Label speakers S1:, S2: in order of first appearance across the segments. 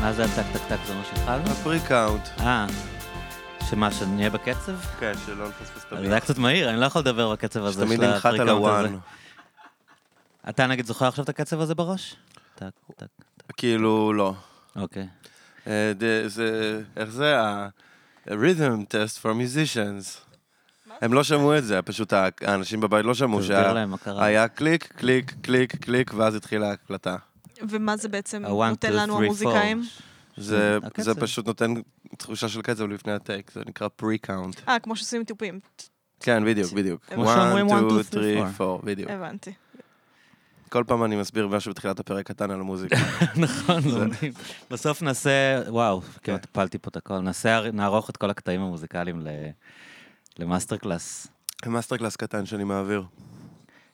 S1: מה זה הטק טק טק זה מה שהתחלנו?
S2: הפרי קאונט.
S1: אה, שמה, שנהיה בקצב?
S2: כן, שלא נפספס
S1: זה
S2: את
S1: היה
S2: המילה.
S1: קצת מהיר, אני לא יכול לדבר בקצב הזה
S2: שתמיד
S1: של
S2: ננחת על
S1: הפריקאונט הזה.
S2: הוואן.
S1: אתה נגיד זוכר עכשיו את הקצב הזה בראש? טק, טק,
S2: כאילו, לא.
S1: אוקיי.
S2: אה, ד- זה, איך זה? ה- rhythm test for musicians. הם לא שמעו את זה, פשוט ה- האנשים בבית לא שמעו
S1: תסביר
S2: שהיה
S1: להם מה קרה.
S2: היה קליק, קליק, קליק, קליק, ואז התחילה ההקלטה.
S3: ומה זה בעצם
S1: ה- one,
S3: נותן
S1: two,
S3: לנו
S1: three,
S3: המוזיקאים?
S1: four.
S2: זה
S1: הקצב.
S2: זה פשוט נותן תחושה של קצב לפני הטייק, זה נקרא pre-count.
S3: אה, כמו שעושים טיפים.
S2: כן, בדיוק, בדיוק.
S3: כמו
S1: שאומרים, לא
S2: 1,
S1: one,
S2: 2,
S1: two, three,
S2: 3, 4, בדיוק.
S3: הבנתי.
S2: כל פעם אני מסביר משהו בתחילת הפרק קטן על המוזיקה.
S1: נכון, לומדים. בסוף נעשה, וואו,
S2: כן.
S1: כמעט הפלתי פה את הכל, נעשה- נערוך את כל הקטעים המוזיקליים ל- למאסטר קלאס.
S2: מאסטר קלאס קטן שאני מעביר.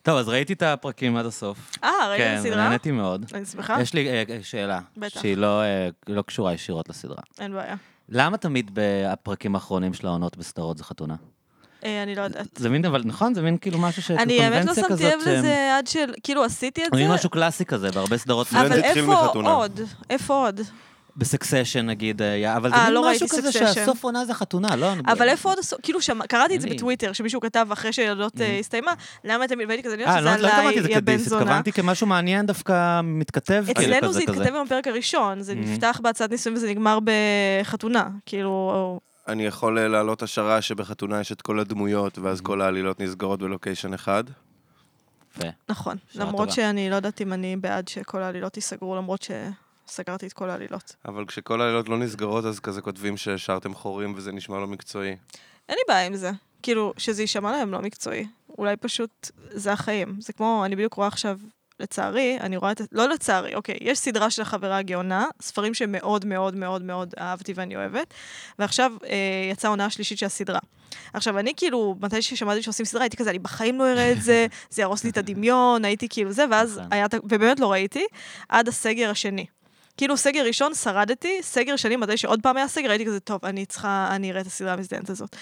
S1: טוב, אז ראיתי את הפרקים עד הסוף.
S3: אה, ראית
S1: כן,
S3: את הסדרה?
S1: ונהניתי מאוד.
S3: אני שמחה,
S1: יש לי אה, אה, שאלה,
S3: בטח.
S1: שהיא לא, אה, לא קשורה ישירות לסדרה.
S3: אין בעיה.
S1: למה תמיד בפרקים האחרונים של העונות בסדרות זה חתונה?
S3: אה, אני לא יודעת.
S1: זה מין, אבל נכון, זה מין כאילו משהו ש...
S3: אני האמת
S1: קונבנציה
S3: לא שמתי
S1: כזאת
S3: לב
S1: שהם-
S3: לזה עד של... כאילו, עשיתי את
S1: זה מין
S3: זה,
S1: משהו קלאסי כזה בהרבה סדרות.
S2: זה
S3: אבל אה-
S2: התחיל
S3: איפה
S2: מחתונה.
S3: עוד? איפה עוד?
S1: בסקסשן נגיד היה, אבל זה
S3: אה,
S1: מין
S3: לא
S1: משהו
S3: ראיתי
S1: כזה
S3: Succession.
S1: שהסוף עונה זה חתונה, לא?
S3: אבל איפה עוד עשו... כאילו, שמע- קראתי את זה
S1: אין לי.
S3: בטוויטר, שמישהו כתב אחרי שהילדות אה, הסתיימה, למה אתם... והייתי כזה, אני
S1: אה,
S3: יודעת
S1: לא
S3: שזה
S1: לא התכוונתי את זה
S3: עליי, יא בן
S1: כדיס,
S3: זונה.
S1: התכוונתי כמשהו מעניין דווקא מתכתב. כאילו,
S3: אצלנו
S1: כזה, Mhm.
S3: זה
S1: כזה.
S3: התכתב עם הפרק הראשון, זה נפתח בהצעת נישואים וזה נגמר בחתונה. כאילו,
S2: אני יכול אה, להעלות השערה שבחתונה יש את כל הדמויות, ואז כל העלילות נסגרות בלוקיישן אחד.
S1: יפה.
S3: נכון.
S1: שעה
S3: למרות
S1: טובה.
S3: שאני לא יודעת אם אני בעד שכל העלילות ייסגרו, למרות שסגרתי את כל העלילות.
S2: אבל כשכל העלילות לא נסגרות, אז כזה כותבים שהשארתם חורים וזה נשמע לא מקצועי.
S3: אין לי בעיה עם זה. כאילו, שזה יישמע להם לא מקצועי. אולי פשוט זה החיים. זה כמו, אני בדיוק רואה עכשיו, לצערי, אני רואה את... ה- לא לצערי, אוקיי. יש סדרה של החברה הגאונה, ספרים שמאוד מאוד מאוד מאוד אהבתי ואני אוהבת, ועכשיו אה, יצאה העונה השלישית של הסדרה. עכשיו, אני כאילו, מתי ששמעתי שעושים סדרה, הייתי כזה, אני בחיים לא אראה את זה, זה יהרוס לי את הדמיון, הייתי כאילו זה, ואז
S1: נכון.
S3: היה... את ה- ובאמת לא ראיתי, עד הסגר השני. כאילו סגר ראשון שרדתי, סגר שני, מתי שעוד פעם היה סגר, הייתי כזה, טוב, אני צריכה, אני אראה את הסדרה המזדיינת הזאת.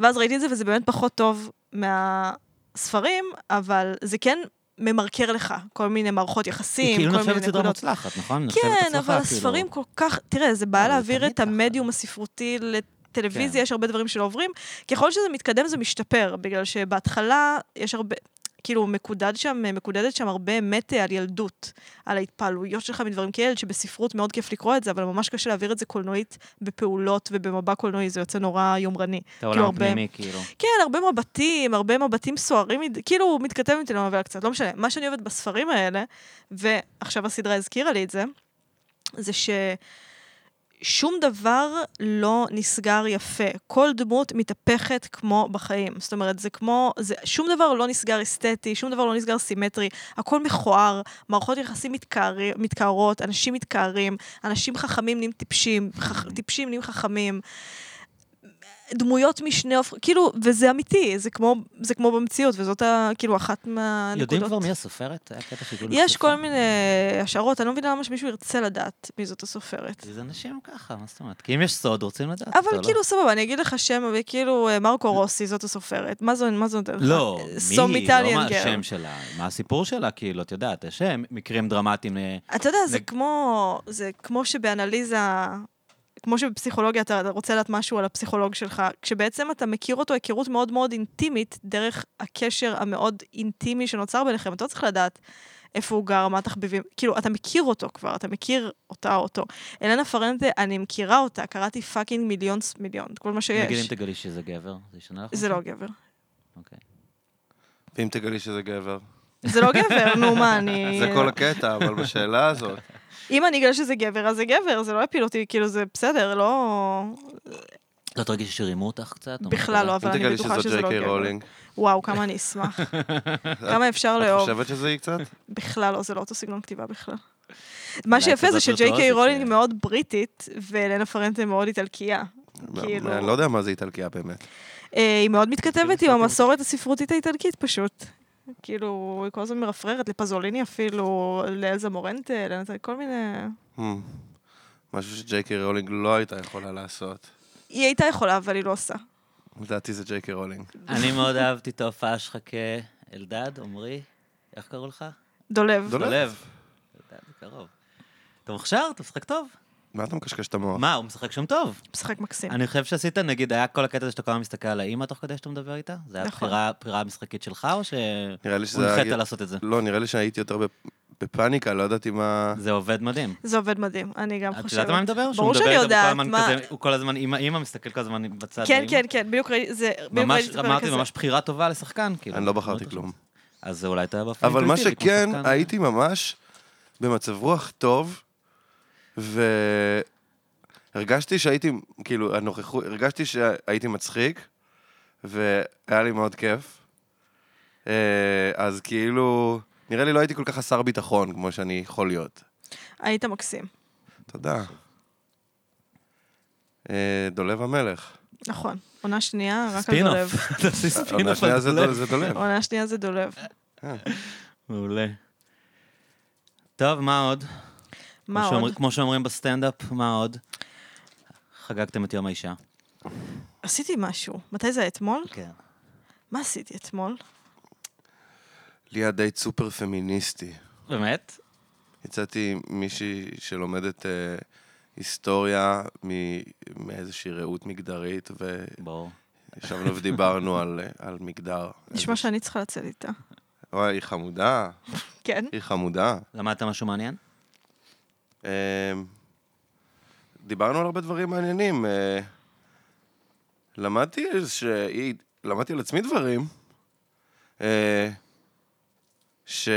S3: ואז ראיתי את זה, וזה באמת פחות טוב מהספרים, אבל זה כן ממרקר לך כל מיני מערכות
S1: היא
S3: יחסים,
S1: כאילו
S3: כל מיני
S1: נחשבת סדרה
S3: נקודות.
S1: מוצלחת, נכון? נחשבת
S3: כן,
S1: הצלחה,
S3: אבל
S1: כאילו.
S3: הספרים כל כך, תראה, זה בא
S1: אבל זה
S3: להעביר
S1: תמיד
S3: את
S1: ככה.
S3: המדיום הספרותי
S1: כן.
S3: לטלוויזיה, יש הרבה דברים שלא עוברים. ככל שזה מתקדם זה משתפר, בגלל שבהתחלה יש הרבה... כאילו, מקודד שם, מקודדת שם הרבה אמת על ילדות, על ההתפעלויות שלך מדברים כילד, שבספרות מאוד כיף לקרוא את זה, אבל ממש קשה להעביר את זה קולנועית בפעולות ובמבע קולנועי, זה יוצא נורא יומרני.
S1: את העולם
S3: הרבה-
S1: הפנימי, כאילו.
S3: כן, הרבה מבטים, הרבה מבטים סוערים, מד- כאילו הוא מתכתב עם טלנובלה קצת, לא משנה. מה שאני אוהבת בספרים האלה, ועכשיו הסדרה הזכירה לי את זה, זה ששום דבר לא נסגר יפה. כל דמות מתהפכת כמו בחיים. זאת אומרת, זה כמו, זה, שום דבר לא נסגר אסתטי, שום דבר לא נסגר סימטרי, הכל מכוער, מערכות יחסים מתקער, מתקערות, אנשים מתקערים, אנשים חכמים נהיים טיפשים, חכ, טיפשים נהיים חכמים. דמויות משנה, הופ- כאילו, וזה אמיתי, זה כמו, זה כמו במציאות, וזאת ה, כאילו אחת מהנקודות.
S1: יודעים כבר מי הסופרת? היה קטע שהגיעו
S3: יש
S1: לסופר.
S3: כל מיני השערות, אני לא מבינה למה שמישהו ירצה לדעת מי זאת הסופרת.
S1: זה אנשים ככה, מה זאת אומרת? כי אם יש סוד, רוצים לדעת. אותו,
S3: אבל
S1: לא?
S3: כאילו, סבבה, אני אגיד לך שם, אבל כאילו, אה, מרקו רוסי זאת הסופרת. מה זה מה זה נותן לך?
S1: לא, מי
S3: Some
S1: היא? לא
S3: אה, Italian
S1: מה
S3: girl.
S1: השם שלה, מה הסיפור שלה, כאילו, את יודעת, יש אה, מקרים דרמטיים. אה,
S3: אתה יודע, זה
S1: נג-
S3: כמו, זה כמו שבאנליזה, כמו שבפסיכולוגיה אתה רוצה לדעת משהו על הפסיכולוג שלך, כשבעצם אתה מכיר אותו היכרות מאוד מאוד אינטימית, דרך הקשר המאוד אינטימי שנוצר ביניכם, אתה לא צריך לדעת. איפה הוא גר, מה התחביבים, כאילו, אתה מכיר אותו כבר, אתה מכיר אותה או אותו. אלנה פרנטה, אני מכירה אותה, קראתי פאקינג מיליון ס- מיליון, כל מה שיש.
S1: נגיד אם תגלי שזה גבר, זה ישנה לך?
S3: זה
S1: משהו?
S3: לא גבר.
S1: אוקיי.
S2: ואם תגלי שזה גבר.
S3: זה לא גבר, נו מה, אני...
S2: זה כל הקטע, אבל בשאלה הזאת.
S3: אם אני אגלה שזה גבר, אז זה גבר, זה לא יפיל אותי, כאילו, זה בסדר, לא...
S1: לא תרגישי שרימו אותך קצת? או משהו
S3: בכלל לא,
S1: כזה?
S3: אבל
S2: אם
S3: אני
S2: תגלי
S3: בטוחה
S2: שזאת
S3: שזה לא
S2: ג'יי
S3: גבר.
S2: רולינג.
S3: וואו, כמה אני אשמח. כמה אפשר
S2: את
S3: לאהוב.
S2: חושבת שזה היא קצת?
S3: בכלל לא, זה לא אותו סגנון כתיבה בכלל. מה
S1: אולי
S3: שיפה זה
S1: כזאת
S3: שג'יי קיי
S1: וירטואוזית,
S3: רולינג
S1: אה.
S3: מאוד בריטית, ואלנה פרנטה מאוד איטלקייה. כאילו-
S2: אני לא יודע מה זה איטלקיה באמת.
S3: אה, היא מאוד מתכתבת עם
S1: פרנטה.
S3: המסורת הספרותית האיטלקית פשוט. כאילו, היא כל הזמן מרפררת לפזוליני אפילו, לאלזה מורנטה, לאלזה- כל מיני...
S2: Hmm. משהו שג'יי קיי רולינג לא הייתה יכולה לעשות.
S3: היא הייתה יכולה, אבל היא לא עושה.
S2: לדעתי זה ג'יי קיי רולינג.
S1: אני מאוד אהבתי את ההופעה שלך כאלדד, עמרי, איך קראו לך?
S3: דולב.
S2: דולב.
S1: דולב. אלדד, קרוב. אתה מוכשר, אתה משחק טוב.
S2: מה אתה מקשקש את המוח?
S1: מה, הוא משחק שם טוב.
S3: משחק מקסים.
S1: אני חושב שעשית, נגיד, היה כל הקטע הזה שאתה כל הזמן מסתכל על האימא תוך כדי שאתה מדבר איתה? זה היה
S3: נכון.
S1: בחירה- בחירה משחקית שלך, או ש...
S2: נראה לי כן, שזה...
S1: הוא הנחית
S2: היה-
S1: לעשות את זה?
S2: לא, נראה לי שהייתי יותר בפ- בפאניקה, לא ידעתי מה...
S1: זה עובד מדהים.
S3: זה עובד מדהים, אני גם חושבת.
S1: את יודעת על מה אני מדבר? שהוא
S3: ברור
S1: מדבר
S3: שאני
S1: איתה, הוא כל
S3: יודעת,
S1: הזמן
S3: מה-
S1: כזה- הוא כל הזמן, אימא, אימא מסתכל כל הזמן בצד.
S3: כן,
S1: לאמא.
S3: כן, כן, בדיוק ראיתי זה- בדיוק
S1: ממש,
S3: ראיתי את הפרק
S1: אמרתי,
S3: הזה.
S1: ממש בחירה טובה לשחקן, כאילו.
S2: אני לא בחרתי
S1: מאוד
S2: כלום.
S1: חשוב. אז זה אולי אתה באופן
S2: אבל מה
S1: אינטואיטיבי, כמו
S2: שכן,
S1: שחקן. אה?
S2: הייתי ממש במצב רוח טוב, והרגשתי שהייתי, כאילו, הנוכחות, הרגשתי שהייתי מצחיק, והיה לי מאוד כיף. אה, אז כאילו, נראה לי לא הייתי כל כך חסר ביטחון כמו שאני יכול להיות.
S3: היית מקסים,
S2: תודה. אה, דולב המלך.
S3: נכון. עונה שנייה, רק על
S1: ספינוף.
S3: דולב.
S1: תעשי
S2: העונה
S1: ספינוף
S2: השנייה
S1: על
S2: זה
S1: דולב.
S2: דול- זה דולב.
S3: עונה שנייה זה דולב.
S1: מעולה. טוב, מה עוד?
S3: מה
S1: כמו
S3: עוד?
S1: שאומר- כמו שאומרים בסטנדאפ, מה עוד? חגגתם את יום האישה.
S3: עשיתי משהו. מתי זה היה? אתמול?
S1: כן.
S3: מה עשיתי אתמול?
S2: ליעד דייט סופר פמיניסטי.
S1: באמת?
S2: יצאתי עם מישהי שלומדת אה, היסטוריה מ- מאיזושהי ראות מגדרית,
S1: ברור.
S2: וישבנו ודיברנו על, אה, על מגדר.
S3: נשמע שאני צריכה לצאת איתה.
S2: וואי, היא חמודה,
S3: כן?
S2: היא חמודה.
S1: למדת משהו מעניין?
S2: אה, דיברנו על הרבה דברים מעניינים. אה, למדתי שהיא... למדתי על עצמי דברים, אה, ש...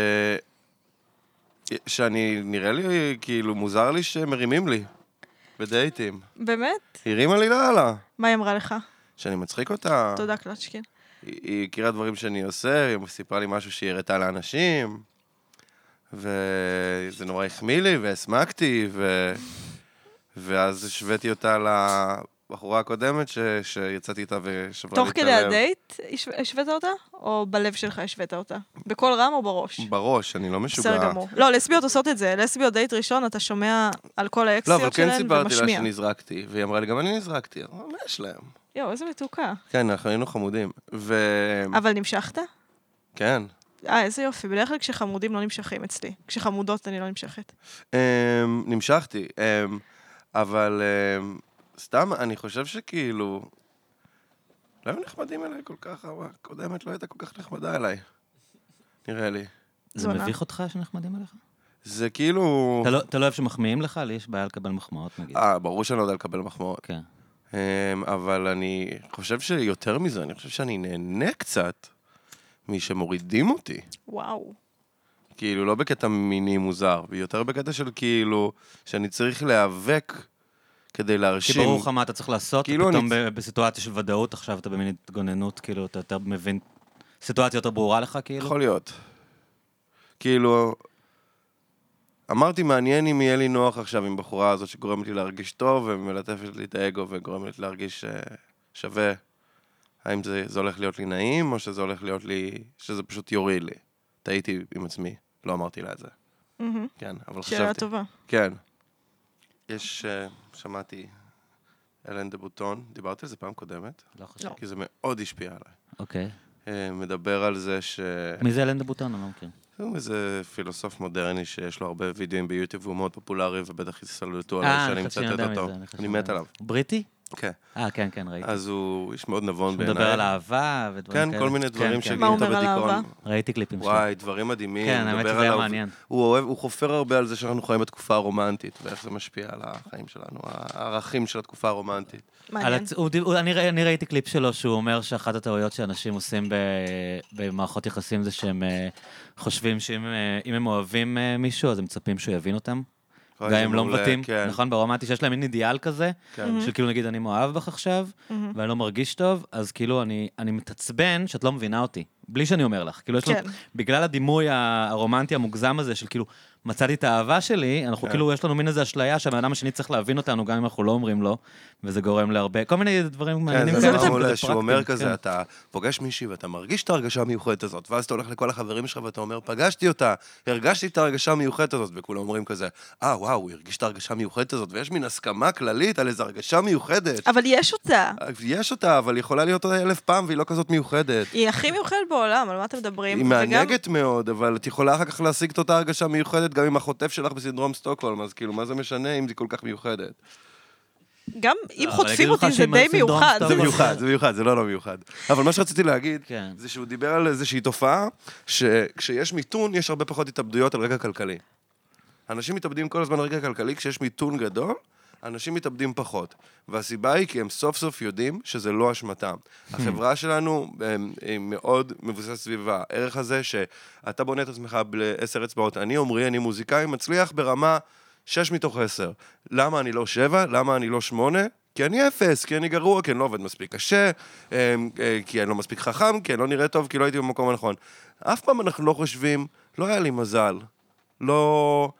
S2: שאני, נראה לי, כאילו, מוזר לי שמרימים לי בדייטים.
S3: באמת?
S2: היא הרימה לי לאללה,
S3: מה היא אמרה לך?
S2: שאני מצחיק אותה.
S3: תודה, קלצ'קין.
S2: היא היא הכירה דברים שאני עושה, היא סיפרה לי משהו שהיא הראתה לאנשים, וזה נורא החמיא לי, והסמקתי, ו... ואז השוויתי אותה לבחורה הקודמת ש... שיצאתי איתה ושברה לי
S3: תוך
S2: את
S3: כדי
S2: הלב.
S3: הדייט השו- השווית אותה? או בלב שלך השווית אותה? בקול רם או בראש?
S2: בראש, אני לא משוגע.
S3: בסדר גמור. לא, לסביות עושות את זה. לסביות דייט ראשון, אתה שומע על כל
S2: לא, אבל
S3: האקסיות
S2: כן
S3: שלהן
S2: סיפרתי לה
S3: ומשמיע.
S2: שנזרקתי, והיא אמרה לי, גם אני נזרקתי. אמרתי, מה יש להם?
S3: יואו, איזה מתוקה.
S2: כן, אנחנו היינו חמודים. ו...
S3: אבל נמשכת?
S2: כן.
S3: אה, איזה יופי. בדרך כלל כשחמודים לא נמשכים אצלי. כשחמודות אני לא נמשכת.
S2: אמ, נמשכתי, אמ, אבל אמ, סתם, אני חושב שכאילו... לא היו נחמדים אליי כל כך, אבל הקודמת לא הייתה כל כך נחמדה אליי, נראה לי.
S1: זה
S2: לא,
S3: זונה.
S1: מביך אותך שנחמדים עליך?
S2: זה כאילו...
S1: אתה לא- אתה לא אוהב שמחמיאים לך? לי יש בעיה לקבל מחמאות, נגיד.
S2: אה, ברור שאני לא יודע לקבל מחמאות.
S1: כן.
S2: אמ, אבל אני חושב שיותר מזה, אני חושב שאני נהנה קצת משמורידים אותי.
S3: וואו.
S2: כאילו, לא בקטע מיני מוזר, יותר בקטע של כאילו, שאני צריך להיאבק כדי
S1: כי
S2: להרשים.
S1: ברור לך מה אתה צריך לעשות,
S2: כאילו
S1: פתאום
S2: אני-
S1: ב- בסיטואציה של ודאות, עכשיו אתה במין התגוננות, כאילו, אתה יותר מבין, סיטואציה יותר ברורה לך, כאילו?
S2: יכול להיות. כאילו, אמרתי, מעניין אם יהיה לי נוח עכשיו עם בחורה הזאת שגורמת לי להרגיש טוב ומלטפת לי את האגו וגורמת לי להרגיש אה, שווה. האם זה, זה הולך להיות לי נעים, או שזה הולך להיות לי... שזה פשוט יוריד לי. טעיתי עם עצמי, לא אמרתי לה את זה.
S3: מהמם.
S2: כן, אבל
S3: שאלה
S2: חשבתי.
S3: טובה.
S2: כן. יש, אה, שמעתי, אלן דה בוטון, דיברתי על זה פעם קודמת,
S1: לא חושב.
S2: כי זה מאוד השפיע עליי.
S1: אוקיי.
S2: אה, מדבר על זה ש...
S1: מי זה אלן דבוטון? אני לא מכיר.
S2: הוא איזה פילוסוף מודרני שיש לו הרבה וידאוים ביוטיוב והוא מאוד פופולרי ובטח יסלטו
S1: אה,
S2: עליו שאני
S1: אני חושב שאני
S2: מצטט
S1: יודע מי
S2: אותו.
S1: זה, אני חושב
S2: אני
S1: שאני
S2: מת
S1: יודע.
S2: עליו.
S1: הוא בריטי?
S2: כן.
S1: אה, כן, כן, ראיתי.
S2: אז הוא איש מאוד נבון
S1: הוא
S2: בעיניי.
S1: מדבר על אהבה ודברים כאלה.
S2: כן, כל מיני דברים
S1: כן, כן.
S2: שהגיעו
S3: מה הוא
S2: אותו
S3: אומר על אהבה?
S2: בדיכאון.
S1: ראיתי קליפים שלו.
S2: וואי, דברים מדהימים.
S1: כן, האמת
S2: מדבר
S1: שזה היה
S2: עליו.
S1: מעניין.
S2: הוא אוהב- הוא חופר הרבה על זה שאנחנו חיים בתקופה הרומנטית, ואיך זה משפיע על החיים שלנו, הערכים של התקופה הרומנטית.
S1: על
S3: מעניין.
S1: הצ... הוא, דיב- הוא, אני, רא- אני ראיתי קליפ שלו שהוא אומר שאחת הטעויות שאנשים עושים ב, במערכות יחסים זה שהם אה, חושבים שאם אה, אם הם אוהבים אה, מישהו אז הם מצפים שהוא יבין אותם.
S2: וואי,
S1: גם
S2: זה
S1: אם הם לא
S2: מעולה,
S1: מבטאים,
S2: כן,
S1: נכון? ברומנטי שיש להם מין אידיאל כזה,
S2: כן.
S1: של כאילו נגיד אני מאוהב בך עכשיו,
S3: מהמם.
S1: ואני לא מרגיש טוב, אז כאילו אני, אני מתעצבן שאת לא מבינה אותי, בלי שאני אומר לך. כאילו יש
S3: כן.
S1: לנו, בגלל הדימוי ה- הרומנטי המוגזם הזה של כאילו, מצאתי את האהבה שלי, אנחנו
S2: כן.
S1: כאילו, יש לנו מין איזו אשליה שהבן אדם השני צריך להבין אותנו גם אם אנחנו לא אומרים לו, וזה גורם להרבה, כל מיני דברים מעניינים
S2: כן,
S3: זה כן.
S2: זה
S1: כאלה.
S2: דבר
S1: שהם
S2: מעולה
S1: כזה
S2: שהוא אומר
S1: פרקטיים,
S2: כזה, אתה פוגש מישהי ואתה מרגיש את ההרגשה המיוחדת הזאת, ואז אתה הולך לכל החברים שלך ואתה אומר, פגשתי אותה, הרגשתי את ההרגשה המיוחדת הזאת, וכולם אומרים כזה, אה, וואו, הוא הרגיש את ההרגשה המיוחדת הזאת, ויש מין הסכמה כללית על איזו הרגשה מיוחדת.
S3: אבל יש אותה.
S2: יש אותה, אבל היא יכולה להיות אותה אלף פעם והיא לא כזאת מיוחדת.
S3: היא הכי מיוחדת בעולם, על מה אתם מדברים?
S2: היא
S3: כן, וגם-
S2: מענגת מאוד, אבל את יכולה אחר כך להשיג את אותה הרגשה מיוחדת גם עם החוטף שלך בסינדרום סטוקהולם, אז כאילו, מה זה משנה אם היא כל כך מיוחדת?
S3: גם אם
S1: אבל
S3: חוטפים
S1: יגידו לא, לך
S3: אותי זה
S1: שאם
S3: די
S1: הסינדרום
S3: מיוחד.
S1: סתם
S2: זה
S1: אבל-
S2: מיוחד, זה מיוחד, זה לא לא מיוחד. אבל מה שרציתי להגיד,
S1: כן.
S2: זה שהוא דיבר על איזושהי תופעה, שכשיש מיתון, יש הרבה פחות התאבדויות על רקע כלכלי. אנשים מתאבדים כל הזמן על רקע כלכלי, כשיש מיתון גדול, אנשים מתאבדים פחות. והסיבה היא כי הם סוף סוף יודעים שזה לא אשמתם. החברה שלנו הם, היא מאוד מבוססת סביבה. הערך הזה שאתה בונה את עצמך לעשר אצבעות. אני עומרי, אני מוזיקאי, מצליח ברמה שש מתוך עשר. למה אני לא שבע? למה אני לא שמונה? כי אני אפס, כי אני גרוע, כי אני לא עובד מספיק קשה, אמ, אה, כי אני לא מספיק חכם, כי אני לא נראה טוב, כי לא הייתי במקום הנכון. אף פעם אנחנו לא חושבים, לא היה לי מזל. לא...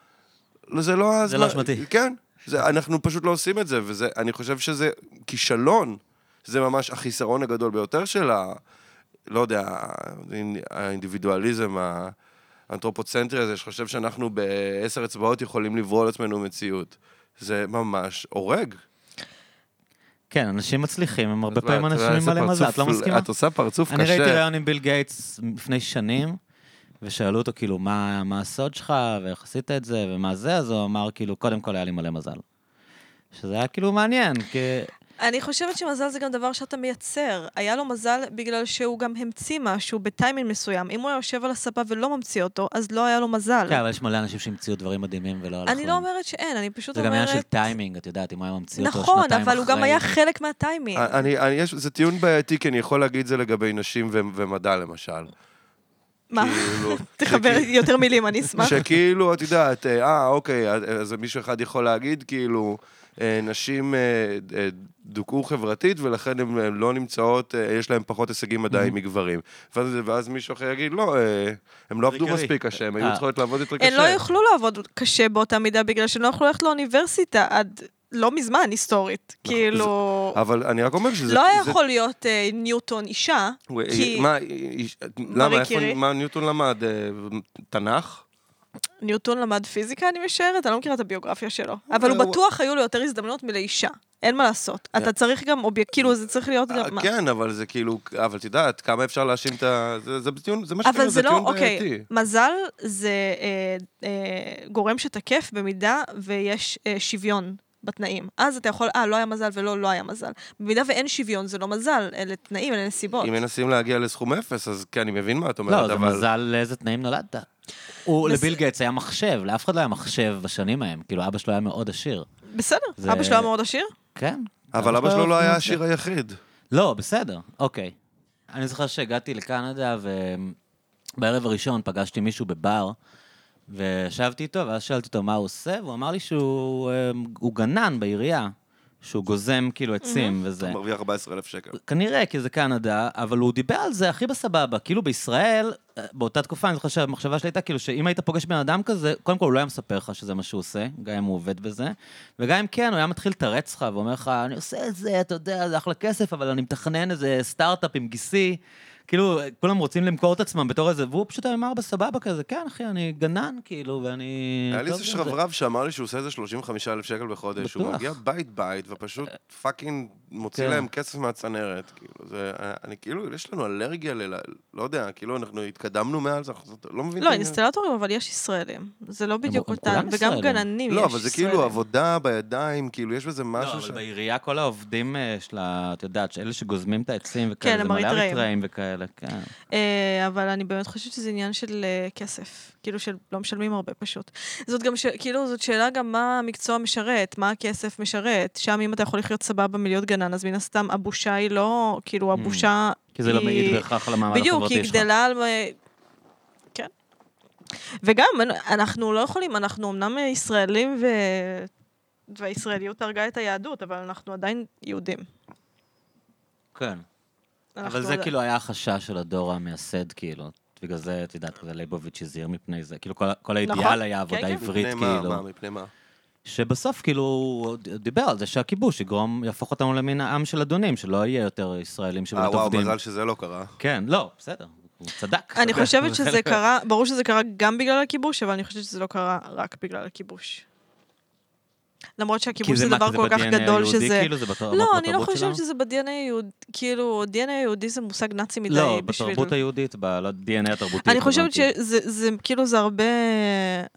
S2: לא, זה לא הזמן.
S1: לא אשמתי.
S2: כן. זה, אנחנו פשוט לא עושים את זה, ואני חושב שזה כישלון. זה ממש החיסרון הגדול ביותר של ה... לא יודע, האינ- האינדיבידואליזם, האנתרופוצנטרי הזה, שחושב שאנחנו בעשר אצבעות יכולים לברוא לעצמנו מציאות. זה ממש הורג.
S1: כן, אנשים מצליחים, הם הרבה
S2: את יודעת,
S1: פעמים אנשים
S2: איזה
S1: עם מלא מזל, את לא
S2: פרצוף-
S1: מסכימה?
S2: את עושה פרצוף
S1: אני ראיתי
S2: קשה.
S1: ראיון עם ביל גייטס לפני שנים, ושאלו אותו כאילו, מה מה הסוד שלך, ואיך עשית את זה, ומה זה, אז הוא אמר כאילו, קודם כל היה לי מלא מזל. שזה היה כאילו מעניין, כי...
S3: אני חושבת שמזל זה גם דבר שאתה מייצר. היה לו מזל בגלל שהוא גם המציא משהו בטיימינג מסוים. אם הוא היה יושב על הספה ולא ממציא אותו, אז לא היה לו מזל.
S1: כן, אבל יש מלא אנשים שהמציאו דברים מדהימים ולא הלכו.
S3: אני לא אומרת שאין, אני פשוט
S1: זה גם עניין של
S3: אומרת...
S1: טיימינג, את יודעת, אם הוא היה ממציא אותו שנתיים
S3: נכון,
S1: אחרי.
S3: אבל הוא גם היה חלק מהטיימינג.
S2: אני, אני, יש, זה טיעון בעייתי, כי אני יכול להגיד זה לגבי נשים ו- ומדע, למשל.
S3: מה?
S2: כאילו,
S3: תחבר
S2: שכי-
S3: יותר מילים, אני
S2: אה,
S3: אשמח.
S2: שכאילו, את יודעת, אה, אה, אוקיי, אז- אז מישהו אחד יכול להגיד, כאילו, אה, נשים אה, אה, דוכאו חברתית, ולכן הן אה, לא נמצאות, אה, יש להן פחות הישגים מדעיים מגברים. ואז ואז מישהו אחר יגיד, לא, אה, הם לא עבדו
S1: עיקרי.
S2: מספיק קשה, הם היו
S1: אה.
S2: צריכות לעבוד יותר
S3: הן
S2: קשה.
S3: לא יוכלו לעבוד קשה באותה מידה בגלל שהן לא יכלו ללכת לאוניברסיטה עד לא מזמן, היסטורית. כאילו...
S2: נכון. אבל אני רק אומר שזה...
S3: לא היה
S2: זה-
S3: יכול להיות אה, ניוטון אישה,
S2: וואי,
S3: כי
S2: מה, איש- למה,
S3: קירי?
S2: איפה, מה ניוטון למד? אה, תנ"ך?
S3: ניוטון למד פיזיקה, אני משערת, אני לא מכירה את הביוגרפיה שלו. אבל הוא
S2: אה, הוא-
S3: בטוח היו לו יותר הזדמנויות מלאישה. אין מה לעשות. אתה צריך גם אובייקט, כאילו זה צריך להיות
S2: אה,
S3: גם... מה-
S2: כן, אבל זה כאילו, אבל את יודעת, כמה אפשר להאשים את ה... זה- זה טיעון, זה מה
S3: אבל
S2: שקורה,
S3: זה
S2: כאילו זה
S3: לא,
S2: טיעון בעייתי.
S3: אוקיי, מזל זה אה, אה, גורם שתקף במידה ויש אה, שוויון בתנאים. אז אתה יכול, אה, לא היה מזל ולא, לא היה מזל. במידה ואין שוויון, זה לא מזל, אלה תנאים, אלה נסיבות.
S2: אם מנסים להגיע לסכום אפס, אז כן, אני מבין מה את
S1: לא,
S2: אומרת,
S1: זה
S2: אבל...
S1: מזל לאיזה תנאים נולדת. הוא,
S3: מס-
S1: לביל גייטס היה מחשב, לאף אחד לא היה מחשב בשנים ההם, כאילו אבא שלו היה מאוד עשיר.
S3: בסדר,
S1: זה-
S3: אבא שלו היה מאוד עשיר?
S1: כן.
S2: אבל אבא שלו לא היה השיר היחיד.
S1: לא, בסדר, אוקיי. אני זוכר שהגעתי לקנדה, ובערב הראשון פגשתי מישהו בבר, וישבתי איתו, ואז שאלתי אותו מה הוא עושה, והוא אמר לי שהוא אה, הוא גנן בעירייה, שהוא גוזם כאילו עצים וזה.
S2: הוא מרוויח 14,000 שקל.
S1: כנראה, כי זה קנדה, אבל הוא דיבר על זה הכי בסבבה. כאילו בישראל, אה, באותה תקופה, אני זוכר שהמחשבה שלי הייתה כאילו שאם היית פוגש בן אדם כזה, קודם כל הוא לא היה מספר לך שזה מה שהוא עושה, גם אם הוא עובד בזה, וגם אם כן, הוא היה מתחיל לתרץ לך ואומר לך, אני עושה את זה, אתה יודע, זה אחלה כסף, אבל אני מתכנן איזה סטארט-אפ עם גיסי. כאילו, אה, כולם רוצים למכור את עצמם בתור איזה, והוא פשוט אמר בסבבה כזה, כן, אחי, אני גנן, כאילו, ואני...
S2: היה לי
S1: טוב
S2: איזה
S1: בזה."
S2: שרברב שאמר לי שהוא עושה איזה 35,000 שקל בחודש. הוא
S1: בטוח.
S2: מגיע בית-בית ופשוט פאקינג מוציא
S1: כן.
S2: להם כסף מהצנרת. כאילו, זה... אני כאילו, יש לנו אלרגיה ל... לא יודע, כאילו, אנחנו התקדמנו מאז, אנחנו לא מבינים.
S3: לא, אינסטלטורים, אבל יש ישראלים. זה לא בדיוק
S1: הם
S3: אותם,
S1: כולם
S3: וגם
S1: ישראלים.
S3: גננים יש ישראלים.
S2: לא, אבל זה כאילו עבודה בידיים, כאילו, יש בזה משהו
S1: לא,
S2: ש...
S1: אבל בעירייה כל העובדים אה, של ה... את יודעת, אלה שגוזמים את העצים וכאלה,
S3: כן,
S1: זה
S3: הם
S1: מלא
S3: אריתראים.
S1: אריתראים וכאלה, כן.
S3: אה, אבל אני באמת חושבת שזה עניין של אה, כסף. כאילו של לא משלמים הרבה פשוט. זאת גם, ש... כאילו, זאת שאלה גם מה המקצוע משרת, מה הכסף משרת. שם אם אתה יכול לחיות סבבה מלהיות גנן, אז מן הסתם הבושה היא לא, כאילו הבושה
S1: כי זה לא
S3: היא-
S1: מעיד בהכרח על המעמד
S3: בדיוק,
S1: החברתי
S3: היא
S1: שלך.
S3: גדלה על... אה, כן. וגם, אנ- אנחנו לא יכולים, אנחנו אמנם ישראלים ו... והישראליות הרגה את היהדות, אבל אנחנו עדיין יהודים.
S1: כן.
S3: אנחנו
S1: אבל זה
S3: עדיין-
S1: כאילו היה החשש של הדור המייסד, כאילו. בגלל זה, את יודעת, כזה ליבוביץ' הזהיר מפני זה. כאילו, כל ה- כל
S3: נכון,
S1: האידיאל היה
S3: כן,
S1: עבודה
S3: כן.
S1: עברית,
S2: מפני מה, מה,
S1: כאילו.
S2: מפני מה?
S1: שבסוף, כאילו, הוא ד- דיבר על זה שהכיבוש יגרום, יהפוך אותנו למין העם של אדונים, שלא יהיה יותר ישראלים
S2: אה,
S1: שבאמת
S2: וואו,
S1: עובדים.
S2: מזל שזה לא קרה.
S1: כן, לא, בסדר. הוא צדק.
S3: אני חושבת שזה קרה, ברור שזה קרה גם בגלל הכיבוש, אבל אני חושבת שזה לא קרה רק בגלל הכיבוש. למרות
S1: כי
S3: שהכיבוש
S1: זה
S3: זה
S1: מה,
S3: דבר
S1: כי
S3: כל כך
S1: ב-DNA
S3: גדול
S1: היהודי,
S3: שזה...
S1: כאילו, זה בתרבות
S3: לא, אני לא
S1: בתרבות
S3: חושבת
S1: שלנו?
S3: שזה ב-DNA היהודי, כאילו, DNA היהודי זה מושג נאצי מדי
S1: לא,
S3: בשביל...
S1: בתרבות היהודית, לא, ב-DNA התרבותי.
S3: אני חושבת
S1: התכוונתי.
S3: שזה זה, כאילו זה הרבה,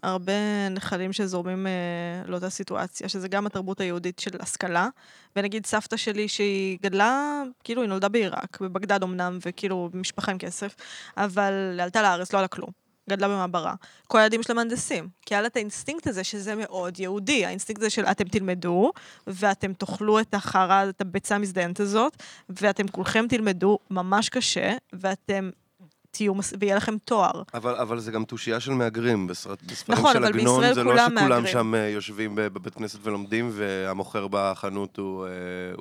S3: הרבה נחלים שזורמים אה, לאותה סיטואציה, שזה גם התרבות היהודית של השכלה. ונגיד סבתא שלי שהיא גדלה, כאילו היא נולדה בעיראק, בבגדד אמנם, וכאילו משפחה עם כסף, אבל עלתה לארץ, לא עלה כלום. גדלה במעברה. כל הילדים שלה מהנדסים. כי היה לה את האינסטינקט הזה שזה מאוד יהודי. האינסטינקט הזה של אתם תלמדו, ואתם תאכלו את החרא, את הביצה המזדיינת הזאת, ואתם כולכם תלמדו ממש קשה, ואתם תהיו, מס- ויהיה לכם תואר.
S2: אבל, אבל זה גם תושייה של מהגרים, בסרט, בספרים
S3: נכון,
S2: של
S3: אבל
S2: עגנון,
S3: בישראל
S2: זה לא
S3: כולם
S2: שכולם
S3: מהגרים.
S2: שם אה, יושבים ב- בבית כנסת ולומדים, והמוכר בחנות הוא, אה,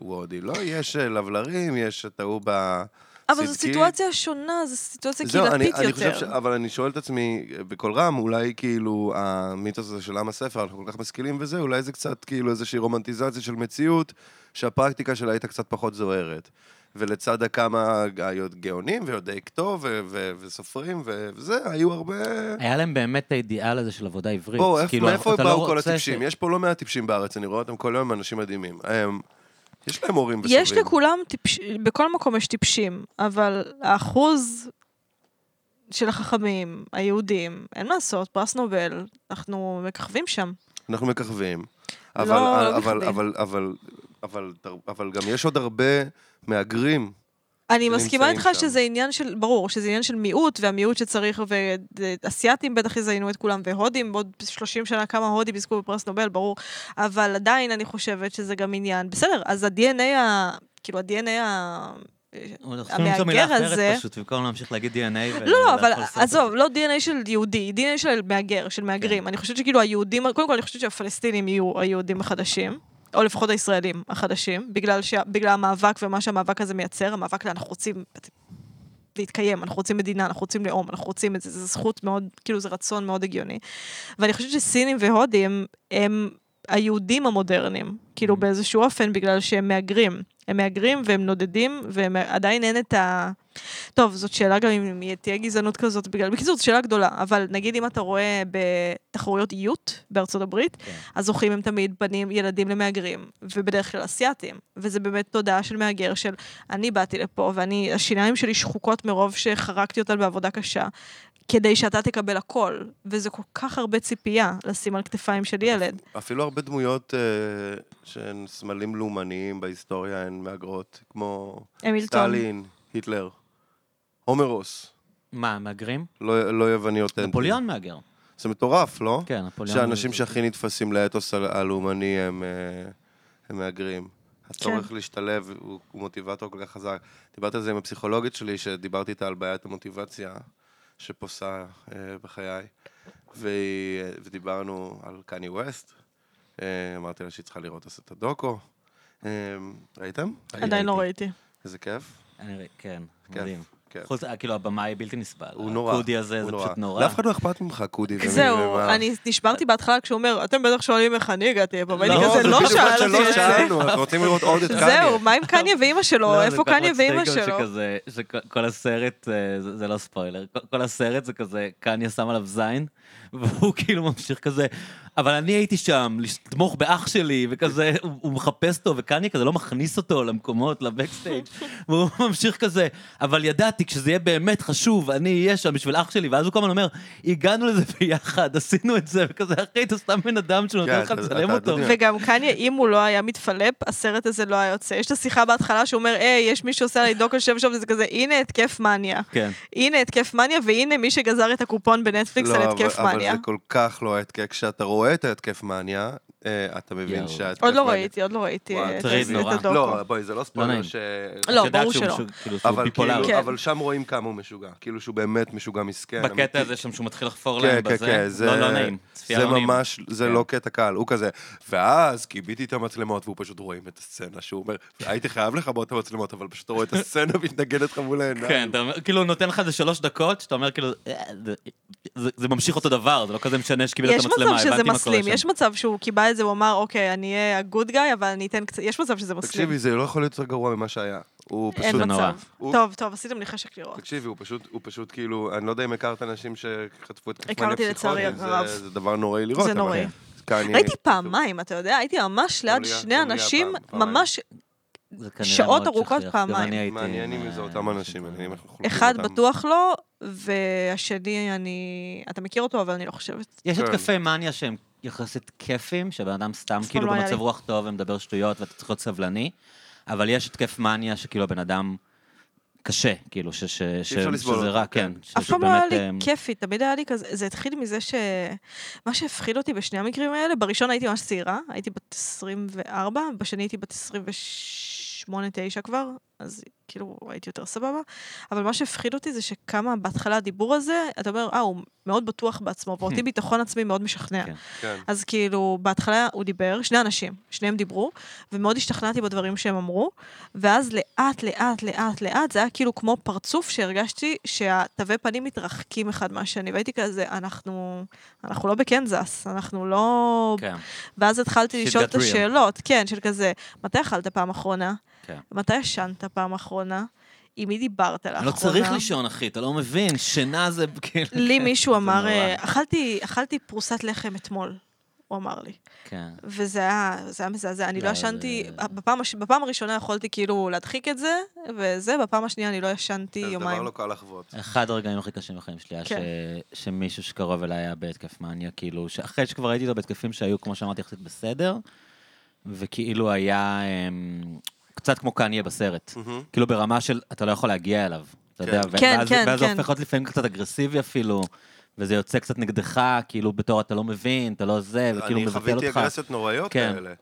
S2: הוא הודי. לא, יש אה, לבלרים, יש את ההוא ב...
S3: אבל זו
S2: סדקי.
S3: סיטואציה שונה, זו סיטואציה
S2: זהו, אני,
S3: קהילתית
S2: אני חושב ש... אה,
S3: יותר.
S2: אבל אני שואל את עצמי אה, בקול רם, אולי כאילו המיתוס הזה של עם הספר, אנחנו כל כך משכילים וזה, אולי זה קצת כאילו איזושהי רומנטיזציה של מציאות, שהפרקטיקה שלה הייתה קצת פחות זוהרת. ולצד הכמה גאונים ויודעי כתוב ו- ו- וסופרים ו- וזה, היו הרבה...
S1: היה להם באמת את האידיאל הזה של עבודה עברית.
S2: בואו, איפה-
S1: כאילו,
S2: מאיפה
S1: אתה לא
S2: באו כל
S1: רוצה ש-
S2: הטיפשים? יש פה לא מעט טיפשים בארץ, אני רואה אותם כל יום, הם אנשים מדהימים. הם- יש להם הורים וסבים.
S3: יש לכולם טיפש... בכל מקום יש טיפשים, אבל האחוז של החכמים, היהודים, אין מה לעשות, פרס נובל, אנחנו מככבים שם.
S2: אנחנו מככבים.
S3: לא,
S2: אבל,
S3: לא
S2: אבל,
S3: בכדי.
S2: אבל, אבל, אבל, אבל גם יש עוד הרבה מהגרים.
S3: אני
S2: שנמצאים
S3: מסכימה איתך
S2: שם.
S3: שזה עניין של, ברור, שזה עניין של מיעוט, והמיעוט שצריך, ואסייתים בטח יזיינו את כולם, והודים, בעוד 30 שנה כמה הודים יזכו בפרס נובל, ברור. אבל עדיין אני חושבת שזה גם עניין, בסדר, אז ה-DNA, ה- כאילו ה-DNA ה...
S1: אנחנו צריכים למצוא מילה
S3: המהגר הזה-
S1: אחרת פשוט, במקום להמשיך להגיד DNA.
S3: לא, לא, אבל
S1: ולאכול סרטן.
S3: עזוב, לא DNA של יהודי, DNA של מהגר, של מהגרים. אני חושבת שכאילו היהודים, קודם כל אני חושבת שהפלסטינים יהיו היהודים החדשים, או לפחות הישראלים החדשים, בגלל שה- בגלל המאבק ומה שהמאבק הזה מייצר, המאבק לאנחנו רוצים להתקיים, אנחנו רוצים מדינה, אנחנו רוצים לאום, אנחנו רוצים את זה, זו זכות מאוד, כאילו זה רצון מאוד הגיוני. ואני חושבת שסינים והודים הם היהודים המודרניים, כאילו באיזשהו אופן, בגלל שהם מהגרים. הם מהגרים והם נודדים, ועדיין אין את ה... טוב, זאת שאלה גם אם יהיה- תהיה גזענות כזאת בגלל... בקיצור, זו שאלה גדולה, אבל נגיד אם אתה רואה בתחרויות איות בארצות הברית,
S1: כן.
S3: אז זוכים הם תמיד בנים, ילדים למהגרים, ובדרך כלל אסייתים, וזה באמת תודעה של מהגר, של אני באתי לפה, ואני, השיניים שלי שחוקות מרוב שחרקתי אותן בעבודה קשה, כדי שאתה תקבל הכל, וזה כל כך הרבה ציפייה לשים על כתפיים של ילד.
S2: אפילו הרבה דמויות אה, שהן סמלים לאומניים בהיסטוריה הן מהגרות, כמו
S3: המילטון.
S2: סטלין, היטלר, הומרוס,
S1: מה, מהגרים?
S2: לא, לא יווני אותנטי.
S1: נפוליאון מהגר.
S2: זה מטורף, לא?
S1: כן, נפוליאון.
S2: שהאנשים שהכי נתפסים לאתוס ה- הלאומני הם, אה, הם מהגרים. הצורך
S3: כן.
S2: להשתלב הוא הוא מוטיבטור כל כך חזק. דיברתי על זה עם הפסיכולוגית שלי, שדיברתי איתה על בעיית המוטיבציה שפוסה אה, בחיי, והיא, אה, ודיברנו על קני ווסט. אה, אמרתי לה שהיא צריכה לראות אז את הדוקו. אה, ראיתם?
S3: עדיין לא ראיתי.
S2: איזה כיף.
S1: אני ראי- כן,
S2: כיף,
S1: מדהים.
S2: כיף.
S1: חוץ, אה, כאילו, הבמאי בלתי נסבל.
S2: הוא נורא.
S1: הקודי הזה,
S2: הוא
S1: זה פשוט נורא.
S2: לאף אחד לא אכפת ממך, קודי. ומי-
S3: זהו,
S2: ומה.
S3: אני נשברתי בהתחלה כשהוא אומר, אתם בטח שואלים איך אני הגעתי לפה, ואני
S1: לא,
S3: כזה
S1: זה
S3: לא
S1: בדיוק מה
S3: שאלתי
S2: שלא
S3: את זה.
S2: שאלנו, אנחנו רוצים לראות עוד את קניה.
S3: זהו, מה עם קניה ואימא שלו?
S1: לא,
S3: איפה
S1: זה כל כך
S3: קניה
S1: מצחיק
S3: ואימא
S1: גם
S3: שלו?
S1: שכזה, שכל הסרט, אה, זה זה לא ספוילר, כל- כל הסרט זה כזה, קניה שם עליו זין, והוא כאילו ממשיך כזה, אבל אני הייתי שם, לתמוך באח שלי, וכזה, הוא הוא מחפש אותו, וקניה כזה לא מכניס אותו למקומות, לבקסטייג', והוא ממשיך כזה, אבל ידעתי, כשזה יהיה באמת חשוב, אני אהיה שם בשביל אח שלי, ואז הוא כל הזמן אומר, הגענו לזה ביחד, עשינו את זה, וכזה, אחי, אתה סתם בן אדם שנותן
S2: כן,
S1: לך
S2: אתה-
S1: לצלם
S2: אתה
S1: אותו.
S2: יודע.
S3: וגם קניה, אם הוא לא היה מתפלפ, הסרט הזה לא היה יוצא. יש את השיחה בהתחלה שהוא אומר, היי, יש מי שעושה עלי דוקו שם שם, וזה כזה, הנה התקף מניה.
S1: כן.
S3: הנה התקף מניה, והנה מי שגזר את הקופון בנטפליקס על
S2: לא,
S3: התקף
S2: אבל-
S3: מניה.
S2: אבל זה כל כך לא ההתקף. כשאתה רואה את ההתקף מניה, אה, אתה מבין
S1: יאו.
S2: שההתקף
S3: עוד לא
S2: מניה-
S3: ראיתי, עוד לא ראיתי
S2: וואי,
S3: את
S1: מטריד נורא.
S3: את הדוקו.
S2: לא, בואי, זה לא
S1: לא
S2: ספוילר
S1: נעים.
S2: ש...
S3: לא,
S1: את יודעת
S3: ברור
S1: שהוא
S3: שלא.
S1: משהו- כאילו, שהוא
S2: אבל
S1: ביפולרי.
S2: כאילו,
S3: כן.
S2: אבל שם רואים כמה הוא משוגע. כאילו שהוא באמת משוגע מסכן.
S1: בקטע
S2: כן, אמיתי.
S1: הזה שם שהוא מתחיל לחפור
S2: כן,
S1: להם
S2: כן,
S1: בזה.
S2: כן, זה...
S1: לא, לא נעים. צפייה
S2: זה
S1: לא נעימה.
S2: ממש, זה
S1: כן.
S2: לא קטע קל, הוא כזה. ואז כיביתי את המצלמות, והוא פשוט רואים את הסצנה שהוא אומר, הייתי חייב לכבות את המצלמות, אבל פשוט רואה את הסצנה מתנגנת לך מול העיניים.
S1: כן, אתה אומר, כאילו נותן לך איזה שלוש דקות, שאתה אומר כאילו, "אה, זה- זה- זה ממשיך אותו דבר, זה לא כזה משנה שקיבל את
S3: יש
S1: המצלמה,
S3: מצב
S1: הבנתי מה
S3: שזה
S1: קורה
S3: מסלים,
S1: שם.
S3: יש מצב שהוא קיבל את זה, הוא אמר, אוקיי, אני אהיה הגוד גאי, אבל אני אתן קצת, יש מצב שזה מסלים.
S2: תקשיבי, זה לא יכול להיות יותר גרוע ממה שהיה. הוא פשוט...
S3: אין
S1: זה נורא.
S3: מצב.
S2: הוא-
S3: טוב, טוב, עשיתם לי חשק לראות.
S2: תקשיבי, הוא פשוט, הוא פשוט כאילו, אני לא יודע אם הכרת אנשים שחטפו את כפמניה
S3: הכרתי לצערי
S2: פסיכוטית, זה-
S3: הרב.
S2: זה דבר נוראי לראות.
S3: זה
S2: אבל
S3: נוראי.
S2: קניה.
S3: ראיתי פעמיים, אתה יודע? הייתי ממש ליד
S2: טוריה,
S3: שני
S2: טוריה
S3: אנשים,
S2: פעם- פעמיים.
S3: ממש
S1: זה כנראה
S3: שעות
S1: מאוד
S3: ארוכות
S1: שכיח, גם
S3: פעמיים.
S1: אני הייתי
S2: מעניינים
S1: עם,
S2: אם זה
S1: אה,
S2: אותם אנשים, אני אנחנו חולקים
S3: אחד
S2: אותם.
S3: בטוח לא, והשני אני... אתה מכיר אותו, אבל אני לא חושבת.
S1: יש
S2: כן.
S1: התקפי מניה שהם יחסית כיפים, שבן אדם סתם
S3: אף פעם
S1: כאילו
S3: לא היה
S1: במצב
S3: לי.
S1: רוח טוב ומדבר שטויות ואתה צריך להיות סבלני, אבל יש התקף מניה שכאילו הבן אדם קשה, כאילו, ש- ש- ש-
S2: אפשר לסבול
S1: שזה
S2: אותו,
S1: רע,
S2: כן.
S1: כן.
S3: אף
S1: שזה
S3: פעם לא היה
S1: באמת,
S3: לי
S1: אמ,
S3: כיפי, תמיד היה לי כזה... זה התחיל מזה ש... מה שהפחיד אותי בשני המקרים האלה, בראשון הייתי ממש צעירה, הייתי בת 24, בשני הייתי בת 28-9 כבר, אז כאילו הייתי יותר סבבה, אבל מה שהפחיד אותי זה שכמה בהתחלה הדיבור הזה, אתה אומר, אה, הוא מאוד בטוח בעצמו, ואותי ביטחון עצמי מאוד משכנע.
S1: כן.
S2: כן.
S3: אז כאילו, בהתחלה הוא דיבר, שני אנשים, שניהם דיברו, ומאוד השתכנעתי בדברים שהם אמרו, ואז לאט, לאט, לאט, לאט, זה היה כאילו כמו פרצוף שהרגשתי שהתווי פנים מתרחקים אחד מהשני, והייתי כזה, אנחנו, אנחנו לא בקנזס, אנחנו לא...
S1: כן.
S3: ואז התחלתי
S1: Shit
S3: לשאול
S1: got
S3: את
S1: real.
S3: השאלות, כן, של כזה, מתי אכלת פעם אחרונה?
S1: כן.
S3: מתי ישנת פעם אחרונה? עם מי דיברת לאחרונה?
S1: לא צריך לישון, אחי, אתה לא מבין, שינה זה כאילו...
S3: לי מישהו
S1: זה
S3: אמר,
S1: נורא.
S3: "אה, אכלתי, אכלתי פרוסת לחם אתמול, הוא אמר לי.
S1: כן.
S3: וזה היה, זה היה מזעזע, אני לא
S1: לא,
S3: ישנתי,
S2: אה,
S1: זה-
S3: בפעם, הש- בפעם הראשונה יכולתי כאילו להדחיק את זה, וזה, בפעם השנייה אני לא ישנתי
S2: זה דבר
S3: יומיים.
S2: לא קל לחוות.
S1: אחד הרגעים הכי קשים בחיים שלי היה
S3: כן.
S1: ש... שמישהו שקרוב אליי היה בהתקף מניה, כאילו, אחרי שכבר הייתי איתו בהתקפים שהיו, כמו שאמרתי, יחסית בסדר, וכאילו היה אמ, קצת כמו קניה בסרט.
S2: מהמם.
S1: כאילו ברמה של, אתה לא יכול להגיע אליו, אתה
S2: כן.
S1: יודע, ו-
S3: כן,
S1: ואז,
S3: כן,
S1: ואז זה
S3: כן.
S1: הופך להיות לפעמים קצת אגרסיבי אפילו, וזה יוצא קצת נגדך, כאילו בתור אתה לא מבין, אתה לא זה, וכאילו
S2: אני
S1: מבטל
S2: חוויתי
S1: אותך.
S2: אגרסיות נוראיות
S1: כן.
S2: כאלה.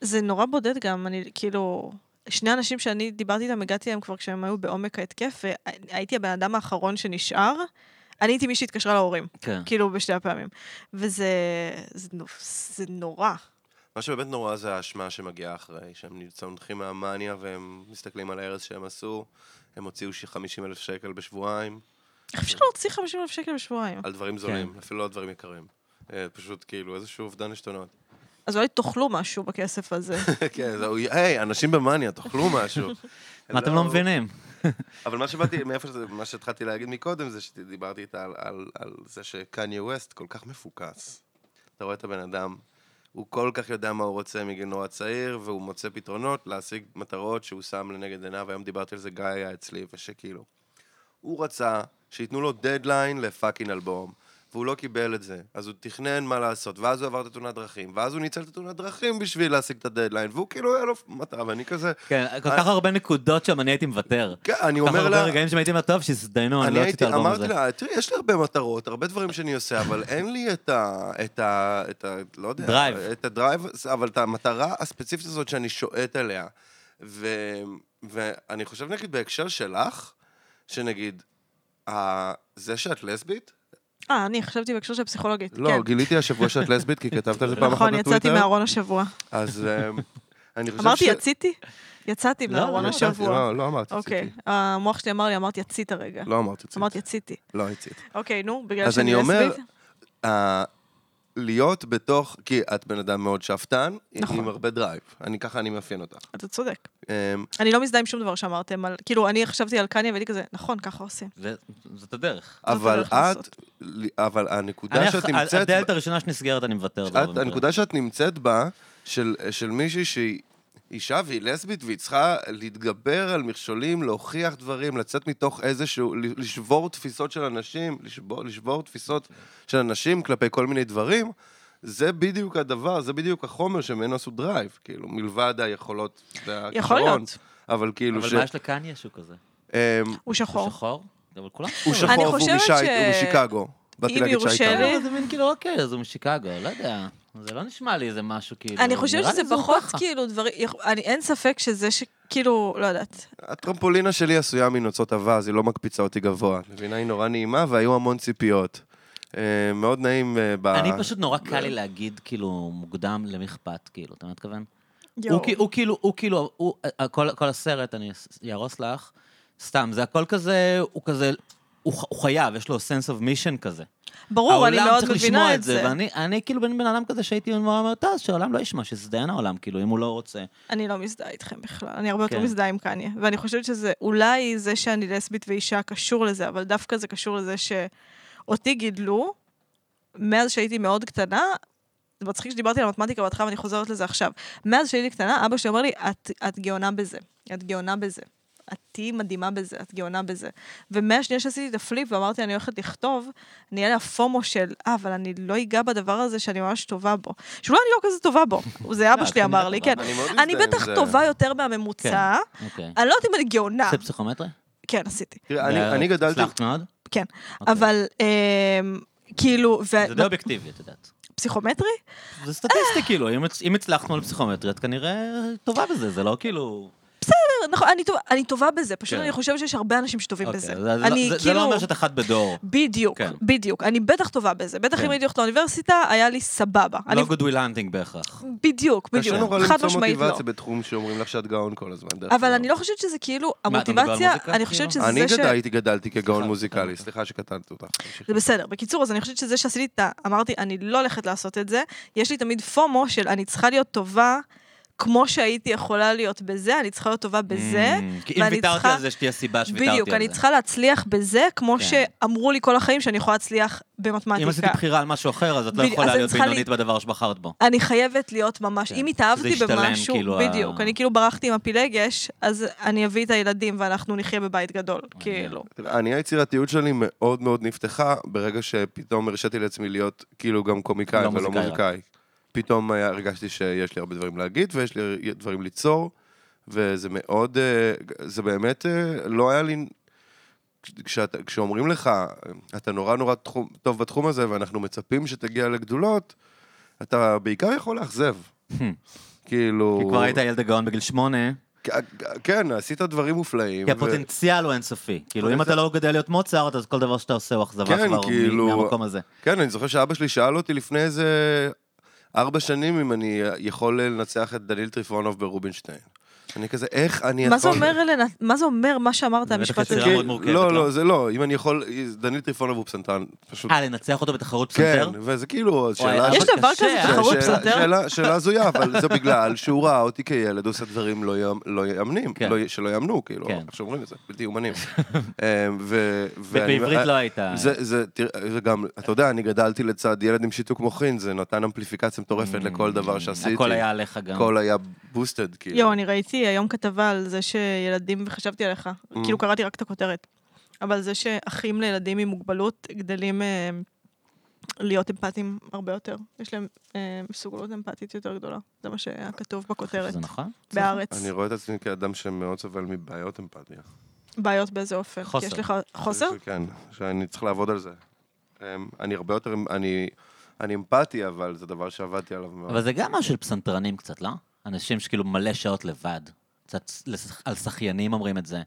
S3: זה נורא בודד גם, אני כאילו... שני אנשים שאני דיברתי איתם, הגעתי אליהם כבר כשהם היו בעומק ההתקף, והייתי הבן אדם האחרון שנשאר. אני הייתי מי שהתקשרה להורים,
S1: כן.
S3: כאילו בשתי הפעמים. וזה זה, נו- זה נורא.
S2: מה שבאמת נורא זה האשמה שמגיעה אחרי, שהם צונחים מהמאניה והם מסתכלים על ההרס שהם עשו, הם הוציאו 50 אלף שקל בשבועיים,
S3: איך אפשר להוציא 50 אלף שקל בשבועיים?
S2: על דברים זולים, אפילו לא על דברים יקרים. אה, פשוט כאילו איזשהו אובדן עשתונות.
S3: אז אולי תאכלו משהו בכסף הזה.
S2: כן, זהו, היי, אנשים במאניה, תאכלו משהו.
S3: כן.
S1: מה אתם לא מבינים?
S2: אבל מה שבאתי, מאיפה שזה, מה שהתחלתי להגיד מקודם, זה שדיברתי איתה על, על, על זה שקניה ווסט כל כך מפוקס. אתה רואה את הבן אדם, הוא כל כך יודע מה הוא רוצה מגיל נורא צעיר, והוא מוצא פתרונות להשיג מטרות שהוא שם לנגד עיניו, היום דיברתי על זה, גיא היה אצלי, ושכאילו, הוא רצה שייתנו לו דדליין לפאקינג אלבום. והוא לא קיבל את זה, אז הוא תכנן מה לעשות, ואז הוא עבר את התאונת דרכים, ואז הוא ניצל את התאונת דרכים בשביל להשיג את הדדליין, והוא כאילו היה לו מטרה, ואני כזה,
S1: כן, כל כך הרבה נקודות שם אני הייתי מוותר.
S2: כן, אה, אני
S1: כל כך
S2: אומר
S1: הרבה
S2: לה,
S1: רגעים שם הייתי אומר, טוב, שיזדיינו, אני לא רציתי את
S2: הייתי-
S1: האלבום הזה.
S2: אמרתי לה, תראי, יש לי הרבה מטרות, הרבה דברים שאני עושה, אבל אין לי את ה... את ה... את ה... לא יודע.
S1: דרייב.
S2: את הדרייב, אבל את המטרה הספציפית הזאת שאני שועט עליה. ו... ואני חושב, נגיד, בהקשר שלך, שנגיד, ה... זה שאת לסבית?
S3: אה, אני חשבתי בהקשר של פסיכולוגית.
S2: לא,
S3: כן.
S2: גיליתי השבוע שאת לסבית, כי כתבת על זה פעם אחת
S3: נכון,
S2: בטוויטר.
S3: יצאתי מהארון השבוע.
S2: אז אמ, אני חושב
S3: אמרתי יציתי? יצאתי
S1: לא,
S3: מהארון
S1: לא,
S2: לא,
S3: השבוע.
S2: לא, לא אמרתי
S3: אוקיי,
S2: ציצית.
S3: המוח שלי אמר לי, אמרת יצית רגע.
S2: לא אמרתי ציצית.
S3: אמרת יציתי.
S2: לא, יצית.
S3: אוקיי, נו, בגלל
S2: אז
S3: שאני
S2: אני אומר-
S3: לסבית?
S2: ה- להיות בתוך, כי את בן אדם מאוד שאפתן,
S3: נכון.
S2: נכון. עם הרבה דרייב. אני ככה אני מאפיין אותך.
S3: אתה צודק.
S2: אמ,
S3: אני לא מזדהה עם שום דבר שאמרתם על... כאילו, אני חשבתי על קניה והייתי כזה, נכון, ככה עושים.
S1: זה- זאת הדרך.
S2: אבל
S3: הדרך לעשות.
S2: את, אבל הנקודה
S1: אני-
S2: שאת
S1: הד-
S2: נמצאת,
S1: הדלת הראשונה שנסגרת, אני מוותר.
S2: בה-
S1: ברוב
S2: את,
S1: המקרים.
S2: הנקודה שאת נמצאת בה, של, של מישהי שהיא אישה והיא לסבית והיא צריכה להתגבר על מכשולים, להוכיח דברים, לצאת מתוך איזשהו, ל- לשבור תפיסות של אנשים, לשבור, לשבור תפיסות של אנשים כלפי כל מיני דברים, זה בדיוק הדבר, זה בדיוק החומר שממנו עשו דרייב, כאילו, מלבד היכולות והכישרון.
S3: יכול להיות.
S2: אבל כאילו
S1: אבל
S2: ש...
S1: מה יש לקניה שהוא כזה?
S2: אמ,
S3: הוא
S1: הוא
S3: שחור.
S1: שחור? אבל כולם
S2: הוא
S1: שחורים.
S2: שחור והוא
S3: חושבת
S2: משי-
S3: ש-
S2: הוא משיקגו. באתי
S3: אם
S2: להגיד
S3: יורשה
S2: שייטן.
S3: לי-
S1: כן, אבל זה מין כאילו, אוקיי, אז הוא משיקגו, לא יודע. זה לא נשמע לי איזה משהו כאילו...
S3: אני חושבת
S1: נראה לי
S3: שזה
S1: זה
S3: פחות
S1: ככה.
S3: כאילו דברים... יכ- אני- אין ספק שזה שכאילו, לא יודעת.
S2: הטרמפולינה שלי עשויה מנוצות אווז, היא לא מקפיצה אותי גבוה. את מבינה, היא נורא נעימה והיו המון ציפיות. אה, מאוד נעים אה, ב...
S1: אני פשוט נורא קל לי להגיד, כאילו, מוקדם, למי אכפת, כאילו, אתה מבין מה מתכוון? הוא כי- הוא כאילו, הוא כאילו, הוא- ה- כל כל הסרט, אני אס- אהרוס לך, סתם, זה הכל כזה, הוא כזה, הוא ח- הוא חייב, יש לו sense of mission כזה.
S3: ברור, אני מאוד
S1: העולם צריך
S3: מבינה
S1: לשמוע
S3: את זה.
S1: ואני אני כאילו בן בן אדם כזה שהייתי נורא אומר, טוב, שהעולם לא ישמע, שיזדיין העולם, כאילו, אם הוא לא רוצה.
S3: אני לא מזדהה איתכם בכלל, אני הרבה יותר
S1: כן.
S3: מזדהה עם קניה. ואני חושבת שזה, אולי זה שאני לסבית ואישה קשור לזה, אבל דווקא זה קשור לזה שאותי גידלו, מאז שהייתי מאוד קטנה, זה מצחיק שדיברתי על מתמטיקה בהתחלה ואני חוזרת לזה עכשיו. מאז שהייתי קטנה, אבא שלי אומר לי, את, את גאונה בזה, את גאונה בזה. את תהיי מדהימה בזה, את גאונה בזה. ומהשנייה שעשיתי את הפליפ ואמרתי, אני הולכת לכתוב, נהיה לי הפומו של, אה, אבל אני לא אגע בדבר הזה שאני ממש טובה בו. שאולי אני לא כזה טובה בו, זה אבא
S1: לא,
S3: שלי
S1: את כנראה
S3: אמר לי,
S1: טובה בו.
S3: כן.
S2: אני מאוד מזדהה
S3: אני
S2: עם
S3: בטח
S2: זה. כן.
S3: טובה יותר מהממוצע,
S1: אוקיי.
S3: אני לא יודעת אם אני גאונה.
S1: עשית פסיכומטרי?
S3: כן, עשיתי,
S2: תראה, אני- אני גדלתי...
S1: הצלחת מאוד?
S3: כן.
S1: אוקיי.
S3: אבל אמ, כאילו,
S1: זה די אובייקטיבי, את יודעת.
S3: פסיכומטרי?
S1: זה סטטיסטי, כאילו, אם הצ- אם הצלחנו על פסיכומטרי, את כנראה טובה בזה, זה לא כאילו...
S3: נכון, אני טובה- אני טובה בזה, פשוט
S1: כן.
S3: אני חושבת שיש הרבה אנשים שטובים
S1: אוקיי,
S3: בזה.
S1: זה- זה לא-
S3: אני
S1: זה- זה לא
S3: כאילו...
S1: אומר שאת אחת בדור.
S3: בדיוק,
S1: כן.
S3: בדיוק. אני בטח טובה בזה. בטח
S1: כן.
S3: אם הייתי הולכת לאוניברסיטה, היה לי סבבה. אני-
S1: לא good will hunting בהכרח.
S3: בדיוק, בדיוק.
S2: קשה נורא
S3: חד
S2: למצוא
S3: משמעית לא.
S2: מוטיבציה בתחום שאומרים לך שאת גאון כל הזמן. דרך
S3: אבל
S2: אגב.
S3: אני לא חושבת שזה כאילו,
S1: מדבר על
S3: המוטיבציה,
S1: מוזיקה,
S3: אני חושבת
S1: כאילו?
S3: שזה
S2: אני
S3: ש...
S2: גדל- הייתי גדלתי כגאון
S1: סליחה,
S2: מוזיקלי,
S1: סליחה.
S2: סליחה שקטעתי אותך.
S3: זה בסדר. בקיצור, אז אני חושבת שזה שעשיתי את ה... אמרתי, אני לא הולכת לעשות את זה. יש לי תמיד פומו של אני צריכה להיות טובה כמו שהייתי יכולה להיות בזה, אני צריכה להיות טובה בזה.
S1: Mm, כי אם
S3: ואני
S1: ויתרתי
S3: צריכה-
S1: על זה, שתהיה סיבה שוויתרתי על זה.
S3: בדיוק, אני צריכה להצליח בזה, כמו
S1: כן.
S3: שאמרו לי כל החיים שאני יכולה להצליח במתמטיקה.
S1: אם עשיתי בחירה על משהו אחר, אז את לא
S3: בדיוק, אז
S1: יכולה
S3: אני
S1: להיות
S3: צריכה
S1: בינונית בדבר שבחרת בו.
S3: אני חייבת להיות ממש,
S1: כן,
S3: אם
S1: שזה
S3: התאהבתי
S1: ישתלם,
S3: במשהו,
S1: כאילו, ה-
S3: בדיוק, אני כאילו ברחתי עם הפילגש, אז אני אביא את הילדים ואנחנו נחיה בבית גדול, כאילו.
S2: תראה, אני, היצירתיות שלי מאוד מאוד נפתחה ברגע שפתאום הרשיתי לעצמי להיות כאילו גם קומיקאי
S1: לא
S2: ולא
S1: מוזיקאי רק.
S2: מוזיקאי. פתאום היה- הרגשתי שיש לי הרבה דברים להגיד ויש לי דברים ליצור, וזה מאוד, אה, זה באמת אה, לא היה לי... כש- כשאת, כשאומרים לך, אתה נורא נורא תחום, טוב בתחום הזה ואנחנו מצפים שתגיע לגדולות, אתה בעיקר יכול לאכזב. כאילו...
S1: Hmm. כי כבר היית ילד הגאון בגיל שמונה,
S2: כ- כן, עשית דברים מופלאים.
S1: כי
S2: ו-
S1: הפוטנציאל הוא אינסופי. כאילו, אם
S2: אבל
S1: אתה לא גדל להיות מוצרט, אז כל דבר שאתה עושה הוא אכזבה
S2: כן,
S1: כבר מ-
S2: כאילו-
S1: מהמקום הזה.
S2: כן, אני זוכר שאבא שלי שאל אותי לפני איזה ארבע שנים אם אני יכול לנצח את דניל טריפונוב ברובינשטיין. אני כזה, איך אני יכול...
S3: מה זה אומר, אלנה, מה זה אומר מה שאמרת,
S1: זה בטח
S3: המשפט
S1: יצירה
S2: כן,
S3: הזה?
S1: מאוד מורכבת,
S2: לא,
S1: לא?
S2: לא, זה לא, אם אני יכול... דניל טריפונוב הוא פסנתרן, פשוט...
S1: אה, לנצח אותו בתחרות
S2: כן,
S1: פסנתר?
S2: וזה כאילו,
S1: וואי,
S2: שאלה...
S1: אבל
S3: יש דבר
S1: קשה,
S3: כזה
S1: אה?
S2: ש-
S3: תחרות
S2: שאלה-
S3: פסנתר?
S2: שאלה- שאלה הזויה, אבל זה בגלל שהוא ראה אותי כילד עושה דברים לא יאמ- לא יאמנים,
S1: כן.
S2: לא י- שלא יאמנו, כאילו,
S1: כן.
S2: איך שאומרים את זה, בלתי אומנים. אמ, ו- ואני-
S1: ובעברית לא הייתה.
S2: זה, זה, תראה, זה גם, אתה יודע, אני גדלתי לצד ילד עם שיתוק מוחין, זה נתן אמפליפיקציה מטורפת לכל דבר שעשיתי.
S1: Mm, הכל היה עליך גם.
S2: הכל היה בוסטד, כאילו.
S3: יואו, אני ראיתי היום כתבה על זה שילדים, וחשבתי עליך, כאילו קראתי רק את הכותרת, אבל זה שאחים לילדים עם מוגבלות גדלים אה, להיות אמפתיים הרבה יותר. יש להם אה, מסוגלות אמפתית יותר גדולה, זה מה שהיה כתוב בכותרת,
S1: זה נכון?
S3: בהארץ.
S2: אני רואה את עצמי כאדם שמאוד סובל מבעיות אמפתיה.
S3: בעיות באיזה אופן? כי
S1: חוסר.
S3: יש לך חוסר?
S2: כן, שאני צריך לעבוד על זה. אמ, אני הרבה יותר, אני, אני אמפתי, אבל זה דבר שעבדתי עליו מאוד.
S1: אבל זה גם משהו של פסנתרנים קצת, לא? אנשים שכאילו מלא שעות לבד. קצת לש- על שחיינים אומרים את זה.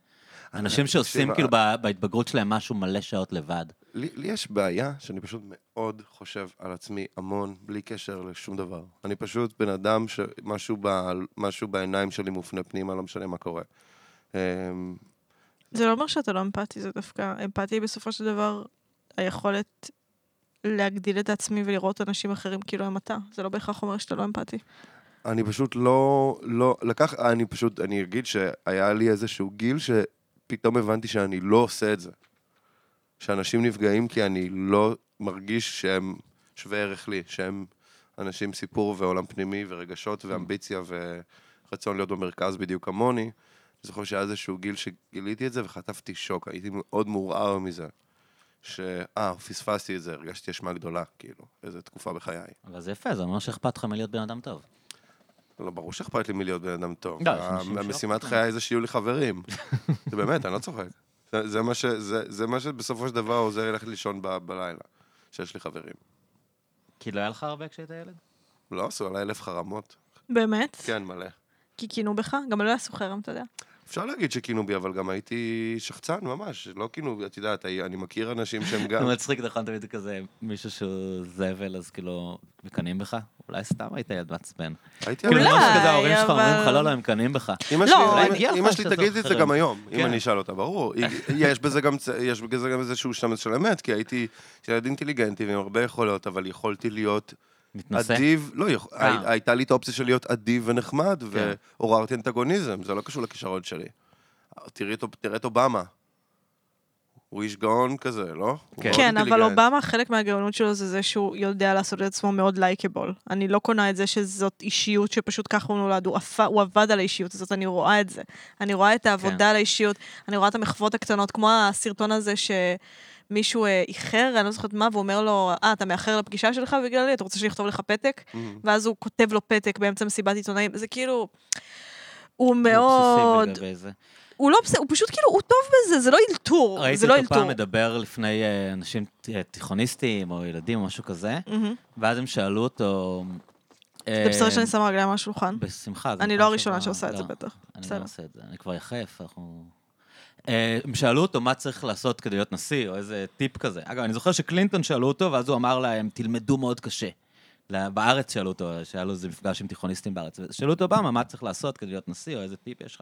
S1: אנשים שעושים
S2: תקשיב,
S1: כאילו ב- בהתבגרות שלהם משהו מלא שעות לבד.
S2: לי, לי יש בעיה שאני פשוט מאוד חושב על עצמי המון, בלי קשר לשום דבר. אני פשוט בן אדם שמשהו ב, משהו בעיניים שלי מופנה פנימה, לא משנה מה קורה. אמ,
S3: זה לא אומר שאתה לא אמפתי, זה דווקא... אמפתי היא בסופו של דבר היכולת להגדיל את עצמי ולראות אנשים אחרים כאילו הם אתה. זה לא בהכרח אומר שאתה לא אמפתי.
S2: אני פשוט לא, לא, לקח, אני פשוט, אני אגיד שהיה לי איזשהו גיל שפתאום הבנתי שאני לא עושה את זה. שאנשים נפגעים כי אני לא מרגיש שהם שווה ערך לי, שהם אנשים עם סיפור ועולם פנימי ורגשות ואמביציה ורצון להיות במרכז בדיוק כמוני. אני זוכר שהיה איזשהו גיל שגיליתי את זה וחטפתי שוק, הייתי מאוד מעורער מזה. שאה, פספסתי את זה, הרגשתי אשמה גדולה, כאילו, איזו תקופה בחיי.
S1: אבל זה יפה, זה אומר שאכפת לך מלהיות בן אדם טוב.
S2: לא, ברור שאכפת לי מלהיות בן אדם טוב.
S1: לא, יש אנשים שלא
S2: המשימת
S1: אכפת להם.
S2: חיי זה שיהיו לי חברים. זה באמת, אני לא צוחק. זה- זה מה ש- זה- זה מה שבסופו של דבר עוזר לי ללכת לישון ב- בלילה, שיש לי חברים.
S1: כי לא היה לך הרבה כשהיית ילד?
S2: לא עשו עליי אלף חרמות.
S3: באמת?
S2: כן, מלא.
S3: כי כינו בך? גם לא יעשו חרם, אתה יודע.
S2: אפשר להגיד שכינו בי, אבל גם הייתי שחצן ממש. לא כינו בי, את יודעת, אני מכיר אנשים שהם גם...
S1: זה מצחיק, נכון, תמיד כזה מישהו שהוא זבל, אז כאילו, מקנאים בך? אולי סתם היית ילד מעצבן.
S2: הייתי
S1: כאילו,
S2: כן, אולי.
S1: ממש כזה ההורים שלך
S3: אבל-
S1: אומרים לך, לא, לא, הם מקנאים בך.
S2: אמא
S3: לא,
S2: שלי,
S3: אולי
S2: אמא-
S1: מגיע לך
S2: אמא שלי
S1: לעשות
S2: תגיד את זה
S1: חרם.
S2: גם היום, אם
S1: כן.
S2: אני אשאל אותה, ברור. היא- יש בזה גם צ- יש בזה גם איזשהו שמץ של אמת, כי הייתי ילד אינטליגנטי ועם הרבה יכולות, אבל יכולתי להיות
S1: מתנשא.
S2: אדיב, לא, יכול-
S1: אה.
S2: הי- הייתה לי את האופציה של להיות אדיב ונחמד,
S1: כן.
S2: ועוררתי אנטגוניזם, זה לא קשור לכישרון שלי. תראי את אוב- תראה את אובמה. הוא איש גאון כזה, לא? הוא
S1: כן.
S2: מאוד
S3: כן, אבל
S2: אינטליגנט.
S3: אובמה, חלק מהגאונות שלו זה זה שהוא יודע לעשות את עצמו מאוד לייקבול. אני לא קונה את זה שזאת אישיות שפשוט ככה הוא נולד, הוא, עפה, הוא עבד על האישיות הזאת, אני רואה את זה. אני רואה את העבודה
S1: כן.
S3: על האישיות, אני רואה את המחוות הקטנות, כמו הסרטון הזה שמישהו אה, איחר, אני לא זוכרת מה, והוא אומר לו, אה, אתה מאחר לפגישה שלך בגללי, אתה רוצה שאני אכתוב לך פתק?
S1: Mm-hmm.
S2: אמ,
S3: ואז הוא כותב לו פתק באמצע מסיבת עיתונאים, זה כאילו... הוא
S1: הוא אובססיבי
S3: מאוד,
S1: לגבי זה.
S3: הוא לא, אובס- הוא פשוט כאילו, הוא טוב בזה, זה לא אלתור,
S1: ראיתי
S3: זה לא
S1: אותו
S3: אלתור.
S1: פעם מדבר לפני אה, אנשים אה, תיכוניסטים או ילדים או משהו כזה,
S3: מהמם.
S1: ואז הם שאלו אותו... אה,
S3: זה בסדר שאני שמה רגליים על השולחן.
S1: בשמחה. זה
S3: אני
S1: פעם
S3: לא הראשונה
S1: שעברה-
S3: שעושה את זה
S1: לא,
S3: בטח.
S1: אני
S3: בסדר.
S1: לא עושה את זה, אני כבר יחף, אנחנו... אה, הם שאלו אותו מה צריך לעשות כדי להיות נשיא, או איזה טיפ כזה. אגב, אני זוכר שקלינטון שאלו אותו, ואז הוא אמר להם, תלמדו מאוד קשה. ל- בארץ שאלו אותו, שהיה לו איזה מפגש עם תיכוניסטים בארץ, שאלו אותו אובמה, מה צריך לעשות כדי להיות נשיא, או איזה טיפ יש לך.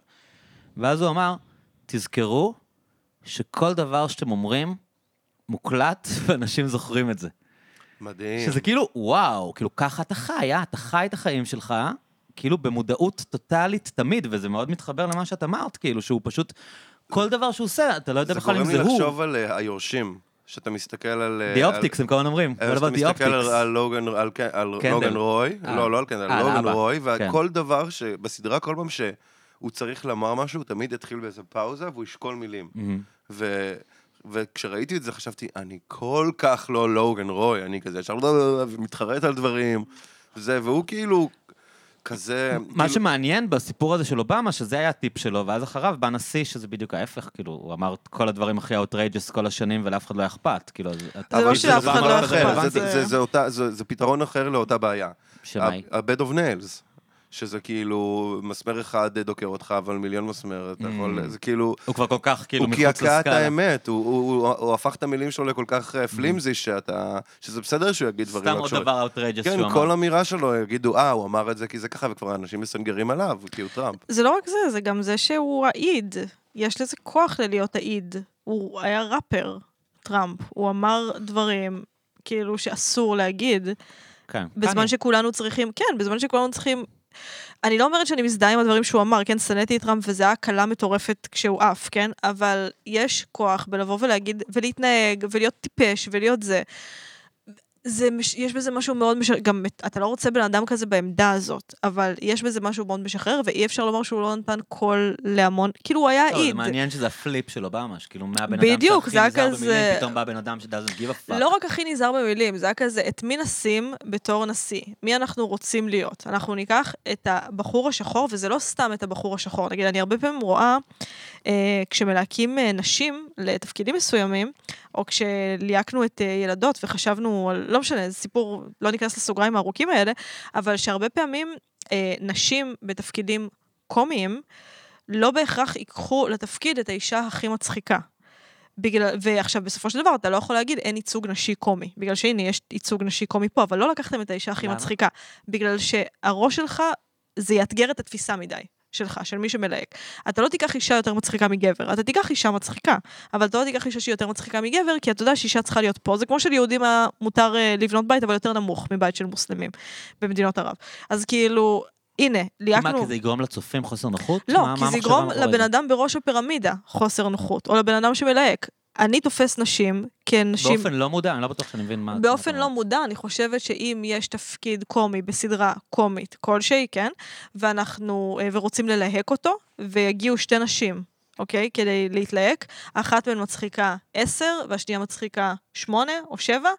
S1: ואז הוא אמר, תזכרו שכל דבר שאתם אומרים מוקלט, ואנשים זוכרים את זה.
S2: מדהים.
S1: שזה כאילו, וואו, כאילו ככה אתה חי, אה? אתה חי את החיים שלך, כאילו במודעות טוטאלית תמיד, וזה מאוד מתחבר למה שאת אמרת, כאילו, שהוא פשוט, כל דבר שהוא עושה, אתה לא יודע
S2: זה
S1: בכלל
S2: גורם
S1: אם
S2: לי
S1: זה הוא.
S2: לחשוב על אה, היורשים, שאתה מסתכל על... אה,
S1: The
S2: על-
S1: Optics, הם כל הזמן אומרים.
S2: אה,
S1: What
S2: שאתה
S1: about The
S2: מסתכל על על
S1: Optics?
S2: לוגן על ק- על
S1: קנדל.
S2: לוגן רוי,
S1: אה.
S2: לא, לא על קנדל,
S1: אה,
S2: על לוגן
S1: לאבא.
S2: רוי,
S1: כן.
S2: וכל דבר שבסדרה, כל פעם שהוא צריך לומר משהו, הוא תמיד יתחיל באיזה פאוזה והוא ישקול מילים.
S1: מהמם.
S2: ו... וכשראיתי את זה חשבתי, אני כל כך לא לוגן רוי, אני כזה לא, ישר מתחרט על דברים, זה, והוא כאילו כזה...
S1: מה
S2: כאילו-
S1: שמעניין בסיפור הזה של אובמה, שזה היה הטיפ שלו, ואז אחריו בא נשיא, שזה בדיוק ההפך, כאילו, הוא אמר את כל הדברים הכי outrageous כל השנים, ולאף אחד לא היה אכפת, כאילו, אז... אתה-
S3: זה לא
S2: אבל
S3: שלאף
S1: זה
S3: אחד
S1: דבר
S3: לא
S2: דבר
S1: כזה
S3: היה
S2: אחר,
S1: רלוונטי.
S2: זה- זה-
S3: זה-
S2: זה אותה- זה זה פתרון אחר לאותה בעיה.
S1: שמה היא?
S2: ה-bed of nails, שזה כאילו, מסמר אחד דוקר אותך, אבל מיליון מסמר, אתה יכול, זה כאילו,
S1: הוא כבר כל כך, Mm. כאילו,
S2: הוא
S1: מחוץ
S2: קעקע את
S1: לסקאלה.
S2: האמת, הוא- הוא הוא- הוא הפך את המילים שלו לכל כך אה,
S1: Mm-hmm.
S2: פלימזי, שאתה, שזה בסדר שהוא יגיד דברים
S1: סתם
S2: לא
S1: עוד
S2: קשורים.
S1: דבר outrageous שהוא
S2: כן,
S1: אמר.
S2: כל אמירה שלו יגידו, אה, הוא אמר את זה כי זה ככה, וכבר אנשים מסנגרים עליו, כי הוא כאילו טראמפ.
S3: זה לא רק זה, זה גם זה שהוא העיד. יש לזה כוח ללהיות העיד. הוא היה ראפר, טראמפ. הוא אמר דברים, כאילו, שאסור להגיד,
S1: כן.
S3: בזמן
S1: קניה.
S3: שכולנו צריכים, כן, בזמן שכולנו צריכים... אני לא אומרת שאני מזדהה עם הדברים שהוא אמר, כן, שנאתי את טראמפ וזו הייתה הקלה מטורפת כשהוא עף, כן? אבל יש כוח בלבוא ולהגיד, ולהתנהג, ולהיות טיפש, ולהיות זה. זה, מש- יש בזה משהו מאוד משחרר, גם את- אתה לא רוצה בן אדם כזה בעמדה הזאת, אבל יש בזה משהו מאוד משחרר, ואי אפשר לומר שהוא לא נתן קול להמון, כאילו הוא היה
S1: לא, זה
S3: עיד.
S1: מעניין שזה הפליפ של אובמה, שכאילו מהבן
S3: בדיוק,
S1: אדם
S3: זה היה
S1: שהכי נזהר
S3: כזה-
S1: במילים, פתאום בא בן אדם שדאזן גיב הפאק.
S3: לא רק הכי נזהר במילים, זה היה כזה, את מי נשים בתור נשיא? מי אנחנו רוצים להיות? אנחנו ניקח את הבחור השחור, וזה לא סתם את הבחור השחור. נגיד, אני הרבה פעמים רואה, אה, כשמלהקים אה, נשים לתפקידים מסוימים, או כשליהקנו את אה, ילדות וחשבנו, על- לא משנה, זה סיפור, לא ניכנס לסוגריים הארוכים האלה, אבל שהרבה פעמים אה, נשים בתפקידים קומיים, לא בהכרח ייקחו לתפקיד את האישה הכי מצחיקה. בגלל, ועכשיו, בסופו של דבר, אתה לא יכול להגיד אין ייצוג נשי קומי. בגלל שהנה, יש ייצוג נשי קומי פה, אבל לא לקחתם את האישה הכי
S1: למה?
S3: מצחיקה. בגלל שהראש שלך, זה יאתגר את התפיסה מדי. שלך, של מי שמלהק. אתה לא תיקח אישה יותר מצחיקה מגבר, אתה תיקח אישה מצחיקה, אבל אתה לא תיקח אישה שהיא יותר מצחיקה מגבר, כי אתה יודע שאישה צריכה להיות פה. זה כמו שליהודים אה, מותר אה, לבנות בית, אבל יותר נמוך מבית של מוסלמים במדינות ערב. אז כאילו, הנה, ליהקנו...
S1: מה, כי זה יגרום לצופים חוסר נוחות? מה-
S3: לא, כי
S1: מה
S3: זה
S1: המחשבה
S3: יגרום
S1: מאחורי
S3: לבן
S1: זה?
S3: אדם בראש הפירמידה חוסר נוחות, או לבן אדם שמלהק. אני תופס נשים כנשים...
S1: באופן לא מודע, אני לא בטוח שאני מבין מה...
S3: באופן
S1: מה-
S3: לא מודע, אני חושבת שאם יש תפקיד קומי בסדרה קומית כלשהי, כן? ואנחנו, אה, ורוצים ללהק אותו, ויגיעו שתי נשים, אוקיי? כדי להתלהק, אחת מהן מצחיקה 10, והשנייה מצחיקה 8 או 7.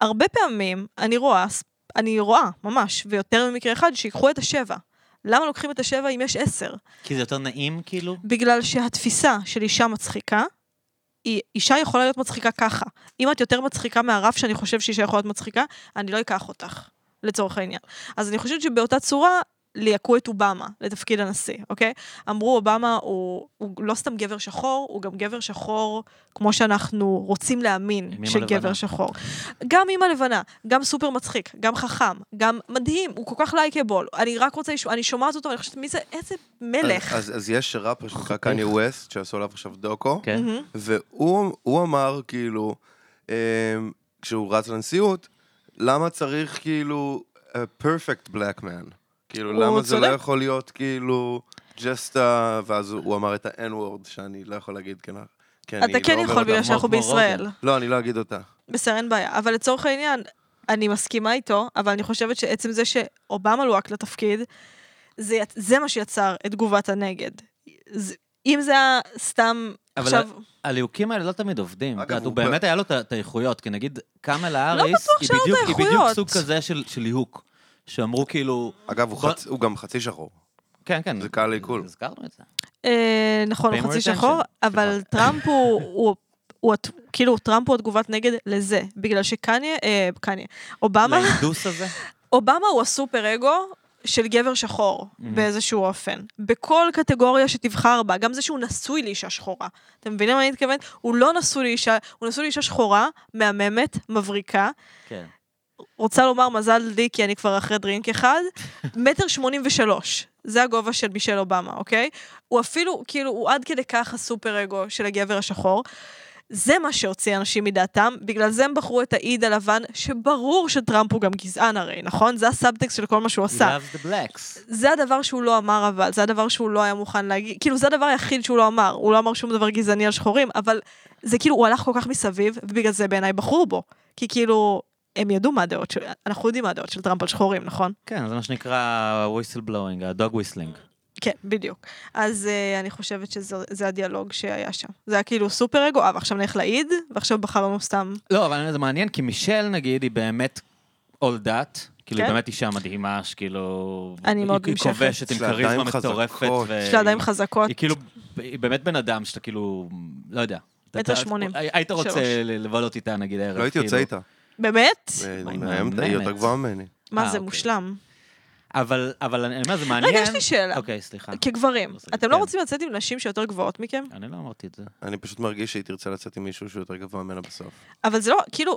S3: הרבה פעמים אני רואה, ס- אני רואה, ממש, ויותר ממקרה אחד, שיקחו את השבע. למה לוקחים את השבע אם יש עשר?
S1: כי זה יותר נעים, כאילו?
S3: בגלל שהתפיסה של אישה מצחיקה, היא, אישה יכולה להיות מצחיקה ככה. אם את יותר מצחיקה מהרף שאני חושב שאישה יכולה להיות מצחיקה, אני לא אקח אותך, לצורך העניין. אז אני חושבת שבאותה צורה, ליהקו את אובמה לתפקיד הנשיא, אוקיי? אמרו, אובמה הוא, הוא לא סתם גבר שחור, הוא גם גבר שחור כמו שאנחנו רוצים להאמין
S1: עם אמא
S3: שגבר
S1: לבנה.
S3: שחור. גם אימא לבנה, גם סופר מצחיק, גם חכם, גם מדהים, הוא כל כך לייקבול. אני רק רוצה, לש- אני שומעת אותו, אני חושבת, מי זה, איזה מלך.
S1: אה,
S2: אז- אז אז יש ראפר שנקרא קניה ווסט, שעשו עליו עכשיו דוקו.
S1: כן.
S3: מהמם.
S2: והוא הוא אמר, כאילו, אמ, כשהוא רץ לנשיאות, למה צריך כאילו a perfect black man? כאילו,
S3: הוא
S2: למה זה לא
S3: צודק.
S2: יכול להיות כאילו just a... ואז הוא הוא אמר את ה-N-word, שאני לא יכול להגיד, כן, כן,
S3: אתה
S2: אני
S3: כן
S2: לא אומר
S3: יכול
S2: אותה.
S3: בגלל שאנחנו
S1: כמו רוגן.
S3: בישראל.
S2: לא, אני לא אגיד אותה.
S3: בסדר, אין בעיה. אבל לצורך העניין, אני מסכימה איתו, אבל אני חושבת שעצם זה שאובמה לוהק לתפקיד, זה, יצ- זה מה שיצר את תגובת הנגד. זה, אם זה היה סתם
S1: אבל
S3: עכשיו...
S1: הליהוקים האלה לא תמיד עובדים.
S2: אגב,
S1: אגב, הוא
S2: הוא
S1: באמת היה לו את ה- את האיכויות, כי נגיד קאמל האריס,
S3: לא בטוח
S1: היא
S3: שהיה לו את
S1: בדיוק- היא בדיוק
S3: האיכויות.
S1: סוג כזה של של ליהוק. שאמרו כאילו,
S2: אגב, הוא
S1: בוא-
S2: חצ- הוא גם חצי שחור.
S1: כן, כן.
S2: זה קהל לעיכול.
S1: הזכרנו את זה.
S3: אה, נכון,
S1: Pay
S3: הוא
S1: more
S3: חצי
S1: attention.
S3: שחור, אבל
S1: סליחה.
S3: טראמפ הוא, הוא, הוא, הת- כאילו, טראמפ הוא התגובת נגד לזה, בגלל שקניה, אה, קניה, אובמה,
S1: להינדוס הזה.
S3: אובמה הוא הסופר אגו של גבר שחור באיזשהו אופן. בכל קטגוריה שתבחר בה, גם זה שהוא נשוי לאישה שחורה. אתם מבינים מה אני מתכוונת? הוא לא נשוי לאישה, הוא נשוי לאישה שחורה, מהממת, מבריקה.
S1: כן.
S3: רוצה לומר מזל לי, כי אני כבר אחרי דרינק אחד, מטר שמונים ושלוש. זה הגובה של מישל אובמה, אוקיי? הוא אפילו, כאילו, הוא עד כדי כך הסופר אגו של הגבר השחור. זה מה שהוציא אנשים מדעתם, בגלל זה הם בחרו את האיד הלבן, שברור שטראמפ הוא גם גזען הרי, נכון? זה הסאבטקסט של כל מה שהוא
S1: He
S3: עשה.
S1: loves the blacks.
S3: זה הדבר שהוא לא אמר אבל, זה הדבר שהוא לא היה מוכן להגיד, כאילו זה הדבר היחיד שהוא לא אמר, הוא לא אמר שום דבר גזעני על שחורים, אבל זה כאילו, הוא הלך כל כך מסביב, ובגלל זה בעיניי בחרו בו. כי כאילו, הם ידעו מה הדעות של, אנחנו יודעים מה הדעות של טראמפ על שחורים, נכון?
S1: כן, זה מה שנקרא whistle blowing, הדוג וויסלינג.
S3: כן, בדיוק. אז uh, אני חושבת שזה זה הדיאלוג שהיה שם. זה היה כאילו סופר אגו, אה, ועכשיו נלך להעיד, ועכשיו בחרנו סתם.
S1: לא, אבל זה מעניין, כי מישל, נגיד, היא באמת all that. כאילו, היא
S3: כן.
S1: באמת אישה מדהימה, שכאילו...
S3: אני
S1: היא-
S3: מאוד
S1: היא
S3: נמשכת.
S1: כובשת עם
S2: יש לה
S1: כריזמה
S2: ידיים
S1: מטורפת.
S2: חזקות.
S1: ו-
S3: יש לה ידיים חזקות.
S1: אה, היא כאילו, היא באמת בן אדם שאתה כאילו, לא יודע. אתה-
S3: מטר
S1: אתה-
S3: שמונים.
S1: הי- היית
S3: שלוש.
S1: רוצה ל- לבלות איתה, נגיד, הערב.
S2: לא הייתי יוצא
S1: כאילו.
S2: איתה.
S3: באמת?
S1: היא
S2: מאיימת,
S1: מהממת.
S2: היא יותר גבוהה ממני.
S1: אה,
S3: מה זה
S1: אוקיי.
S3: מושלם.
S1: אבל, אבל אני אומר, זה מעניין.
S3: רגע, לא, יש לי שאלה.
S1: אוקיי, סליחה.
S3: כגברים,
S1: לא עושה-
S3: אתם לא
S1: כן.
S3: רוצים לצאת עם נשים שיותר גבוהות מכם?
S1: אני לא אמרתי את זה.
S2: אני פשוט מרגיש שהיא תרצה לצאת עם מישהו שהוא יותר גבוה ממנה בסוף.
S3: אבל זה לא, כאילו,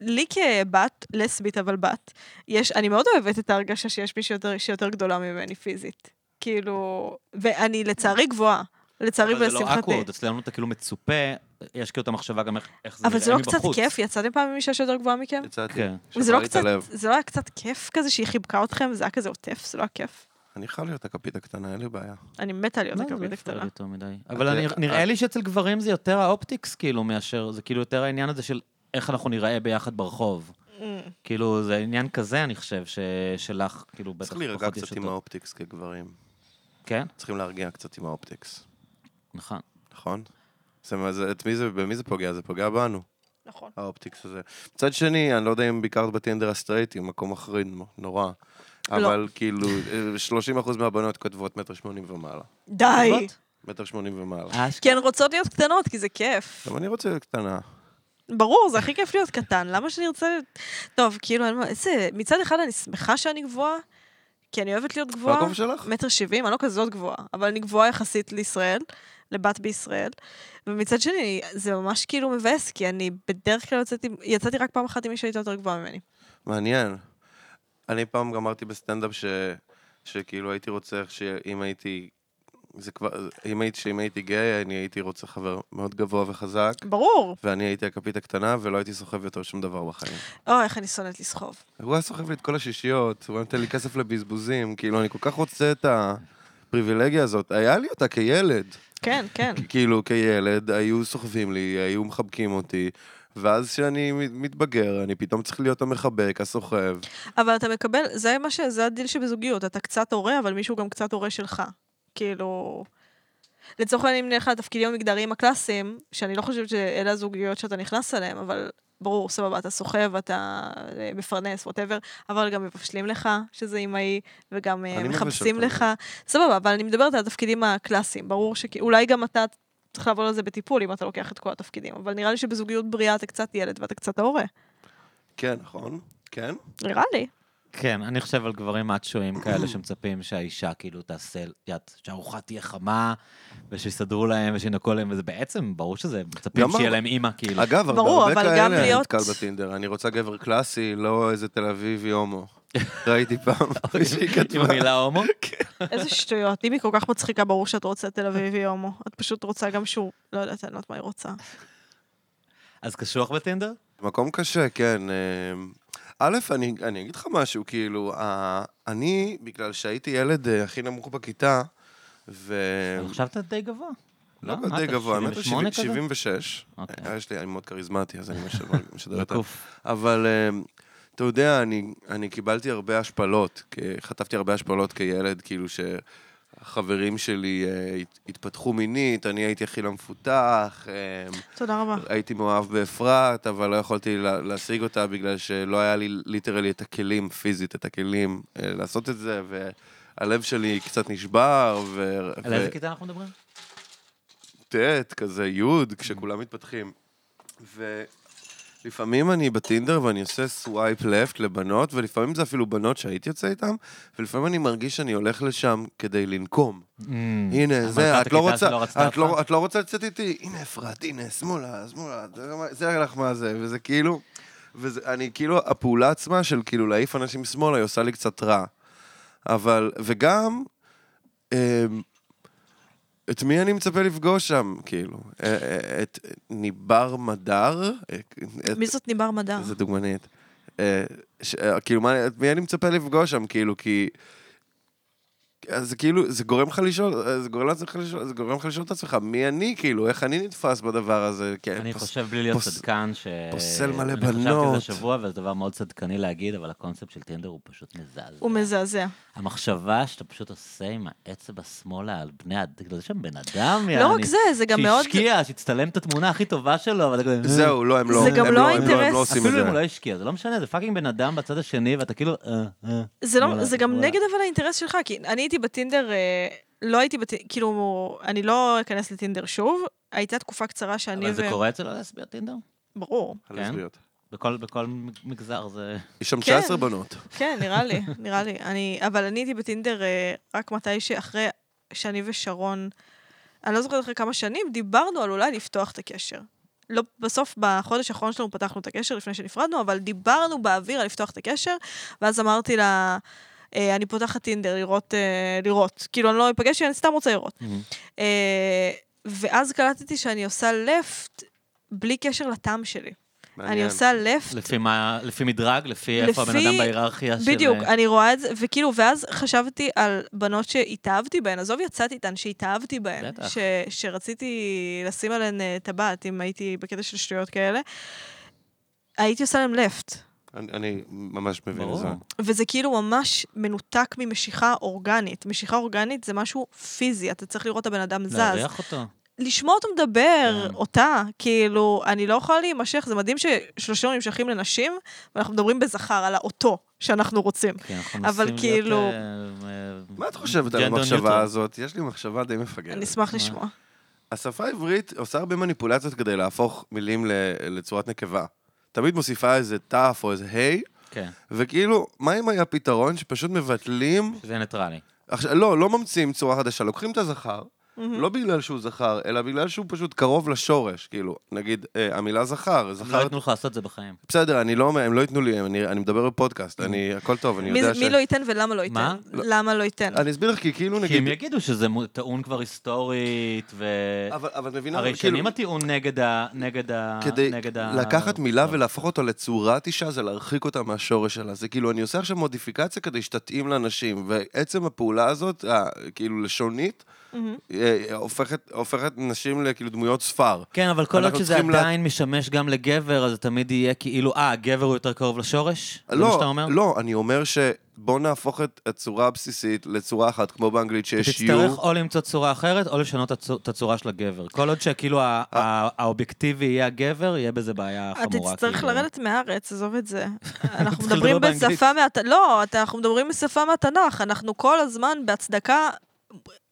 S3: לי כבת, לסבית אבל בת, יש, אני מאוד אוהבת את ההרגשה שיש מישהי יותר, שיותר גדולה ממני פיזית. כאילו, ואני לצערי גבוהה. לצערי
S1: אבל זה לא
S3: ולשמחתי.
S1: awkward, אצלנו אתה כאילו מצופה, יש כאילו את המחשבה גם איך- איך זה נראה
S3: אבל זה לא קצת
S1: מבחוץ.
S3: כיף? יצאתם פעם עם אישה שיותר גבוהה מכם?
S2: יצאתי.
S1: כן.
S3: זה לא
S2: שברה לי את
S3: קצת,
S2: הלב.
S3: זה לא היה קצת כיף כזה שהיא חיבקה אתכם? זה היה כזה עוטף? זה לא היה כיף?
S2: אני חייב להיות הכפית הקטנה, אין לי בעיה.
S3: אני מתה להיות
S1: לא, זה לא
S3: הכרמית
S1: הפריע לי
S3: הקטנה.
S1: יותר מדי. אבל
S2: את-
S1: אני-
S2: את-
S1: נראה לי שאצל גברים זה יותר האופטיקס, כאילו, מאשר, זה כאילו יותר העניין הזה של איך אנחנו ניראה ביחד ברחוב.
S3: Mm.
S1: כאילו, זה עניין כזה, אני חושב, ש- שלך, כאילו, בטח
S2: צריך להירגע
S1: יש
S2: קצת עם
S1: אותו.
S2: האופטיקס כגברים.
S1: כן,
S2: צריכים להרגיע קצת עם האופטיקס,
S1: נכון. נכון.
S2: נכון? זה מה זה- את מי זה- במי זה פוגע? זה פוגע בנו,
S3: נכון.
S2: האופטיקס הזה. מצד שני, אני לא יודע אם ביקרת בטינדר הסטרייטי, מקום מחריד נורא.
S3: לא.
S2: אבל כאילו, אה, 30% מהבנות כותבות מטר שמונים ומעלה.
S3: די!
S2: מטר שמונים ומעלה.
S1: אה.
S3: כי הן רוצות להיות קטנות, כי זה כיף.
S2: גם אני רוצה להיות קטנה.
S3: ברור, זה הכי כיף להיות קטן, למה שנרצה להיות... טוב, כאילו, אני... איזה... מצד אחד אני שמחה שאני גבוהה, כי אני אוהבת להיות
S2: מה
S3: גבוהה.
S2: הגובה שלך?
S3: מטר שבעים, אני לא כזאת גבוהה, אבל אני גבוהה יחסית לישראל, לבת בישראל. ומצד שני, זה ממש כאילו מבאס, כי אני בדרך כלל יצאתי, יצאתי רק פעם אחת עם מישהו יותר גבוהה ממני.
S2: מעניין. אני פעם גם אמרתי בסטנדאפ ש... שכאילו הייתי רוצה איך שאם הייתי... זה כבר... אם הייתי... שאם הייתי גיי, אני הייתי רוצה חבר מאוד גבוה וחזק,
S3: ברור.
S2: ואני הייתי הכפית הקטנה, ולא הייתי סוחב יותר שום דבר בחיים.
S3: או, איך אני שונאת לסחוב.
S2: הוא היה סוחב לי את כל השישיות, הוא היה נותן לי כסף לבזבוזים, כאילו, אני כל כך רוצה את הפריבילגיה הזאת. היה לי אותה כילד.
S3: כן, כן.
S2: כאילו, כילד, היו סוחבים לי, היו מחבקים אותי, ואז כשאני מתבגר, אני פתאום צריך להיות המחבק, הסוחב.
S3: אבל אתה מקבל, זה מה ש... זה הדיל שבזוגיות, אתה קצת הורה, אבל מישהו גם קצת הורה שלך. כאילו... לצורך העניין, אם נלך לתפקידים המגדריים הקלאסיים, שאני לא חושבת שאלה הזוגיות שאתה נכנס אליהם, אבל ברור, סבבה, אתה סוחב, אתה אה, מפרנס, ווטאבר, אבל גם מבשלים לך, שזה אמאי, וגם אה,
S2: אני מבשל
S3: מחפשים
S2: כל
S3: לך. סבבה, אבל אני מדברת על התפקידים הקלאסיים, ברור שאולי גם אתה צריך לעבוד על זה בטיפול, אם אתה לוקח את כל התפקידים, אבל נראה לי שבזוגיות בריאה אתה קצת ילד ואתה קצת ההורה.
S2: כן, נכון? כן?
S3: נראה לי.
S1: כן, אני חושב על גברים מאצ'ואים כאלה שמצפים שהאישה כאילו תעשה, יד, שהארוחה תהיה חמה, ושיסדרו להם ושינקו להם, וזה בעצם, ברור שזה, מצפים
S2: גם
S1: שיהיה
S2: ה-
S1: להם אימא, כאילו.
S2: אגב, הרבה-
S3: ברור,
S2: הרבה
S3: אבל גם
S2: כאלה אני
S3: להיות-
S2: נתקל בטינדר. אני רוצה גבר קלאסי, לא איזה תל אביבי הומו. ראיתי פעם מישהי
S1: עם
S2: כתבה. כן.
S1: המילה הומו?
S3: איזה שטויות. אם היא כל כך מצחיקה, ברור שאת רוצה תל אביבי הומו. את פשוט רוצה גם שהוא... לא יודעת, אני לא יודעת מה היא רוצה.
S1: אז קשוח בטינדר?
S2: מקום קשה, כן. אמ, א', אני, אני אגיד לך משהו, כאילו, ה- אני, בגלל שהייתי ילד אה, הכי נמוך בכיתה, ו...
S1: עכשיו אתה די גבוה.
S2: לא
S1: מה
S2: כזה
S1: אתה,
S2: גבוה, מטר
S1: 78
S2: שבעים-
S1: כזה?
S2: 76.
S1: אוקיי.
S2: אה, יש לי, אני מאוד כריזמטי, אז אני משדר- משדר את ה...
S1: רקוף.
S2: אבל אמ, אתה יודע, אני, אני קיבלתי הרבה השפלות, כ- חטפתי הרבה השפלות כילד, כאילו שהחברים שלי אה, הת- התפתחו מינית, אני הייתי הכי לא מפותח, אמ,
S3: תודה רבה.
S2: הייתי מאוהב באפרת, אבל לא יכולתי לה, להשיג אותה בגלל שלא היה לי ליטרלי את הכלים, פיזית את הכלים, אה, לעשות את זה, והלב שלי קצת נשבר, ו...
S1: על
S2: ו- כן,
S1: איזה כיתה אנחנו מדברים?
S2: ט', כזה י', כשכולם מתפתחים. ולפעמים אני בטינדר ואני עושה סווייפ לפט לבנות, ולפעמים זה אפילו בנות שהייתי יוצא איתן, ולפעמים אני מרגיש שאני הולך לשם כדי לנקום. הנה, זה,
S1: המלכת
S2: את
S1: הכיתה
S2: לא רוצה,
S1: שלא רצתה
S2: את לא-
S1: אותך?
S2: את לא רוצה לצאת איתי? הנה אפרת, הנה, שמאלה, שמאלה, זה- זה לך מה זה, וזה כאילו... וזה, אני כאילו, הפעולה עצמה של כאילו להעיף אנשים שמאלה, היא עושה לי קצת רע. אבל, וגם, אמ, את מי אני מצפה לפגוש שם, כאילו? אה, אה, את ניבר מדר? אה, את-
S3: מי זאת ניבר מדר?
S2: איזה דוגמנית. אה, ש- אה, כאילו, מה- את מי אני מצפה לפגוש שם, כאילו, כי... אז זה כאילו, זה גורם לך לשאול, אה, זה גורם לך לשאול, זה גורם לך לשאול את עצמך, מי אני, כאילו, איך אני נתפס בדבר הזה? כי
S1: אני
S2: פוס-
S1: חושב בלי להיות
S2: פוס-
S1: צדקן, ש...
S2: פוסל מלא
S1: אני חשבתי על
S2: בנות.
S1: זה שבוע, וזה דבר מאוד צדקני להגיד, אבל הקונספט של טינדר הוא פשוט מזעזע.
S3: הוא מזעזע.
S1: המחשבה שאתה פשוט עושה עם האצבע שמאלה על בני אדם, זה שם בן אדם, יעני.
S3: לא רק זה, זה גם מאוד...
S1: שהשקיע, שהצטלם את התמונה הכי טובה שלו, אבל אתה כזה...
S2: זהו, לא, הם לא,
S3: זה
S2: הם
S3: גם
S2: הם
S3: לא
S2: הם הם לא
S3: האינטרס.
S2: עושים את
S1: אפילו אם הוא לא
S2: זה.
S1: השקיע, זה לא משנה, זה פאקינג בן אדם בצד השני, ואתה כאילו... אה, אה,
S3: זה, לא,
S1: וואלה,
S3: זה גם
S1: וואלה.
S3: נגד אבל האינטרס שלך, כי אני הייתי בטינדר, אה, לא הייתי בטינדר, כאילו, אני לא אכנס לטינדר שוב. הייתה תקופה קצרה שאני
S1: אבל זה
S3: ו...
S1: קורה אצל הלסביות טינדר?
S3: ברור.
S1: כן.
S2: הלסביות.
S1: בכל בכל מגזר זה...
S2: יש שם
S3: כן.
S2: 19 בנות.
S3: כן, נראה לי, נראה לי. אני, אבל אני הייתי בטינדר אה, רק מתי שאחרי שאני ושרון, אני לא זוכרת אחרי כמה שנים, דיברנו על אולי לפתוח את הקשר. לא, בסוף, בחודש האחרון שלנו פתחנו את הקשר לפני שנפרדנו, אבל דיברנו באוויר על לפתוח את הקשר, ואז אמרתי לה, אה, אני פותחת טינדר לראות, אה, לראות. כאילו, אני לא אפגש, אני סתם רוצה לראות. אה, ואז קלטתי שאני עושה לפט בלי קשר לטעם שלי. אני
S2: מעניין.
S3: עושה לפט
S1: לפי מה, לפי מדרג, לפי איפה הבן
S3: לפי-
S1: אדם בהיררכיה של... אה,
S3: בדיוק, אני רואה את זה, וכאילו, ואז חשבתי על בנות שהתאהבתי בהן, עזוב, יצאתי איתן, שהתאהבתי בהן,
S1: בטח.
S3: ש, שרציתי לשים עליהן אה, טבעת, אם הייתי בקטע של שטויות כאלה, הייתי עושה להן לפט.
S2: אני- אני ממש מבין את
S1: ברור.
S2: זה.
S3: וזה כאילו ממש מנותק ממשיכה אורגנית. משיכה אורגנית זה משהו פיזי, אתה צריך לראות את הבן אדם זז.
S1: להריח אותו.
S3: לשמוע אותו מדבר,
S1: כן.
S3: אותה, כאילו, אני לא יכולה להימשך, זה מדהים ששלושים נמשכים לנשים, ואנחנו מדברים בזכר על האותו שאנחנו רוצים.
S1: כן, אנחנו
S3: אבל
S1: מנסים
S3: כאילו-
S1: להיות, אה, אה,
S2: מה את חושבת על
S1: ג'נדר
S2: המחשבה
S1: ניוטרל.
S2: הזאת? יש לי מחשבה די
S1: כן,
S3: אני
S2: מפגרת.
S3: אשמח לשמוע.
S2: השפה העברית עושה הרבה מניפולציות כדי להפוך מילים ל- לצורת נקבה. תמיד מוסיפה איזה תף או איזה היי,
S1: כן,
S2: וכאילו, מה אם היה פתרון שפשוט מבטלים...
S1: זה ניטרלי.
S2: עכשיו, לא, לא ממציאים צורה חדשה, לוקחים את הזכר,
S3: מהמם.
S2: לא בגלל שהוא זכר, אלא בגלל שהוא פשוט קרוב לשורש, כאילו, נגיד, אה, המילה זכר,
S1: הם לא
S2: זכר...
S1: ייתנו לך לעשות את זה בחיים.
S2: בסדר, אני לא אומר, הם לא ייתנו לי, אני אני מדבר בפודקאסט, אני, הכל טוב, אני
S3: מי,
S2: יודע
S3: זה-
S2: ש...
S3: מי לא ייתן ולמה לא ייתן?
S1: מה? אה,
S3: למה לא ייתן?
S2: אני אסביר לך, כי כאילו,
S1: כי הם
S2: נגיד...
S1: יגידו שזה מו- טעון כבר היסטורית, ו...
S2: אבל אבל את מבינה,
S1: הרי
S2: כאילו...
S1: שנים הטיעון נגד ה... נגד ה...
S2: כדי
S1: אה, נגד ה- לא.
S2: לקחת מילה ולהפוך אותה לצורת אישה, זה להרחיק אותה מהשורש שלה. זה כאילו, אני עושה עכשיו מודיפיקציה כדי שתתאים לאנשים, ועצם הפעולה הזאת, אה, כאילו לשונית,
S3: מהמם.
S2: אה, הופכת, הופכת נשים לכאילו דמויות ספר.
S1: כן, אבל כל עוד
S2: אנחנו
S1: שזה
S2: צריכים לה-
S1: עדיין משמש גם לגבר, אז זה תמיד יהיה כאילו, אה, הגבר הוא יותר קרוב לשורש? זה מה שאתה
S2: לא,
S1: אומר?
S2: לא, אני אומר שבוא נהפוך את הצורה הבסיסית לצורה אחת, כמו באנגלית שיש יו.
S1: תצטרך או למצוא צורה אחרת, או לשנות הצו- את הצורה של הגבר. כל עוד שכאילו ה-
S2: אה.
S1: ה- האובייקטיבי יהיה הגבר, יהיה בזה בעיה
S3: אה, אתה
S1: חמורה.
S3: תצטרך
S1: כאילו.
S3: לרדת מהארץ, עזוב את זה. אנחנו
S1: צריך
S3: מדברים
S1: לדבר באנגלית.
S3: בשפה מהת... לא, אתה- אנחנו מדברים בשפה מהתנ"ך. אנחנו כל הזמן בהצדקה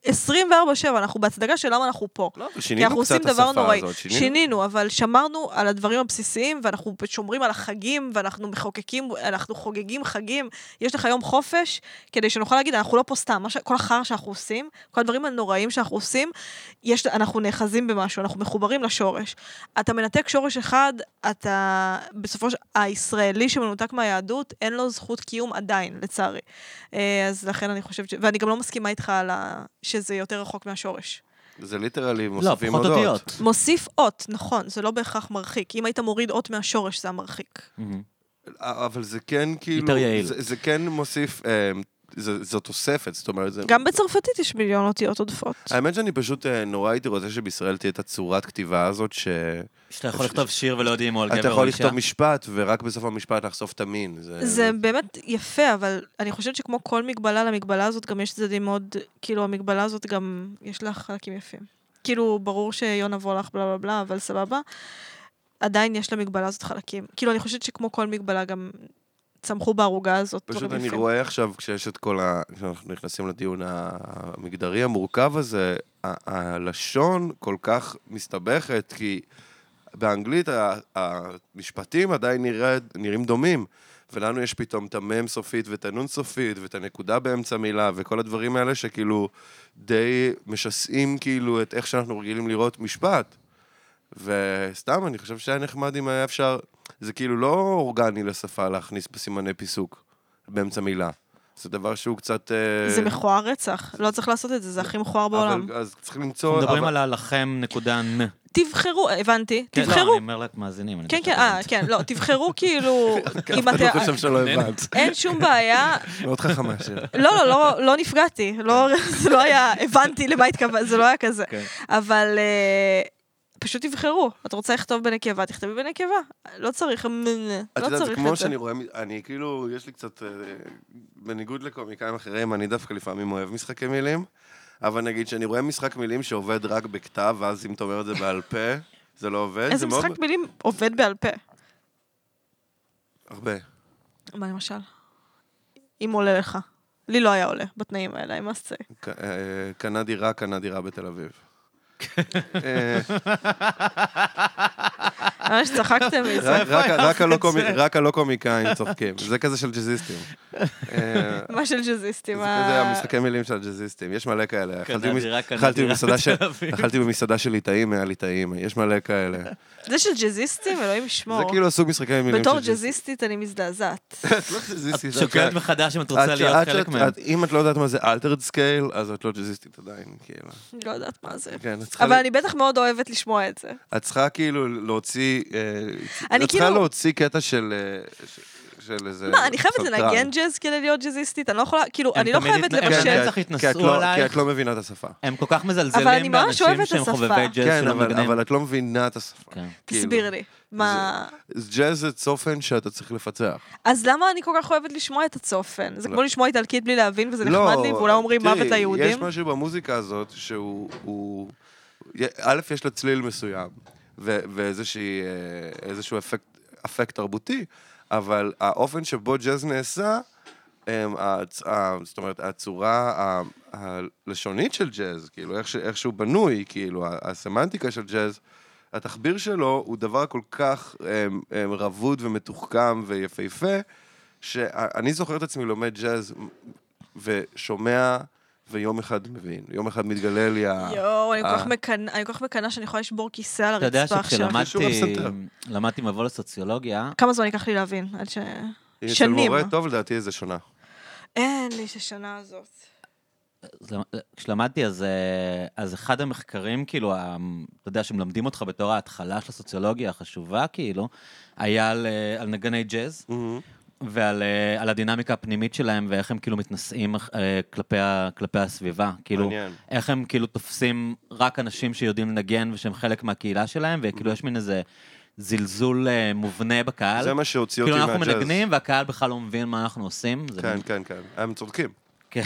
S3: 24/7, אנחנו בהצדקה של למה אנחנו פה.
S2: לא, אבל
S3: כי אנחנו
S2: שינינו
S3: עושים
S2: קצת את
S3: דבר
S2: השפה
S3: נוראי.
S2: הזאת. שינינו.
S3: שינינו, אבל שמרנו על הדברים הבסיסיים, ואנחנו שומרים על החגים, ואנחנו מחוקקים, אנחנו חוגגים חגים. יש לך יום חופש, כדי שנוכל להגיד, אנחנו לא פה סתם. מה ש... כל החרא שאנחנו עושים, כל הדברים הנוראים שאנחנו עושים, יש... אנחנו נאחזים במשהו, אנחנו מחוברים לשורש. אתה מנתק שורש אחד, אתה... בסופו של... הישראלי שמנותק מהיהדות, אין לו זכות קיום עדיין, לצערי. אה, אז לכן אני חושבת ש... ואני גם לא מסכימה איתך על ה... שזה יותר רחוק מהשורש.
S2: זה ליטרלי,
S1: לא,
S2: מוסיפים
S1: פחות
S2: הודות.
S1: אותיות.
S3: מוסיף אות, נכון, זה לא בהכרח מרחיק. אם היית מוריד אות מהשורש, זה המרחיק.
S2: Mm-hmm.
S1: מהמם.
S2: אבל זה כן כאילו...
S1: יותר יעיל.
S2: זה, זה כן מוסיף אה, זה- זו תוספת, זאת אומרת, זה...
S3: גם בצרפתית יש מיליון אותיות עודפות.
S2: האמת שאני פשוט אה, נורא הייתי רוצה שבישראל תהיה את הצורת כתיבה הזאת, שאתה
S1: שאתה יכול לכתוב שיר ולא יודעים אם הוא על גבר או
S2: יכול
S1: אישה.
S2: לכתוב משפט, ורק בסוף המשפט לחשוף את המין. זה...
S3: זה באמת יפה, אבל אני חושבת שכמו כל מגבלה למגבלה הזאת, גם יש צדדים מאוד, כאילו, המגבלה הזאת גם, יש לה חלקים יפים. כאילו, ברור שיונה וולך בלה בלה בלה, אבל סבבה. עדיין יש למגבלה הזאת חלקים. כאילו, אני חושבת שכמו כל מגבלה גם צמחו בערוגה הזאת
S2: פשוט
S3: דברים
S2: אני
S3: יפים.
S2: רואה עכשיו, כשיש את כל ה... כשאנחנו נכנסים לדיון המגדרי המורכב הזה, ה- הלשון כל כך מסתבכת, כי באנגלית ה- המשפטים עדיין נראה- נראים דומים. ולנו יש פתאום את המם סופית ואת הנון סופית ואת הנקודה באמצע מילה וכל הדברים האלה שכאילו די משסעים כאילו את איך שאנחנו רגילים לראות משפט. וסתם, אני חושב שהיה נחמד אם היה אפשר, זה כאילו לא אורגני לשפה להכניס בסימני פיסוק באמצע מילה. זה דבר שהוא קצת... אה,
S3: זה מכוער רצח, לא צריך לעשות את זה, זה הכי מכוער בעולם.
S2: אבל, אז צריך
S1: אנחנו
S2: למצוא...
S1: מדברים על
S2: אבל-
S1: הלחם נקודה נ.
S3: תבחרו, הבנתי,
S1: כן, לא, אני
S3: תבחרו.
S1: אומר למאזינים. אני
S3: כן,
S1: בטח
S3: כן,
S1: לא
S3: אה, כן, לא, תבחרו כאילו, אם
S2: אני
S3: אתה...
S2: לא חושב שלא
S1: כן.
S2: הבנת.
S3: אין שום בעיה,
S2: מאוד חכמה שלה.
S3: לא, לא, לא, לא נפגעתי, לא, זה לא היה, הבנתי למה התכוון, זה לא היה כזה.
S1: כן.
S3: אבל אה, פשוט תבחרו, את רוצה לכתוב בנקבה, תכתבי בנקבה. לא צריך, מ-
S2: את
S3: לא
S2: יודעת, זה
S3: צריך
S2: כמו
S3: את זה.
S2: שאני רואה, אני כאילו, יש לי קצת, אה, בניגוד לקומיקאים אחרים, אני דווקא לפעמים אוהב משחקי מילים, אבל נגיד שאני רואה משחק מילים שעובד רק בכתב, ואז אם אתה אומר את זה בעל פה, זה לא עובד.
S3: איזה
S2: זה מאוד-
S3: משחק מילים עובד בעל פה?
S2: הרבה.
S3: מה למשל? אם עולה לך. לי לא היה עולה בתנאים האלה, I must say.
S2: ק- אה, קנה דירה, קנה דירה בתל אביב. אה,
S3: ממש צחקתם
S2: רק-
S3: מזה.
S2: רק- רק הלא קומי- רק הלא קומיקאים צוחקים, זה כזה של ג'אזיסטים. אה,
S3: מה של ג'אזיסטים. אה,
S2: זה
S3: ה-
S2: כזה המשחקי מילים של הג'אזיסטים, יש מלא כאלה.
S1: קנה
S2: אכלתי במס-
S1: דירה, קנה
S2: אכלתי
S1: דירה
S2: במסעדה של-
S1: בתל אביב.
S2: אכלתי במסעדה של ליטאים, היה ליטאים, יש מלא כאלה.
S3: זה של ג'אזיסטים, אלוהים ישמור.
S2: זה כאילו הסוג משחקי מילים של
S3: בתור
S2: ג'אזיסטים.
S3: ג'אזיסטית אני מזדעזעת.
S2: את לא
S1: יודעת.
S2: ג'אזיסטית, את
S1: את שוקלת
S2: לא-
S1: מחדש אם את
S2: את-
S1: רוצה להיות
S2: את-
S1: חלק
S2: את-
S1: מהם.
S2: את- אם את לא יודעת מה זה אלתרד סקייל, אז את לא ג'אזיסטית עדיין, כאילו.
S3: אני לא יודעת מה זה.
S2: כן, את צריכה
S3: אבל
S2: ל-
S3: אני בטח מאוד אוהבת לשמוע את זה.
S2: את צריכה כאילו להוציא... אה,
S3: אני
S2: את צריכה
S3: כאילו-
S2: להוציא קטע של... אה, ש- של איזה...
S3: מה, אני חייבת
S2: סלטן.
S3: לנגן ג'אז כדי להיות ג'אזיסטית? אני לא יכולה, כאילו,
S1: הם
S3: אני לא
S1: תמיד
S3: חייבת
S1: התנ- הם
S2: כן,
S1: שהם
S3: לבשל.
S2: כן,
S1: צריך
S2: כי את
S1: יתנסו
S2: לא- כי
S1: עלייך.
S2: את לא מבינה את השפה.
S1: הם כל כך
S3: אבל אני
S1: מזלזלים
S3: ממש
S1: באנשים
S3: אוהבת
S1: שהם
S3: את השפה.
S1: חובבי ג'אז
S2: כן,
S1: שלא
S2: אבל-
S1: מבינים.
S2: אבל את לא מבינה את השפה.
S1: כן.
S2: כאילו.
S3: תסביר לי. מה...
S2: אז ג'אז זה צופן שאתה צריך לפצח.
S3: אז למה אני כל כך אוהבת לשמוע את הצופן? זה
S2: לא.
S3: כמו לשמוע איטלקית בלי להבין, וזה
S2: לא,
S3: נחמד לי, ואולי אומרים
S2: תראי,
S3: מוות ליהודים?
S2: יש משהו במוזיקה הזאת שהוא... הוא- א', יש לה צליל מסוים, ו- ואיזושהי, אה, איזשהו אפקט, אפקט תרבותי, אבל האופן שבו ג'אז נעשה, הם, הצ, ה, זאת אומרת, הצורה ה, הלשונית של ג'אז, כאילו, איך, ש- איך שהוא בנוי, כאילו, ה- הסמנטיקה של ג'אז, התחביר שלו הוא דבר כל כך הם, הם, רבוד ומתוחכם ויפהפה, שאני זוכר את עצמי לומד ג'אז ושומע, ויום אחד מבין, יום אחד מתגלה לי ה...
S3: יואו, אני כל כך
S2: אה.
S3: מקנאה- אני כל כך מקנאה שאני יכולה לשבור כיסא על
S1: אתה יודע
S3: הרצפה עכשיו.
S2: שכשלמד- חישוב
S1: שכשלמדתי
S2: הפסנתר.
S1: למדתי מבוא לסוציולוגיה,
S3: כמה זמן ייקח לי להבין? עד ש...
S2: היא
S3: שנים.
S2: אצל מורה טוב, לדעתי זה שונה.
S3: אין לי את השנה הזאת.
S1: אז למ- כשלמדתי, אז, אה, אז אחד המחקרים, כאילו, ה- אתה יודע, שמלמדים אותך בתור ההתחלה של הסוציולוגיה החשובה, כאילו, היה על, אה, על נגני ג'אז, ועל אה, על הדינמיקה הפנימית שלהם, ואיך הם כאילו מתנשאים אה, כלפי, ה- כלפי הסביבה. כאילו,
S2: מעניין.
S1: איך הם כאילו תופסים רק אנשים שיודעים לנגן ושהם חלק מהקהילה שלהם, וכאילו יש מין איזה זלזול אה, מובנה בקהל.
S2: זה מה שהוציא אותי
S1: כאילו,
S2: מהג'אז.
S1: אנחנו מנגנים, והקהל בכלל לא מבין מה אנחנו עושים. זה
S2: כן,
S1: מין-
S2: כן, כן. הם צודקים.
S1: כן.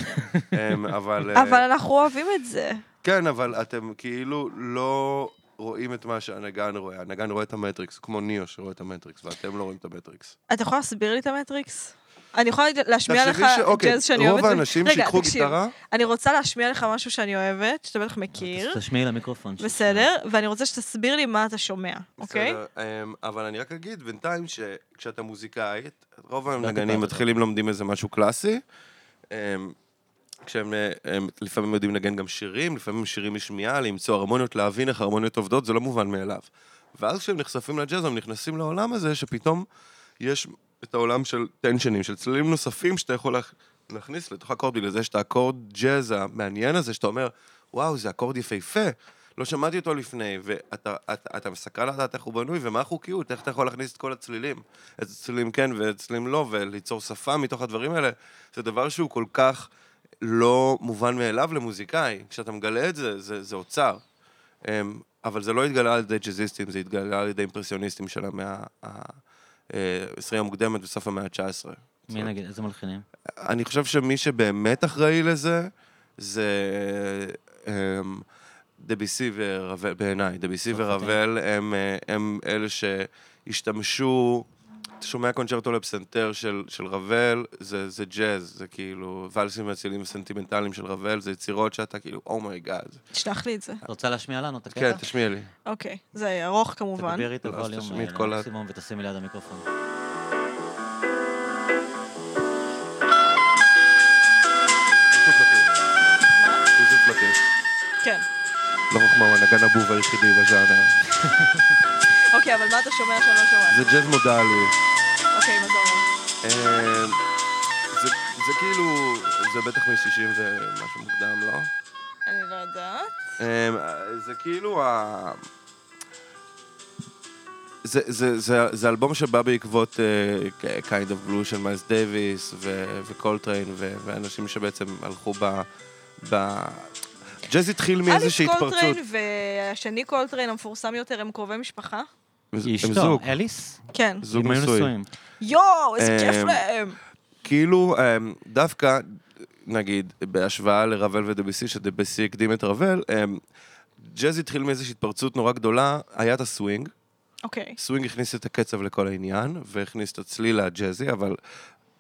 S2: הם, אבל... אה,
S3: אבל אנחנו אוהבים את זה.
S2: כן, אבל אתם כאילו לא רואים את מה שהנגן רואה. הנגן רואה את המטריקס, כמו ניאו שרואה את המטריקס, ואתם לא רואים את המטריקס.
S3: אתה יכול להסביר לי את המטריקס? אני יכולה להשמיע לך
S2: תחשבי שאוקיי,
S3: ג'אז שאני אוהבת?
S2: רוב האנשים
S3: רגע,
S2: שיקחו
S3: תקשיב,
S2: גיטרה,
S3: אני רוצה להשמיע לך משהו שאני אוהבת, שאתה בטח מכיר,
S1: תשמיעי למיקרופון. שלך.
S3: כאילו? בסדר? ואני רוצה שתסביר לי מה אתה שומע, אוקיי?
S2: בסדר, אמ, אבל אני רק אגיד בינתיים שכשאתה מוזיקאית, רוב
S1: דיברנו.
S2: הנגנים מתחילים לומדים איזה משהו קלאסי. אמ, כשהם אה, הם לפעמים יודעים לנגן גם שירים, לפעמים שירים משמיעה, למצוא הרמוניות, להבין איך הרמוניות עובדות, זה לא מובן מאליו. ואז כשהם נחשפים לג'אז, הם נכנסים לעולם הזה, שפתאום יש את העולם של טנשנים, של צלילים נוספים שאתה יכול להכ- להכניס לתוך אקורד, בגלל זה יש את האקורד ג'אז המעניין הזה, שאתה אומר, וואו, זה אקורד יפהפה. לא שמעתי אותו לפני, ואתה אתה, אתה מסקרן לדעת איך הוא בנוי ומה החוקיות, איך אתה יכול להכניס את כל הצלילים, איזה צלילים כן ואיזה צלילים לא, וליצור שפה מתוך הדברים האלה, זה דבר שהוא כל כך לא מובן מאליו למוזיקאי. כשאתה מגלה את זה, זה, זה אוצר. אמ, אבל זה לא התגלה על ידי ג'אזיסטים, זה התגלה על ידי אימפרסיוניסטים של המאה ה-20 המוקדמת וסוף המאה ה-19.
S1: מי נגיד, איזה מלחינים?
S2: אני חושב שמי שבאמת אחראי לזה, זה אמ, דביסי ורבל, בעיניי, דביסי ורבל הם, אה, הם אלה שהשתמשו, אתה שומע קונצ'רטו לפסנתר של, של רבל, זה, זה ג'אז, זה כאילו ולסים ואצילים סנטימנטליים של רבל, זה יצירות שאתה כאילו, אומייגאד.
S3: תשלח לי את זה.
S1: את רוצה להשמיע לנו את הקטע?
S2: כן, תשמיעי לי.
S3: אוקיי. זה ארוך כמובן.
S1: תגבירי את
S2: אז
S1: הווליום
S2: תשמיעי את
S1: אה,
S2: כל ה-
S1: למקסימום ותשימי ליד המיקרופון.
S2: פשוט פלטי. פשוט פלטי.
S3: כן.
S2: לא חוכמה, הוא הנגן הבוב היחידי בז'אנר.
S3: אוקיי, אבל מה אתה שומע שאני לא שומעת?
S2: זה ג'אז מודלי.
S3: אוקיי, מה זה אומר?
S2: אה, זה זה כאילו, זה בטח מ-60 ומשהו מוקדם, לא?
S3: אני לא יודעת.
S2: אה, זה כאילו ה... זה, זה, זה, זה אלבום שבא בעקבות uh, kind of blue של מיילס דייוויס ו- וקולטריין ו- ואנשים שבעצם הלכו ב... ב... ג'אז התחיל מאיזושהי
S3: אליס
S2: התפרצות.
S3: קולטריין והשני קולטריין המפורסם יותר הם קרובי משפחה?
S2: הם
S1: היא אשתו,
S2: זוג,
S1: אליס?
S3: כן.
S2: זוג
S1: הם היו
S2: נשוי.
S1: נשואים.
S3: יואו, איזה
S2: אה,
S3: כיף להם!
S2: כאילו, אמ, דווקא, נגיד, בהשוואה לרבל ודביסי, שדביסי הקדים את רבל, אמ, ג'אז התחיל מאיזושהי התפרצות נורא גדולה, היה את הסווינג,
S3: אוקיי.
S2: סווינג הכניס את הקצב לכל העניין, והכניס את הצליל הג'אזי, אבל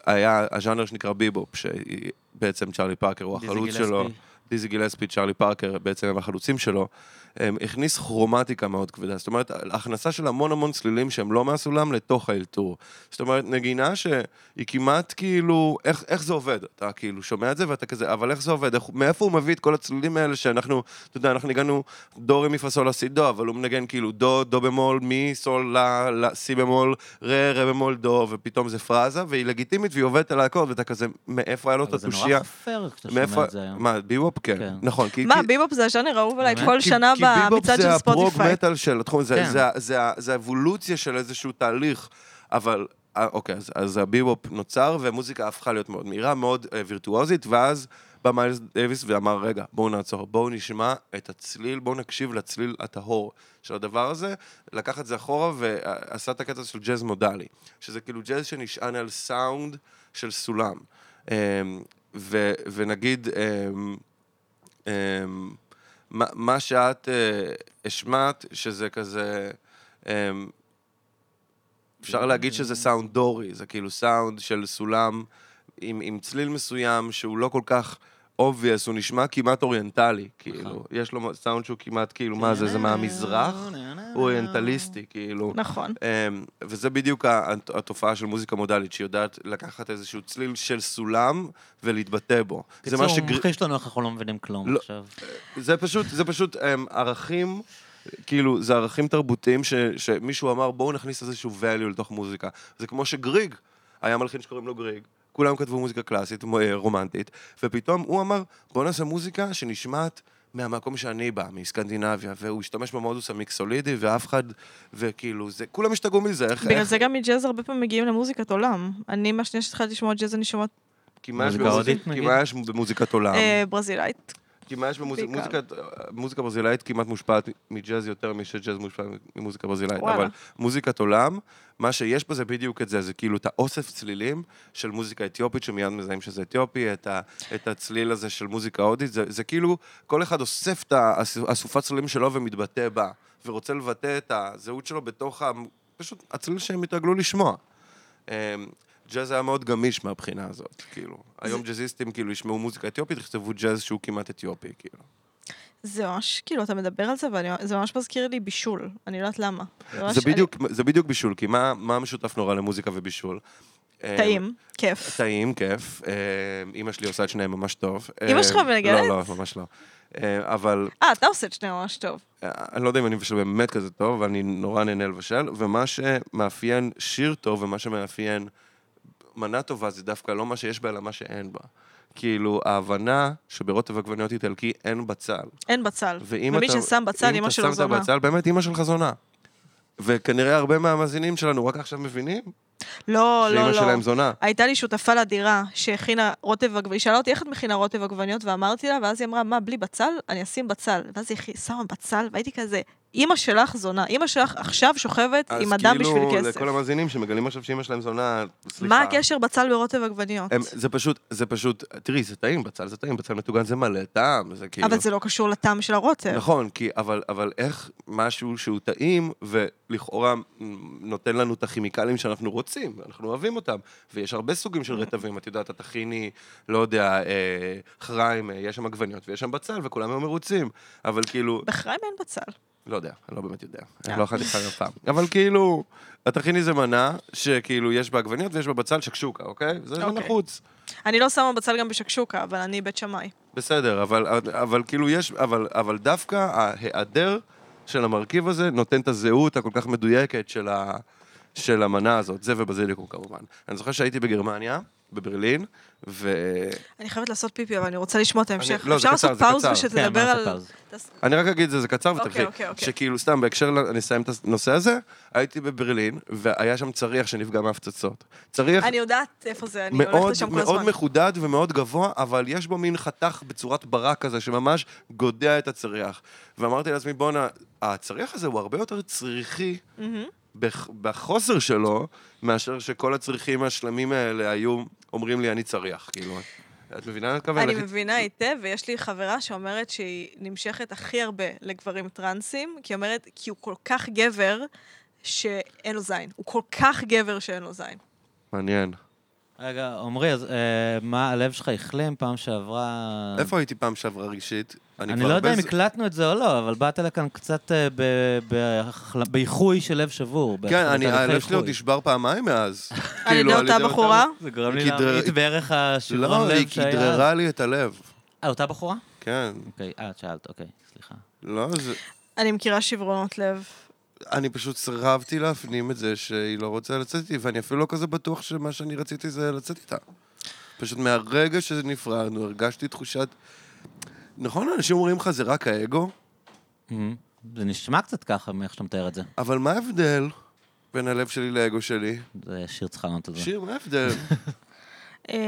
S2: היה הז'אנר שנקרא ביבופ, שבעצם צ'רלי פארקר הוא
S1: דיזי
S2: החלוץ
S1: גילספי.
S2: שלו. דיזי גילספי, צ'רלי פארקר, בעצם הם החלוצים שלו, הם הכניס כרומטיקה מאוד כבדה. זאת אומרת, הכנסה של המון המון צלילים שהם לא מהסולם לתוך האלתור. זאת אומרת, נגינה שהיא כמעט כאילו, איך, איך זה עובד? אתה כאילו שומע את זה ואתה כזה, אבל איך זה עובד? איך, מאיפה הוא מביא את כל הצלילים האלה שאנחנו, אתה יודע, אנחנו ניגענו דו רמי פסול סי דו, אבל הוא מנגן כאילו דו, דו במול, מי, סול, לה, לה, סי במול, רה, רה במול, דו, ופתאום זה פרזה, והיא לגיטימית והיא עובדת על ההקורד, ואתה כזה, מאיפה היה לו את
S1: אבל זה
S2: התושייה?
S1: נורא חופר כשאתה שומע את זה היום.
S2: מה, ביבופ? כן.
S1: כן.
S2: נכון, כי...
S3: מה,
S2: כי-
S3: ביבופ זה הז'אנר האהוב עליי
S1: באמת?
S3: כל
S2: כן. כי-
S3: שנה
S2: כי ביבופ
S3: במצעד של
S2: זה הפרוג
S3: ספוטיפיי.
S2: מטאל של התחום, זה-
S1: כן.
S2: זה ה- זה ה- זה האבולוציה של איזשהו תהליך, אבל... אה, אוקיי, אז- אז הביבופ נוצר, והמוזיקה הפכה להיות מאוד מהירה, מאוד אה, וירטואוזית, ואז בא מיילס דייוויס ואמר, רגע, בואו נעצור, בואו נשמע את הצליל, בואו נקשיב לצליל הטהור של הדבר הזה, לקח את זה אחורה ועשה את הקטע של ג'אז מודלי, שזה כאילו ג'אז שנשען על סאונד של סולם. אמ, ו- ונגיד, אמ, אמ, מה- מה שאת אה, השמעת, שזה כזה... אמ, אפשר להגיד שזה סאונד דורי, זה כאילו סאונד של סולם עם, עם צליל מסוים שהוא לא כל כך obvious, הוא נשמע כמעט אוריינטלי, כאילו. יש לו סאונד שהוא כמעט, כאילו, מה זה, זה מהמזרח? הוא אוריינטליסטי, כאילו.
S3: נכון.
S2: אמ, וזה בדיוק ה- הת- התופעה של מוזיקה מודלית, שהיא יודעת לקחת איזשהו צליל של סולם ולהתבטא בו. זה
S1: קיצור,
S2: מה
S1: הוא
S2: שגר-
S1: מכחיש לנו איך אנחנו לא מבינים כלום
S2: לא.
S1: עכשיו.
S2: זה פשוט, זה פשוט הם, ערכים, כאילו, זה ערכים תרבותיים ש, שמישהו אמר, בואו נכניס איזשהו value לתוך מוזיקה. זה כמו שגריג, היה מלחין שקוראים לו גריג, כולם כתבו מוזיקה קלאסית, מו- אה, רומנטית, ופתאום הוא אמר, בואו נעשה מוזיקה שנשמעת... מהמקום שאני בא, מסקנדינביה, והוא השתמש במודוס המיקסולידי, ואף אחד, וכאילו, זה, כולם השתגעו מזה, איך,
S3: בגלל
S2: איך,
S3: זה גם מג'אז הרבה פעמים מגיעים למוזיקת עולם. אני, מהשנייה שהתחלתי לשמוע ג'אז, אני שומעת
S2: כי מה יש
S1: מוזיקה
S2: במוזיק-
S1: הודית,
S2: כי
S1: נגיד?
S2: מה יש במוזיקת עולם?
S3: אה, ברזילאית.
S2: כי מה יש במוזיקה,
S3: בעיקר.
S2: מוזיקת- מוזיקה ברזילאית כמעט מושפעת מג'אז יותר משג'אז מושפע ממוזיקה ברזילאית,
S3: וואלה.
S2: אבל מוזיקת עולם, מה שיש בה זה בדיוק את זה, זה כאילו את האוסף צלילים של מוזיקה אתיופית, שמיד מזהים שזה אתיופי, את, ה, את הצליל הזה של מוזיקה הודית, זה, זה כאילו כל אחד אוסף את האס- אסופת צלילים שלו ומתבטא בה, ורוצה לבטא את הזהות שלו בתוך ה... פשוט הצליל שהם התרגלו לשמוע. אמ, ג'אז היה מאוד גמיש מהבחינה הזאת, כאילו. היום ג'אזיסטים כאילו ישמעו מוזיקה אתיופית, יכתבו ג'אז שהוא כמעט אתיופי, כאילו.
S3: זה ממש, כאילו, אתה מדבר על זה, וזה ממש מזכיר לי בישול. אני לא יודעת למה. ממש-
S2: זה בדיוק, זה בדיוק בישול, כי מה, מה המשותף נורא למוזיקה ובישול?
S3: אני-
S2: אמ,
S3: טעים, כיף.
S2: טעים, כיף. אמ, אימא שלי עושה את שניהם ממש טוב.
S3: אימא
S2: אמ,
S3: שלך מנגנת?
S2: לא, לא, ממש לא. אמ, אבל
S3: אה, אתה עושה את שניהם ממש טוב.
S2: אה, אני לא יודע אם אני מבשל באמת כזה טוב, אבל אני נורא נהנה לבשל, ומה שמאפיין שיר טוב ומה שמאפיין מנה טובה זה דווקא לא מה שיש בה, אלא מה שאין בה. כאילו, ההבנה שברוטב עגבניות איטלקי אין בצל.
S3: אין בצל.
S2: ואם
S3: ומי
S2: אתה-
S3: ששם בצל, אמא שלו
S2: אם
S3: זונה.
S2: אתה שם את הבצל, באמת אמא שלך זונה. וכנראה הרבה מהמאזינים שלנו רק עכשיו מבינים
S3: לא, לא,
S2: שאימא
S3: לא.
S2: שלהם זונה.
S3: הייתה לי שותפה לדירה שהכינה רוטב עגבניות, היא שאלה אותי איך את מכינה רוטב עגבניות, ואמרתי לה, ואז היא אמרה, מה, בלי בצל? אני אשים בצל. ואז היא שמה בצל, והייתי כזה, אימא שלך זונה, אימא שלך עכשיו שוכבת עם אדם בשביל
S2: אז כאילו,
S3: כסף.
S2: לכל המאזינים שמגלים עכשיו שאימא שלהם זונה, סליחה.
S3: מה הקשר בצל ורוטב עגבניות?
S2: הם, זה פשוט, זה פשוט, תראי, זה טעים, בצל זה טעים, בצל מטוגן זה מלא טעם, זה כאילו...
S3: אבל זה לא קשור לטעם של הרוטב.
S2: נכון, כי, אבל, אבל איך משהו שהוא טעים, ולכאורה נותן לנו את הכימיקלים שאנחנו רוצים, אנחנו אוהבים אותם. ויש הרבה סוגים של רטבים, את יודעת, הטחיני, לא יודע, אה, חריים, אה, יש שם עגבניות ויש שם בצל, וכולם היו מרוצים. אבל כאילו,
S3: בחיים אין בצל.
S2: לא יודע, אני לא באמת יודע.
S3: אה.
S2: אני לא אכלתי חרם פעם. אבל כאילו, הטחיני זה מנה שכאילו יש בה עגבניות ויש בה בצל שקשוקה, אוקיי? זה
S3: אוקיי.
S2: נחוץ.
S3: אני לא שמה בצל גם בשקשוקה, אבל אני בית שמאי.
S2: בסדר, אבל, אבל כאילו יש, אבל, אבל דווקא ההיעדר של המרכיב הזה נותן את הזהות הכל כך מדויקת של, ה, של המנה הזאת, זה ובזיליקום כמובן. אני זוכר שהייתי בגרמניה, בברלין, ואני
S3: אני חייבת לעשות פיפי, אבל אני רוצה לשמוע את ההמשך.
S2: לא, זה
S3: אפשר
S2: קצר,
S3: לעשות
S2: זה
S3: פאוז
S2: קצר.
S1: כן,
S3: ושתדבר
S1: בוא נעשה
S3: על...
S1: פאוז.
S3: תעש-
S2: רק אגיד את זה, זה קצר
S3: אוקיי,
S2: ותלכי.
S3: אוקיי, אוקיי.
S2: שכאילו, סתם, בהקשר, ל- אני אסיים את הנושא הזה, הייתי בברלין, והיה שם צריח שנפגע מהפצצות. צריח
S3: אני יודעת איפה זה, אני הולכת
S2: מאוד,
S3: לשם כל
S2: מאוד
S3: הזמן.
S2: מחודד ומאוד גבוה, אבל יש בו מין חתך בצורת ברק כזה, שממש גודע את הצריח. ואמרתי לעצמי, בואנה, הצריח הזה הוא הרבה יותר צריחי
S3: מהמם.
S2: בח- בחוסר שלו, מאשר שכל הצריחים השלמים האלה היו אומרים לי, אני צריח, כאילו. את מבינה מה אני מתכוון?
S3: אני
S2: איך-
S3: מבינה היטב, ויש לי חברה שאומרת שהיא נמשכת הכי הרבה לגברים טרנסים, כי היא אומרת, כי הוא כל כך גבר שאין לו זין. הוא כל כך גבר שאין לו זין.
S2: מעניין.
S1: אה. רגע, עמרי, אז אה, מה, הלב שלך החלים פעם שעברה...
S2: איפה הייתי פעם שעברה רגשית?
S1: אני
S2: כבר
S1: לא
S2: הרבה
S1: יודע אם
S2: ז-
S1: הקלטנו את זה או לא, אבל באת לכאן קצת אה, ב- בהחל- באיחוי של לב שבור.
S2: כן,
S1: בהחלטה
S2: אני-
S1: אחרי
S2: הלב
S1: איחוי.
S2: שלי עוד נשבר פעמיים מאז.
S3: על ידי
S2: כאילו,
S3: אותה בחורה?
S1: זה גרם
S2: היא
S1: לי
S2: כדרר-
S1: להמעיט בערך השברון
S2: לא, היא
S1: לב שהיה.
S2: כדררה לי את הלב.
S1: אה, אותה בחורה?
S2: כן.
S1: אוקיי, אה, את שאלת, אוקיי, סליחה.
S2: לא, זה...
S3: אני מכירה שברונות לב.
S2: אני פשוט סירבתי להפנים את זה שהיא לא רוצה לצאת איתי, ואני אפילו לא כזה בטוח שמה שאני רציתי זה לצאת איתה. פשוט מהרגע שנפרדנו, הרגשתי תחושת... נכון, אנשים אומרים לך זה רק האגו,
S1: מהמם. זה נשמע קצת ככה מאיך שאתה מתאר את זה.
S2: אבל מה ההבדל בין הלב שלי לאגו שלי?
S1: זה שיר צריך לענות על זה.
S2: שיר, מה ההבדל?
S3: אמ,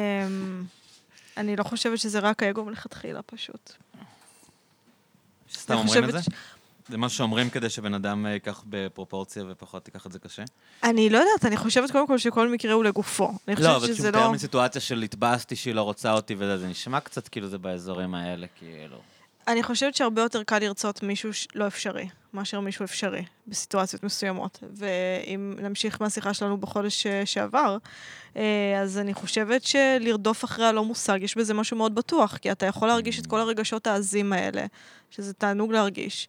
S3: אני לא חושבת שזה רק האגו מלכתחילה פשוט.
S1: סתם
S3: אני
S1: אומרים את זה?
S3: חושבת
S1: זה משהו שאומרים כדי שבן אדם אה, ייקח בפרופורציה ופחות ייקח את זה קשה?
S3: אני לא יודעת, אני חושבת קודם כל שכל מקרה הוא לגופו. אני
S1: לא,
S3: חושבת
S1: אבל כשהוא
S3: שזה
S1: מתאר
S3: לא...
S1: מסיטואציה של התבאסתי שהיא לא רוצה אותי וזה, זה נשמע קצת כאילו זה באזורים האלה, כאילו.
S3: אני חושבת שהרבה יותר קל לרצות מישהו ש- לא אפשרי, מאשר מישהו אפשרי, בסיטואציות מסוימות. ואם נמשיך מהשיחה שלנו בחודש אה, שעבר, אה, אז אני חושבת שלרדוף אחרי הלא מושג, יש בזה משהו מאוד בטוח, כי אתה יכול להרגיש את כל הרגשות העזים האלה, שזה תענוג להרגיש.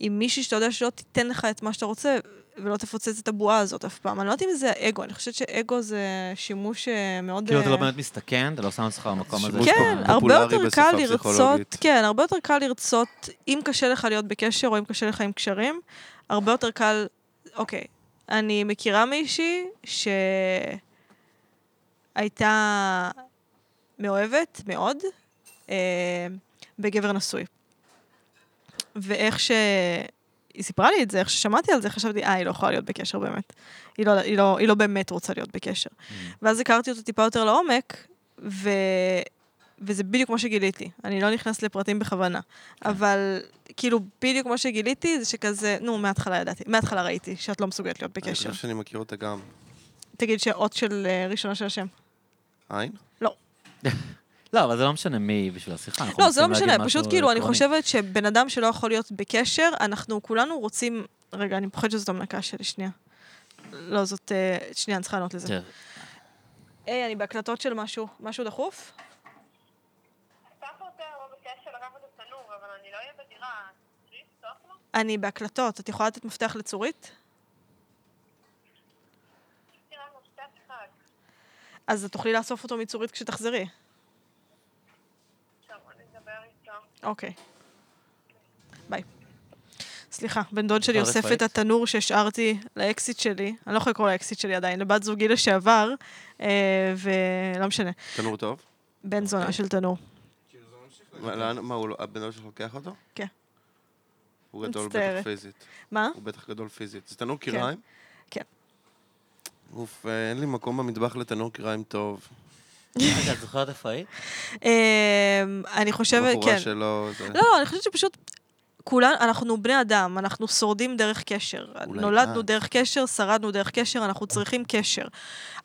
S3: עם מישהי שאתה יודע שלא תיתן לך את מה שאתה רוצה, ולא תפוצץ את הבועה הזאת אף פעם. אני לא יודעת אם זה האגו, אני חושבת שאגו זה שימוש אה, מאוד...
S1: כאילו אתה לא
S3: אה,
S1: באמת מסתכן, אתה לא שם אותך במקום הזה.
S2: שימוש
S1: שאתה-
S3: כן,
S2: פופולרי
S3: הרבה יותר
S2: בשפה
S3: קל
S2: פסיכולוגית.
S3: לרצות, כן, הרבה יותר קל לרצות, אם קשה לך להיות בקשר או אם קשה לך עם קשרים, הרבה יותר קל, אוקיי, אני מכירה מישהי שהייתה מאוהבת מאוד אה, בגבר נשוי. ואיך ש... היא סיפרה לי את זה, איך ששמעתי על זה, חשבתי, אה, היא לא יכולה להיות בקשר באמת. היא לא, היא לא, היא לא באמת רוצה להיות בקשר. ואז הכרתי אותו טיפה יותר לעומק, ו... וזה בדיוק מה שגיליתי. אני לא נכנסת לפרטים בכוונה. אבל כאילו, בדיוק מה שגיליתי זה שכזה, נו, מההתחלה ידעתי, מההתחלה ראיתי שאת לא מסוגלת להיות
S2: אני
S3: בקשר.
S2: חושב שאני מכיר אותה גם.
S3: תגיד שהאות של אה, ראשונה של השם.
S2: עין?
S1: לא, אבל זה לא משנה מי בשביל השיחה. אנחנו
S3: לא, זה לא
S1: רוצים להגיד
S3: משנה, פשוט
S1: משהו
S3: כאילו, אני
S1: עקרוני.
S3: חושבת שבן אדם שלא יכול להיות בקשר, אנחנו כולנו רוצים... רגע, אני פוחדת שזאת המנקה שלי, שנייה. לא, זאת... אה, שנייה, אני צריכה לענות לזה.
S1: כן.
S3: היי, אני בהקלטות של משהו. משהו דחוף?
S4: פתח אותו, הוא ביקש שלקח את התנור, אבל אני לא אהיה בדירה. תראי, לפתוח לו?
S3: אני בהקלטות. את יכולה לתת מפתח לצורית?
S4: תראי, רק מפתח אחד.
S3: אז את תוכלי לאסוף אותו מצורית כשתחזרי.
S4: עכשיו, אני אדבר איתו.
S3: אוקיי. ביי. סליחה, בן דוד שלי
S1: אפשר
S3: אוסף
S1: לפרט?
S3: את התנור שהשארתי לאקסיט שלי, אני לא יכולה לקרוא לאקסיט שלי עדיין, לבת זוגי לשעבר, אה, ולא משנה.
S2: תנור טוב?
S3: בן זונה של תנור.
S2: מה, לאן- מה, הוא לא- הבן אדם שלך לוקח אותו?
S3: כן.
S2: הוא גדול
S3: מצטערת.
S2: בטח פיזית.
S3: מה?
S2: הוא בטח גדול פיזית. זה תנור קיריים?
S3: כן.
S2: אוף, אה, אין לי מקום במטבח לתנור קיריים טוב.
S1: רגע, את זוכרת איפה היית?
S3: אמ, אני חושבת,
S2: בחורה
S3: כן.
S2: שלו, זה...
S3: לא, לא, אני חושבת שפשוט כולנו, אנחנו בני אדם, אנחנו שורדים דרך קשר.
S2: אולי
S3: נולדנו
S2: את.
S3: דרך קשר, שרדנו דרך קשר, אנחנו צריכים קשר.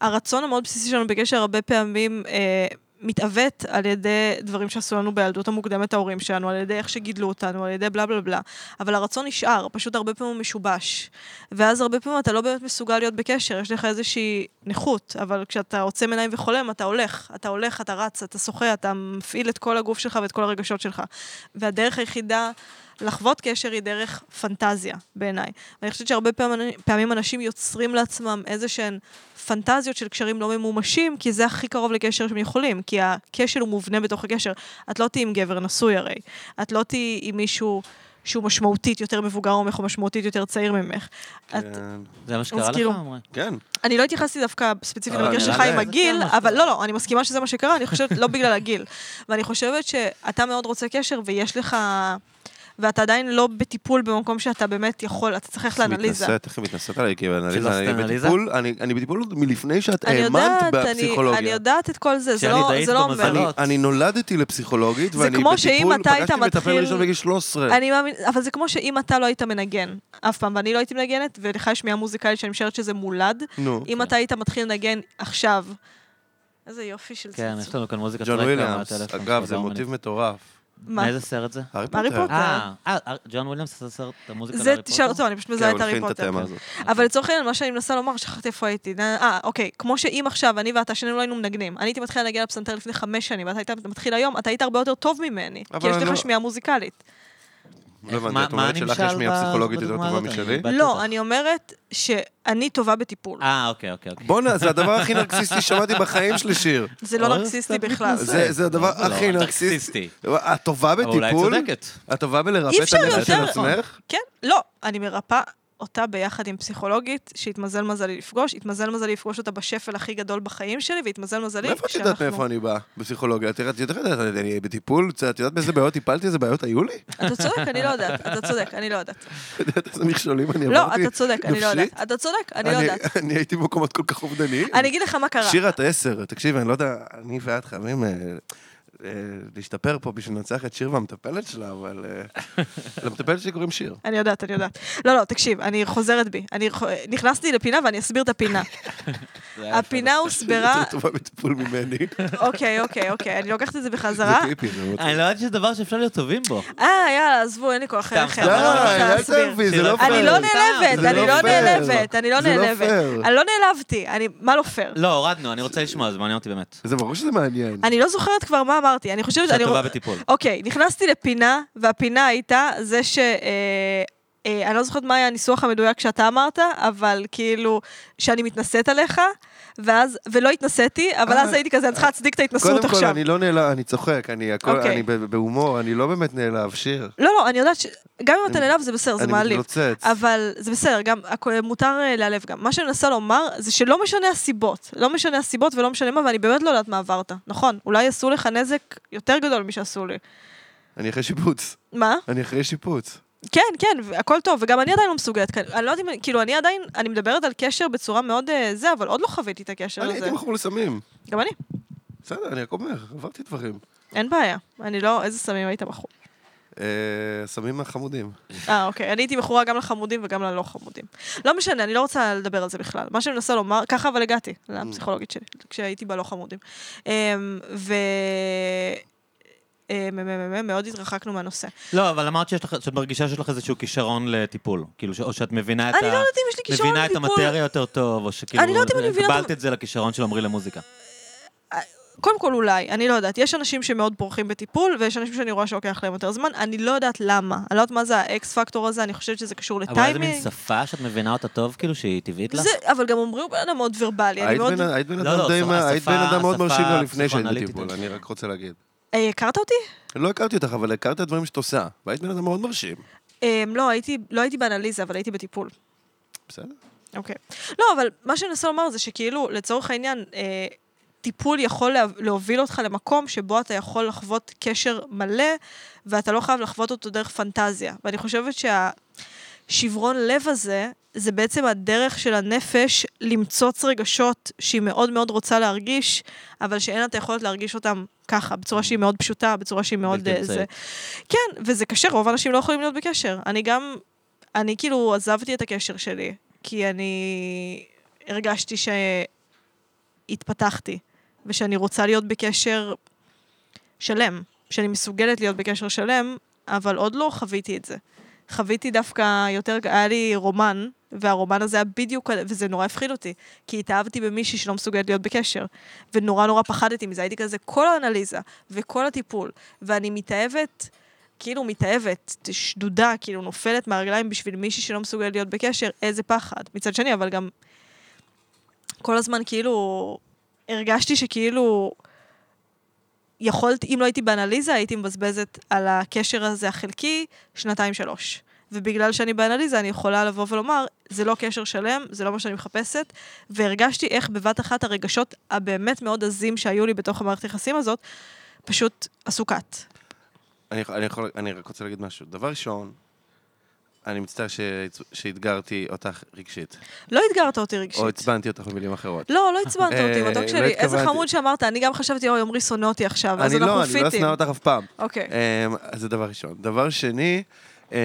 S3: הרצון המאוד בסיסי שלנו בקשר הרבה פעמים אה, מתעוות על ידי דברים שעשו לנו בילדות המוקדמת ההורים שלנו, על ידי איך שגידלו אותנו, על ידי בלה בלה בלה. אבל הרצון נשאר, פשוט הרבה פעמים הוא משובש. ואז הרבה פעמים אתה לא באמת מסוגל להיות בקשר, יש לך איזושהי נכות, אבל כשאתה עוצם עיניים וחולם, אתה הולך, אתה הולך, אתה רץ, אתה שוחה, אתה מפעיל את כל הגוף שלך ואת כל הרגשות שלך. והדרך היחידה לחוות קשר היא דרך פנטזיה, בעיניי. ואני חושבת שהרבה פעמים, פעמים אנשים יוצרים לעצמם איזה שהן פנטזיות של קשרים לא ממומשים, כי זה הכי קרוב לקשר שהם יכולים, כי הקשר הוא מובנה בתוך הקשר. את לא תהיי עם גבר נשוי הרי, את לא תהיי עם מישהו שהוא משמעותית יותר מבוגר ממך או משמעותית יותר צעיר ממך. את,
S2: כן.
S1: זה מה שקרה לך,
S3: כאילו-
S1: אמרה?
S2: כן.
S3: אני לא התייחסתי דווקא ספציפית
S2: אבל
S3: למקרה
S2: נראה
S3: שלך
S2: לי-
S3: עם הגיל,
S1: זה כן
S3: אבל לא, לא, אני מסכימה שזה מה שקרה, אני חושבת, לא בגלל הגיל. ואני חושבת שאתה מאוד רוצה קשר ויש לך... ואתה עדיין לא בטיפול במקום שאתה באמת יכול, אתה צריך ללכת לאנליזה.
S2: מתנשאת, איך היא מתנשאת עליי? כי
S1: שלא
S2: באנליזה, אני
S1: עשית אנליזה?
S2: בטיפול, אני אני בטיפול עוד מלפני שאת
S3: אני
S2: האמנת
S3: יודעת, אני, אני
S2: אה, בפסיכולוגיה.
S3: יודעת את כל זה, זה
S1: כשאני
S3: לא,
S1: דאית
S3: זה לא אומר.
S1: במזלות.
S2: אני- אני נולדתי לפסיכולוגית,
S3: זה
S2: ואני
S3: כמו שאם
S2: בטיפול,
S3: אתה היית
S2: פגשתי מטפל
S3: מתחיל-
S2: ראשון בגיל 13.
S3: אני מאמין, אבל זה כמו שאם אתה לא היית מנגן אף פעם, ואני לא הייתי מנגנת, ולך יש שמיעה מוזיקלית שאני משערת שזה מולד,
S2: נו.
S3: אם אתה היית מתחיל לנגן עכשיו, איזה יופי של
S1: כן,
S3: צמצום.
S1: יש לנו כאן מוזיקה
S2: ג'ון
S1: טרקה
S2: וויליאמס,
S1: מהטלפון
S2: אגב,
S1: של
S2: זה
S1: גאון
S2: מוטיב מטורף.
S3: מה?
S1: מאיזה סרט זה?
S2: הארי
S3: הארי
S2: פוטר.
S3: פוטר.
S1: אה, אה, ג'ון וויליאמס עשה סרט, את המוזיקה
S3: זה,
S1: להארי
S3: תשאל
S1: פוטר?
S3: אותו, אני פשוט
S2: כן,
S3: מזהה
S2: הוא
S3: את הארי
S2: הלחין את
S3: פוטר.
S2: התמה הזאת.
S3: אבל לצורך העניין, מה שאני מנסה לומר, שכחתי איפה הייתי. נה- אה, אוקיי, כמו שאם עכשיו, אני ואתה, שנינו לא היינו מנגנים. אני הייתי מתחילה לנגן על פסנתר לפני חמש שנים, ואתה היית מתחיל היום, אתה היית הרבה יותר טוב ממני.
S2: אבל
S3: כי יש
S2: אני
S3: לך
S2: לא-
S3: שמיעה מוזיקלית.
S2: לא הבנתי,
S1: מה-
S2: את
S1: מה
S2: אומרת שלך
S1: הנמשל
S2: יש שמיעה
S1: ב-
S2: פסיכולוגית יותר
S1: בדוגמה
S2: טובה
S1: הזאת?
S2: משלי?
S1: אני-
S3: לא,
S1: אותך.
S3: אני אומרת שאני טובה בטיפול.
S1: אה, אוקיי, אוקיי, אוקיי.
S2: בואנה, זה הדבר הכי נרקסיסטי ששמעתי בחיים שלי, שיר.
S3: זה לא
S1: אוי,
S3: נרקסיסטי
S1: קצת
S3: בכלל.
S1: מתנשא.
S2: אה, זה זה הדבר
S1: לא,
S2: הכי לא,
S1: לא,
S2: נרקסיסטי. את טובה
S1: אבל אולי
S2: בטיפול?
S1: צודקת.
S2: את טובה בלרפא
S3: אי
S2: את
S3: אפשר
S2: הנפש של
S3: יותר.
S2: עצמך?
S3: כן, לא, אני מרפאה אותה ביחד עם פסיכולוגית, שהתמזל מזלי לפגוש, התמזל מזלי לפגוש אותה בשפל הכי גדול בחיים שלי, והתמזל מזלי
S2: מאיפה את יודעת מאיפה אני בא בפסיכולוגיה? את יודעת, את יודעת, אני בטיפול, את יודעת באיזה בעיות טיפלתי, איזה בעיות היו לי?
S3: אתה צודק, אני לא יודעת, אתה צודק, אני לא יודעת.
S2: את יודעת איזה מכשולים אני
S3: לא,
S2: עברתי?
S3: אתה צודק, אני לא
S2: נפשית?
S3: יודעת. אתה צודק, אני לא יודעת.
S2: אני הייתי במקומות כל כך אובדניים.
S3: אני אגיד לך מה קרה.
S2: שירה, את עשר, תקשיב, אני לא יודע, אני ואת חייבים אה, אה, להשתפר פה בשביל לנצח את שיר והמטפלת שלה, אבל... אה, למטפלת שלי קוראים שיר.
S3: אני יודעת, אני יודעת. לא, לא, תקשיב, אני חוזרת בי. אני ח- נכנסתי לפינה ואני אסביר את הפינה.
S1: זה היה
S3: הפינה
S2: היא
S3: הוסברה...
S2: יותר טובה בטיפול ממני.
S3: אוקיי, אוקיי, אוקיי, אני לוקחת את זה
S2: זה
S3: בחזרה.
S2: טיפי, זה מאוד...
S1: יפה. אני לא יודעת שזה דבר שאפשר להיות טובים בו.
S3: אה, יאללה, עזבו, אין לי כוח
S1: סתם,
S3: אחר.
S1: סתם,
S3: אני
S1: לא,
S3: לא רוצה
S1: אל
S3: להסביר.
S2: תעלבי, זה לא פייר.
S3: אני לא
S1: זה
S3: נעלבת, אני
S1: לא
S3: לא
S1: פייר.
S3: נעלבת, אני לא
S2: זה לא
S3: נעלבת.
S2: פייר.
S3: אני לא נעלבתי, אני... מה לא פייר?
S1: לא, הורדנו, אני רוצה לשמוע, זה מעניין אותי באמת.
S2: זה ברור שזה מעניין.
S3: אני לא זוכרת כבר מה אמרתי, אני חושבת...
S1: שאת
S3: אני-
S1: טובה בטיפול.
S3: אוקיי, נכנסתי לפינה, והפינה הייתה זה ש... אה, אה, אני לא זוכרת מה היה הניסוח המדויק שאתה אמרת, אבל כאילו, שאני מתנשאת עליך, ואז, ולא התנסיתי, אבל אז הייתי כזה, אני צריכה להצדיק את ההתנסות
S2: אה, קודם כל,
S3: עכשיו.
S2: אני לא נעלב, אני צוחק, אני הכל,
S3: אוקיי.
S2: אני ב- בהומור, אני לא באמת נעלב, שיר.
S3: לא, לא, אני יודעת ש... גם אם אתה
S2: אני-
S3: נעלב זה בסדר, זה
S2: אני לא-
S3: מעליב.
S2: מתלוצץ.
S3: אבל זה בסדר, גם הכ- מותר אה, להיעלב גם. מה שאני מנסה לומר זה שלא משנה הסיבות. לא משנה הסיבות ולא משנה מה, ואני באמת לא יודעת מה עברת. נכון, אולי עשו לך נזק יותר גדול משעשו לי.
S2: אני אחרי שיפוץ.
S3: מה?
S2: אני אחרי שיפוץ.
S3: כן, כן, הכל טוב, וגם אני עדיין לא מסוגלת, כן, אני לא יודעת אם, כאילו, אני עדיין, אני מדברת על קשר בצורה מאוד אה, זה, אבל עוד לא חוויתי את הקשר
S2: אני
S3: הזה.
S2: הייתי מכור לסמים.
S3: גם אני,
S2: בסדר, אני רק אומר, עברתי דברים.
S3: אין בעיה. אני לא, איזה סמים היית מכור.
S2: אה, הסמים החמודים.
S3: אה, אוקיי, אני הייתי מכורה גם לחמודים וגם ללא חמודים. לא משנה, אני לא רוצה לדבר על זה בכלל. מה שאני מנסה לומר, ככה אבל הגעתי לפסיכולוגית שלי, כשהייתי בלא חמודים. אמ, ו... אמ, אמ, אמ, אמ, מאוד התרחקנו מהנושא.
S1: לא, אבל אמרת שיש לך- שאת מרגישה שיש לך איזשהו כישרון לטיפול. כאילו, ש- או שאת מבינה את ה...
S3: אני לא יודעת אם יש לי כישרון
S1: מבינה את
S3: לטיפול.
S1: המטריה יותר טוב, או שכאילו...
S3: אני לא יודעת אם אני מבינה את
S1: קבלת
S3: המ-
S1: את זה לכישרון של עמרי למוזיקה.
S3: קודם כל אולי, אני לא יודעת. יש אנשים שמאוד בורחים בטיפול, ויש אנשים שאני רואה שלוקח להם יותר זמן, אני לא יודעת למה. אני לא יודעת מה זה האקס פקטור הזה, אני חושבת שזה
S1: אבל
S3: קשור
S1: איזה מין
S3: לטיימינג.
S1: שפה שאת מבינה אותה טוב, כאילו, שהיא טבעית לך?
S3: זה- אבל גם אומרים בן אדם מאוד ורבלי, אני
S2: היית
S3: מאוד...
S2: בן- היית בן
S1: לא,
S2: אדם
S1: לא,
S2: די
S1: השפה-
S2: מה- היית בן אדם מאוד
S1: השפה
S2: מרשים גם לפני שהיית
S1: הפסיכואנליטית.
S2: בטיפול, אני רק רוצה להגיד.
S3: אה, הכרת אותי?
S2: לא הכרתי אותך, אבל הכרת דברים שאת עושה, והיית בן אדם מאוד מרשים.
S3: אמ, לא, הייתי- לא הייתי באנליזה, אבל הייתי בטיפול.
S2: בסדר?
S3: אוקיי. לא, אבל מה שאני מנסה לומר זה שכאילו, לצורך העניין, אה, טיפול יכול לה- להוביל אותך למקום שבו אתה יכול לחוות קשר מלא, ואתה לא חייב לחוות אותו דרך פנטזיה. ואני חושבת שהשברון לב הזה, זה בעצם הדרך של הנפש למצוץ רגשות שהיא מאוד מאוד רוצה להרגיש, אבל שאין לה את היכולת להרגיש אותם ככה, בצורה שהיא מאוד פשוטה, בצורה שהיא מאוד...
S1: בלתי
S3: אה,
S1: אמצעית.
S3: זה. כן, וזה קשה, רוב האנשים לא יכולים להיות בקשר. אני גם, אני כאילו עזבתי את הקשר שלי, כי אני הרגשתי שהתפתחתי, ושאני רוצה להיות בקשר שלם, שאני מסוגלת להיות בקשר שלם, אבל עוד לא חוויתי את זה. חוויתי דווקא יותר, היה לי רומן, והרומן הזה היה בדיוק, וזה נורא הפחיד אותי, כי התאהבתי במישהי שלא מסוגלת להיות בקשר, ונורא נורא פחדתי מזה, הייתי כזה כל האנליזה, וכל הטיפול, ואני מתאהבת, כאילו מתאהבת, שדודה, כאילו נופלת מהרגליים בשביל מישהי שלא מסוגלת להיות בקשר, איזה פחד. מצד שני, אבל גם כל הזמן כאילו הרגשתי שכאילו יכולת, אם לא הייתי באנליזה, הייתי מבזבזת על הקשר הזה החלקי שנתיים-שלוש. ובגלל שאני באנליזה, אני יכולה לבוא ולומר, זה לא קשר שלם, זה לא מה שאני מחפשת, והרגשתי איך בבת אחת הרגשות הבאמת מאוד עזים שהיו לי בתוך המערכת היחסים הזאת, פשוט עשו קאט.
S2: אני, יכול- אני, יכול, אני רק רוצה להגיד משהו. דבר ראשון, אני מצטער שהצ- שאתגרתי אותך רגשית.
S3: לא אתגרת אותי
S2: או
S3: רגשית.
S2: עצבנתי אותך במילים אחרות.
S3: לא, לא עצבנת אותי,
S2: אה,
S3: מתוק
S2: לא
S3: שלי. איזה
S2: התכוונתי.
S3: חמוד שאמרת, אני גם חשבתי, אוי, עמרי שונא אותי עכשיו, אז
S2: אני
S3: אנחנו
S2: לא, אני לא
S3: פיטים.
S2: אשנא אותך אף פעם.
S3: אוקיי.
S2: אמ, אז זה דבר ראשון. דבר שני, אמ,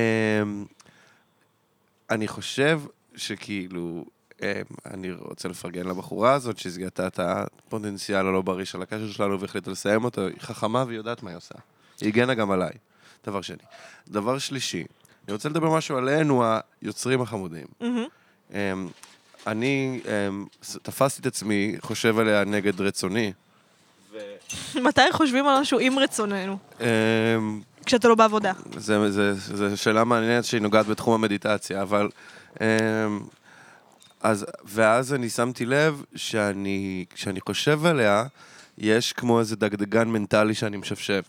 S2: אני חושב שכאילו, אמ, אני רוצה לפרגן לבחורה הזאת שזיהתה את הפוטנציאל הלא בריא של הקשר שלנו והחליטה לסיים אותו, היא חכמה והיא יודעת מה היא עושה. היא הגנה גם עליי. דבר שני. דבר שלישי, אני רוצה לדבר משהו עלינו, היוצרים החמודים.
S3: מהמם.
S2: אמ, אני אמ, ס- תפסתי את עצמי, חושב עליה נגד רצוני.
S3: מתי חושבים על משהו עם רצוננו?
S2: אמ,
S3: כשאתה לא בעבודה.
S2: זה, זה, זה שאלה מעניינת שהיא נוגעת בתחום המדיטציה, אבל... אמ, אז, ואז אני שמתי לב שאני, כשאני חושב עליה, יש כמו איזה דגדגן מנטלי שאני משפשף.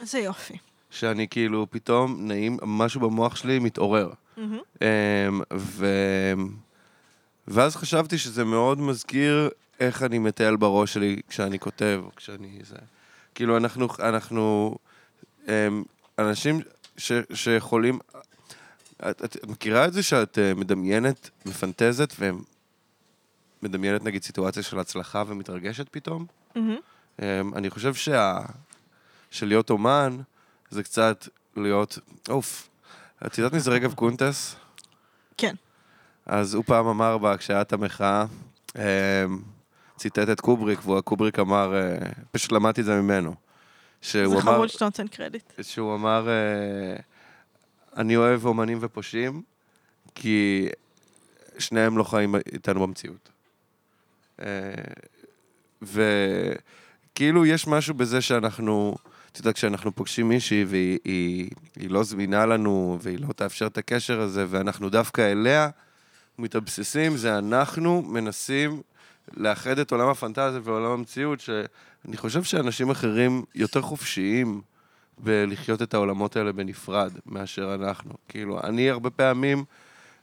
S3: איזה יופי.
S2: שאני כאילו, פתאום נעים, משהו במוח שלי מתעורר.
S3: מהמם.
S2: אמ, ו... ואז חשבתי שזה מאוד מזכיר איך אני מטייל בראש שלי כשאני כותב, או כשאני זה. כאילו, אנחנו, אנחנו אמ, אנשים ש, שיכולים... את, את, את מכירה את זה שאת אה, מדמיינת, מפנטזת, ומדמיינת נגיד סיטואציה של הצלחה ומתרגשת פתאום?
S3: מהמם.
S2: אמ, אני חושב שה... שלהיות אומן זה קצת להיות... אוף, את יודעת מי זה רגב קונטס?
S3: כן.
S2: אה, אז הוא פעם אמר בה, כשהייתה המחאה, אמ, ציטט את קובריק, וקובריק אמר, אה, פשוט למדתי את זה ממנו.
S3: זה
S2: שהוא אמר,
S3: חמוד שאתה נותן קרדיט.
S2: שהוא אמר, אה, אני אוהב אומנים ופושעים, כי שניהם לא חיים איתנו במציאות. וכאילו כאילו יש משהו בזה שאנחנו, את יודעת, כשאנחנו פוגשים מישהי והיא היא, היא לא זמינה לנו והיא לא תאפשר את הקשר הזה, ואנחנו דווקא אליה מתאבססים, זה אנחנו מנסים לאחד את עולם הפנטזיה ועולם המציאות, שאני חושב שאנשים אחרים יותר חופשיים בלחיות את העולמות האלה בנפרד מאשר אנחנו. כאילו, אני הרבה פעמים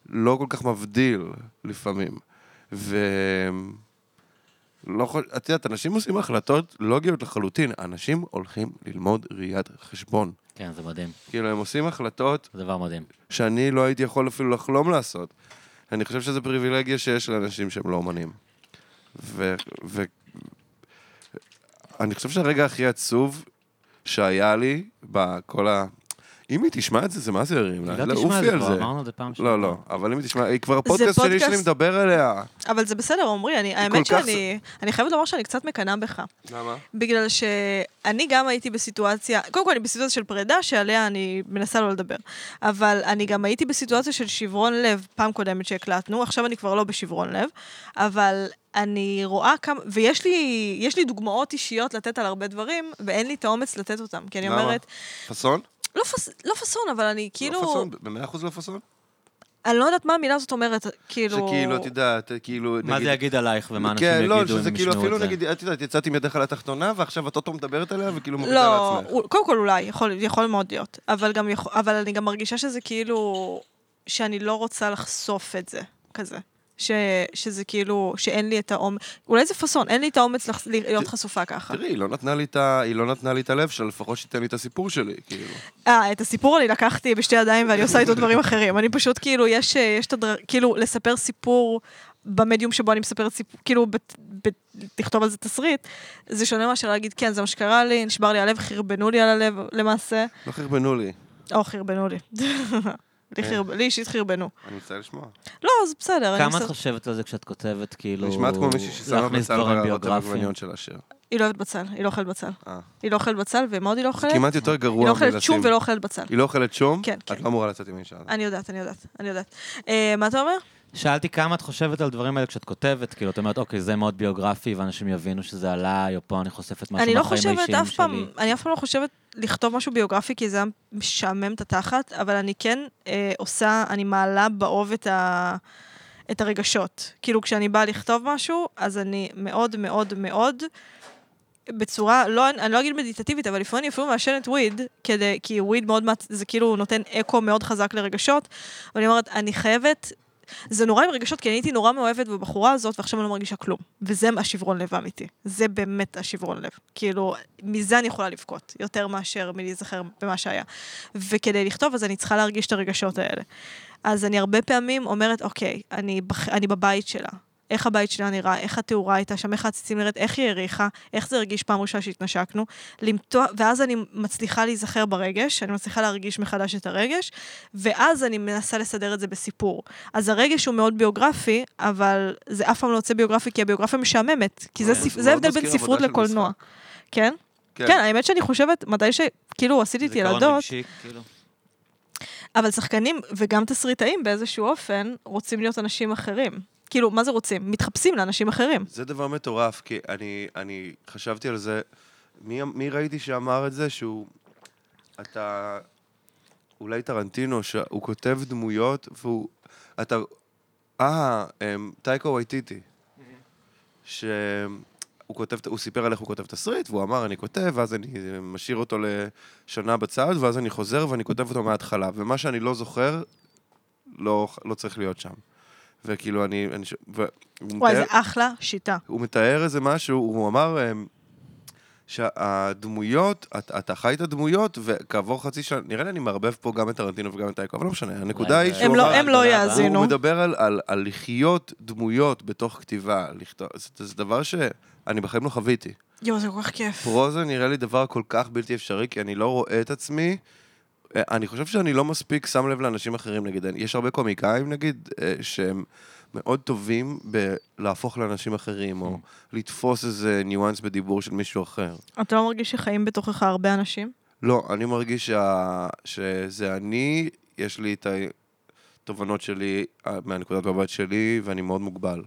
S2: לא כל כך מבדיל לפעמים. ו... לא חושב, את יודעת, אנשים עושים החלטות לוגיות לחלוטין. אנשים הולכים ללמוד ראיית חשבון.
S1: כן, זה מדהים.
S2: כאילו, הם עושים החלטות
S1: זה דבר מדהים.
S2: שאני לא הייתי יכול אפילו לחלום לעשות. אני חושב שזו פריבילגיה שיש לאנשים שהם לא אומנים. ו... ו... אני חושב שהרגע הכי עצוב שהיה לי בכל ה... אם היא תשמע את זה, זה מה זה ירים לה?
S1: היא לא
S2: עופי
S1: תשמע את זה
S2: על
S1: כבר, אמרנו את זה פעם
S2: לא,
S1: שעברה.
S2: לא, אבל אם היא תשמע, היא כבר הפודקאסט שלי
S3: פודקאסט-
S2: שלי מדבר עליה.
S3: אבל זה בסדר, עמרי, אני- האמת
S2: כל כך
S3: שאני... אני חייבת לומר שאני קצת מקנאה בך.
S2: למה?
S3: בגלל שאני גם הייתי בסיטואציה, קודם כל אני בסיטואציה של פרידה, שעליה אני מנסה לא לדבר. אבל אני גם הייתי בסיטואציה של שברון לב, פעם קודמת שהקלטנו, עכשיו אני כבר לא בשברון לב, אבל אני רואה כמה, ויש לי, יש לי דוגמאות אישיות לתת על הרבה דברים, ואין לי את האומץ לתת אותם, כי אני
S2: למה?
S3: אומרת,
S2: פאסון?
S3: לא, פס, לא פסון, אבל אני כאילו,
S2: לא פאסון? במאה אחוז לא פאסון?
S3: אני לא יודעת מה המילה הזאת אומרת, כאילו...
S2: שכאילו, את יודעת, כאילו...
S1: מה
S2: נגיד-
S1: זה יגיד עלייך ומה אנשים
S2: כן,
S1: יגידו אם
S2: לא,
S1: ישמעו את זה?
S2: שזה כאילו אפילו נגיד, את יודעת, יצאתי מידך לתחתונה, ועכשיו את אותו מדברת עליה, וכאילו מורידה
S3: לא,
S2: לעצמך.
S3: הוא- קודם כל אולי, יכול, יכול מאוד להיות. אבל, גם יכול, אבל אני גם מרגישה שזה כאילו, שאני לא רוצה לחשוף את זה, כזה. ש, שזה כאילו, שאין לי את האומץ, אולי זה פאסון, אין לי את האומץ לח- להיות
S2: ת-
S3: חשופה ככה.
S2: תראי, היא לא נתנה לי את ה- היא לא נתנה לי את הלב שלה, לפחות שתיתן לי את הסיפור שלי, כאילו.
S3: אה, את הסיפור אני לקחתי בשתי ידיים ואני עושה איתו דברים אחרים. אני פשוט, כאילו, יש, אה, יש את הדבר... כאילו, לספר סיפור במדיום שבו אני מספרת סיפור, כאילו, בת, בת, לכתוב על זה תסריט, זה שונה מאשר להגיד, כן, זה מה שקרה לי, נשבר לי הלב, חרבנו לי על הלב, למעשה.
S2: לא חרבנו לי.
S3: או, חרבנו לי. לי חרב- לי אישית חרבנו.
S2: אני מצטער לשמוע.
S3: לא, זה בסדר. אני
S1: כמה את
S3: מסת-
S1: חושבת על זה כשאת כותבת, כאילו...
S2: נשמעת כמו מישהי ששמה
S1: להכניס
S2: בצד
S1: דברים
S2: בהערות
S1: ביוגרפיים?
S2: המגווניות של השיר.
S3: היא לא אוהבת בצל, היא לא אוכלת בצל.
S2: אה.
S3: היא לא אוכלת בצל, ומה עוד היא לא
S2: זה
S3: אוכלת?
S2: כמעט יותר גרוע
S3: היא לא אוכלת
S2: מלשים-
S3: שום ולא אוכלת בצל.
S2: היא לא אוכלת שום?
S3: כן, כן.
S2: את לא אמורה לצאת עם האישה הזאת.
S3: אני יודעת, אני יודעת, אני יודעת. אה, מה אתה אומר?
S1: שאלתי כמה את חושבת על הדברים האלה כשאת כותבת, כאילו, את אומרת, אוקיי, זה מאוד ביוגרפי, ואנשים יבינו שזה עליי, או פה אני חושפת משהו
S3: אני לא
S1: מהחיים
S3: חושבת
S1: האישיים
S3: אף פעם,
S1: שלי.
S3: אני אף פעם לא חושבת לכתוב משהו ביוגרפי, כי זה היה משעמם את התחת, אבל אני כן אה, עושה, אני מעלה באוב את, ה, את הרגשות. כאילו, כשאני באה לכתוב משהו, אז אני מאוד מאוד מאוד, בצורה, לא, אני לא אגיד מדיטטיבית, אבל לפעמים אני אפילו מעשנת וויד, כדי, כי וויד מאוד, מעצ- זה כאילו נותן אקו מאוד חזק לרגשות, ואני אומרת, אני חייבת... זה נורא עם רגשות, כי אני הייתי נורא מאוהבת בבחורה הזאת, ועכשיו אני לא מרגישה כלום. וזה השברון לב האמיתי. זה באמת השברון לב. כאילו, מזה אני יכולה לבכות, יותר מאשר מלהיזכר במה שהיה. וכדי לכתוב, אז אני צריכה להרגיש את הרגשות האלה. אז אני הרבה פעמים אומרת, אוקיי, אני, בח... אני בבית שלה. איך הבית שלה נראה, איך התאורה הייתה שם, איך העציצים נראית, איך היא האריכה, איך זה הרגיש פעם ראשונה שהתנשקנו. למתוח, ואז אני מצליחה להיזכר ברגש, אני מצליחה להרגיש מחדש את הרגש, ואז אני מנסה לסדר את זה בסיפור. אז הרגש הוא מאוד ביוגרפי, אבל זה אף פעם לא יוצא ביוגרפי, כי הביוגרפיה משעממת. כי זה,
S2: כן,
S3: ספ...
S2: זה
S3: זה
S2: מאוד
S3: ההבדל בין
S2: מזכיר
S3: ספרות
S2: עבודה של
S3: לקולנוע.
S2: משחק.
S3: כן? כן. כן, האמת שאני חושבת, מתי שכאילו עשיתי את
S1: זיכרון
S3: ילדות,
S1: רגשי, כאילו.
S3: אבל שחקנים וגם תסריטאים באיזשהו אופן רוצים להיות אנשים אחרים. כאילו, מה זה רוצים? מתחפשים לאנשים אחרים.
S2: זה דבר מטורף, כי אני, אני חשבתי על זה, מי, מי ראיתי שאמר את זה? שהוא, אתה, אולי טרנטינו, שהוא כותב דמויות, והוא, אתה, אה, אמ, טייקו וייטיטי, שהוא כותב, הוא סיפר על איך הוא כותב תסריט, והוא אמר, אני כותב, ואז אני משאיר אותו לשנה בצד, ואז אני חוזר ואני כותב אותו מההתחלה, ומה שאני לא זוכר, לא, לא צריך להיות שם. וכאילו, אני... אני ש... ו... הוא
S3: וואי,
S2: מתאר-
S3: זה אחלה שיטה.
S2: הוא מתאר איזה משהו, הוא אמר אמ, שהדמויות, אתה, אתה חי את הדמויות, וכעבור חצי שנה, נראה לי אני מערבב פה גם את טרנטינו וגם את טייקו, אבל לא משנה, הנקודה
S1: אולי
S2: היא
S1: זה-
S2: שהוא
S3: הם לא-
S2: אמר...
S3: הם לא
S1: תודה רבה.
S3: יאזינו.
S2: הוא מדבר על, על, על לחיות דמויות בתוך כתיבה, לכתוב, זה, זה דבר שאני בחיים לא חוויתי.
S3: יואו, זה כל כך כיף.
S2: פרוזה נראה לי דבר כל כך בלתי אפשרי, כי אני לא רואה את עצמי. אה, אני חושב שאני לא מספיק שם לב לאנשים אחרים, נגיד, אני- יש הרבה קומיקאים, נגיד, אה, שהם מאוד טובים בלהפוך לאנשים אחרים, או לתפוס איזה ניואנס בדיבור של מישהו אחר.
S3: אתה לא מרגיש שחיים בתוכך הרבה אנשים?
S2: לא, אני מרגיש שה... שזה אני, יש לי את התובנות שלי אה, מהנקודת מבט שלי, ואני מאוד מוגבל.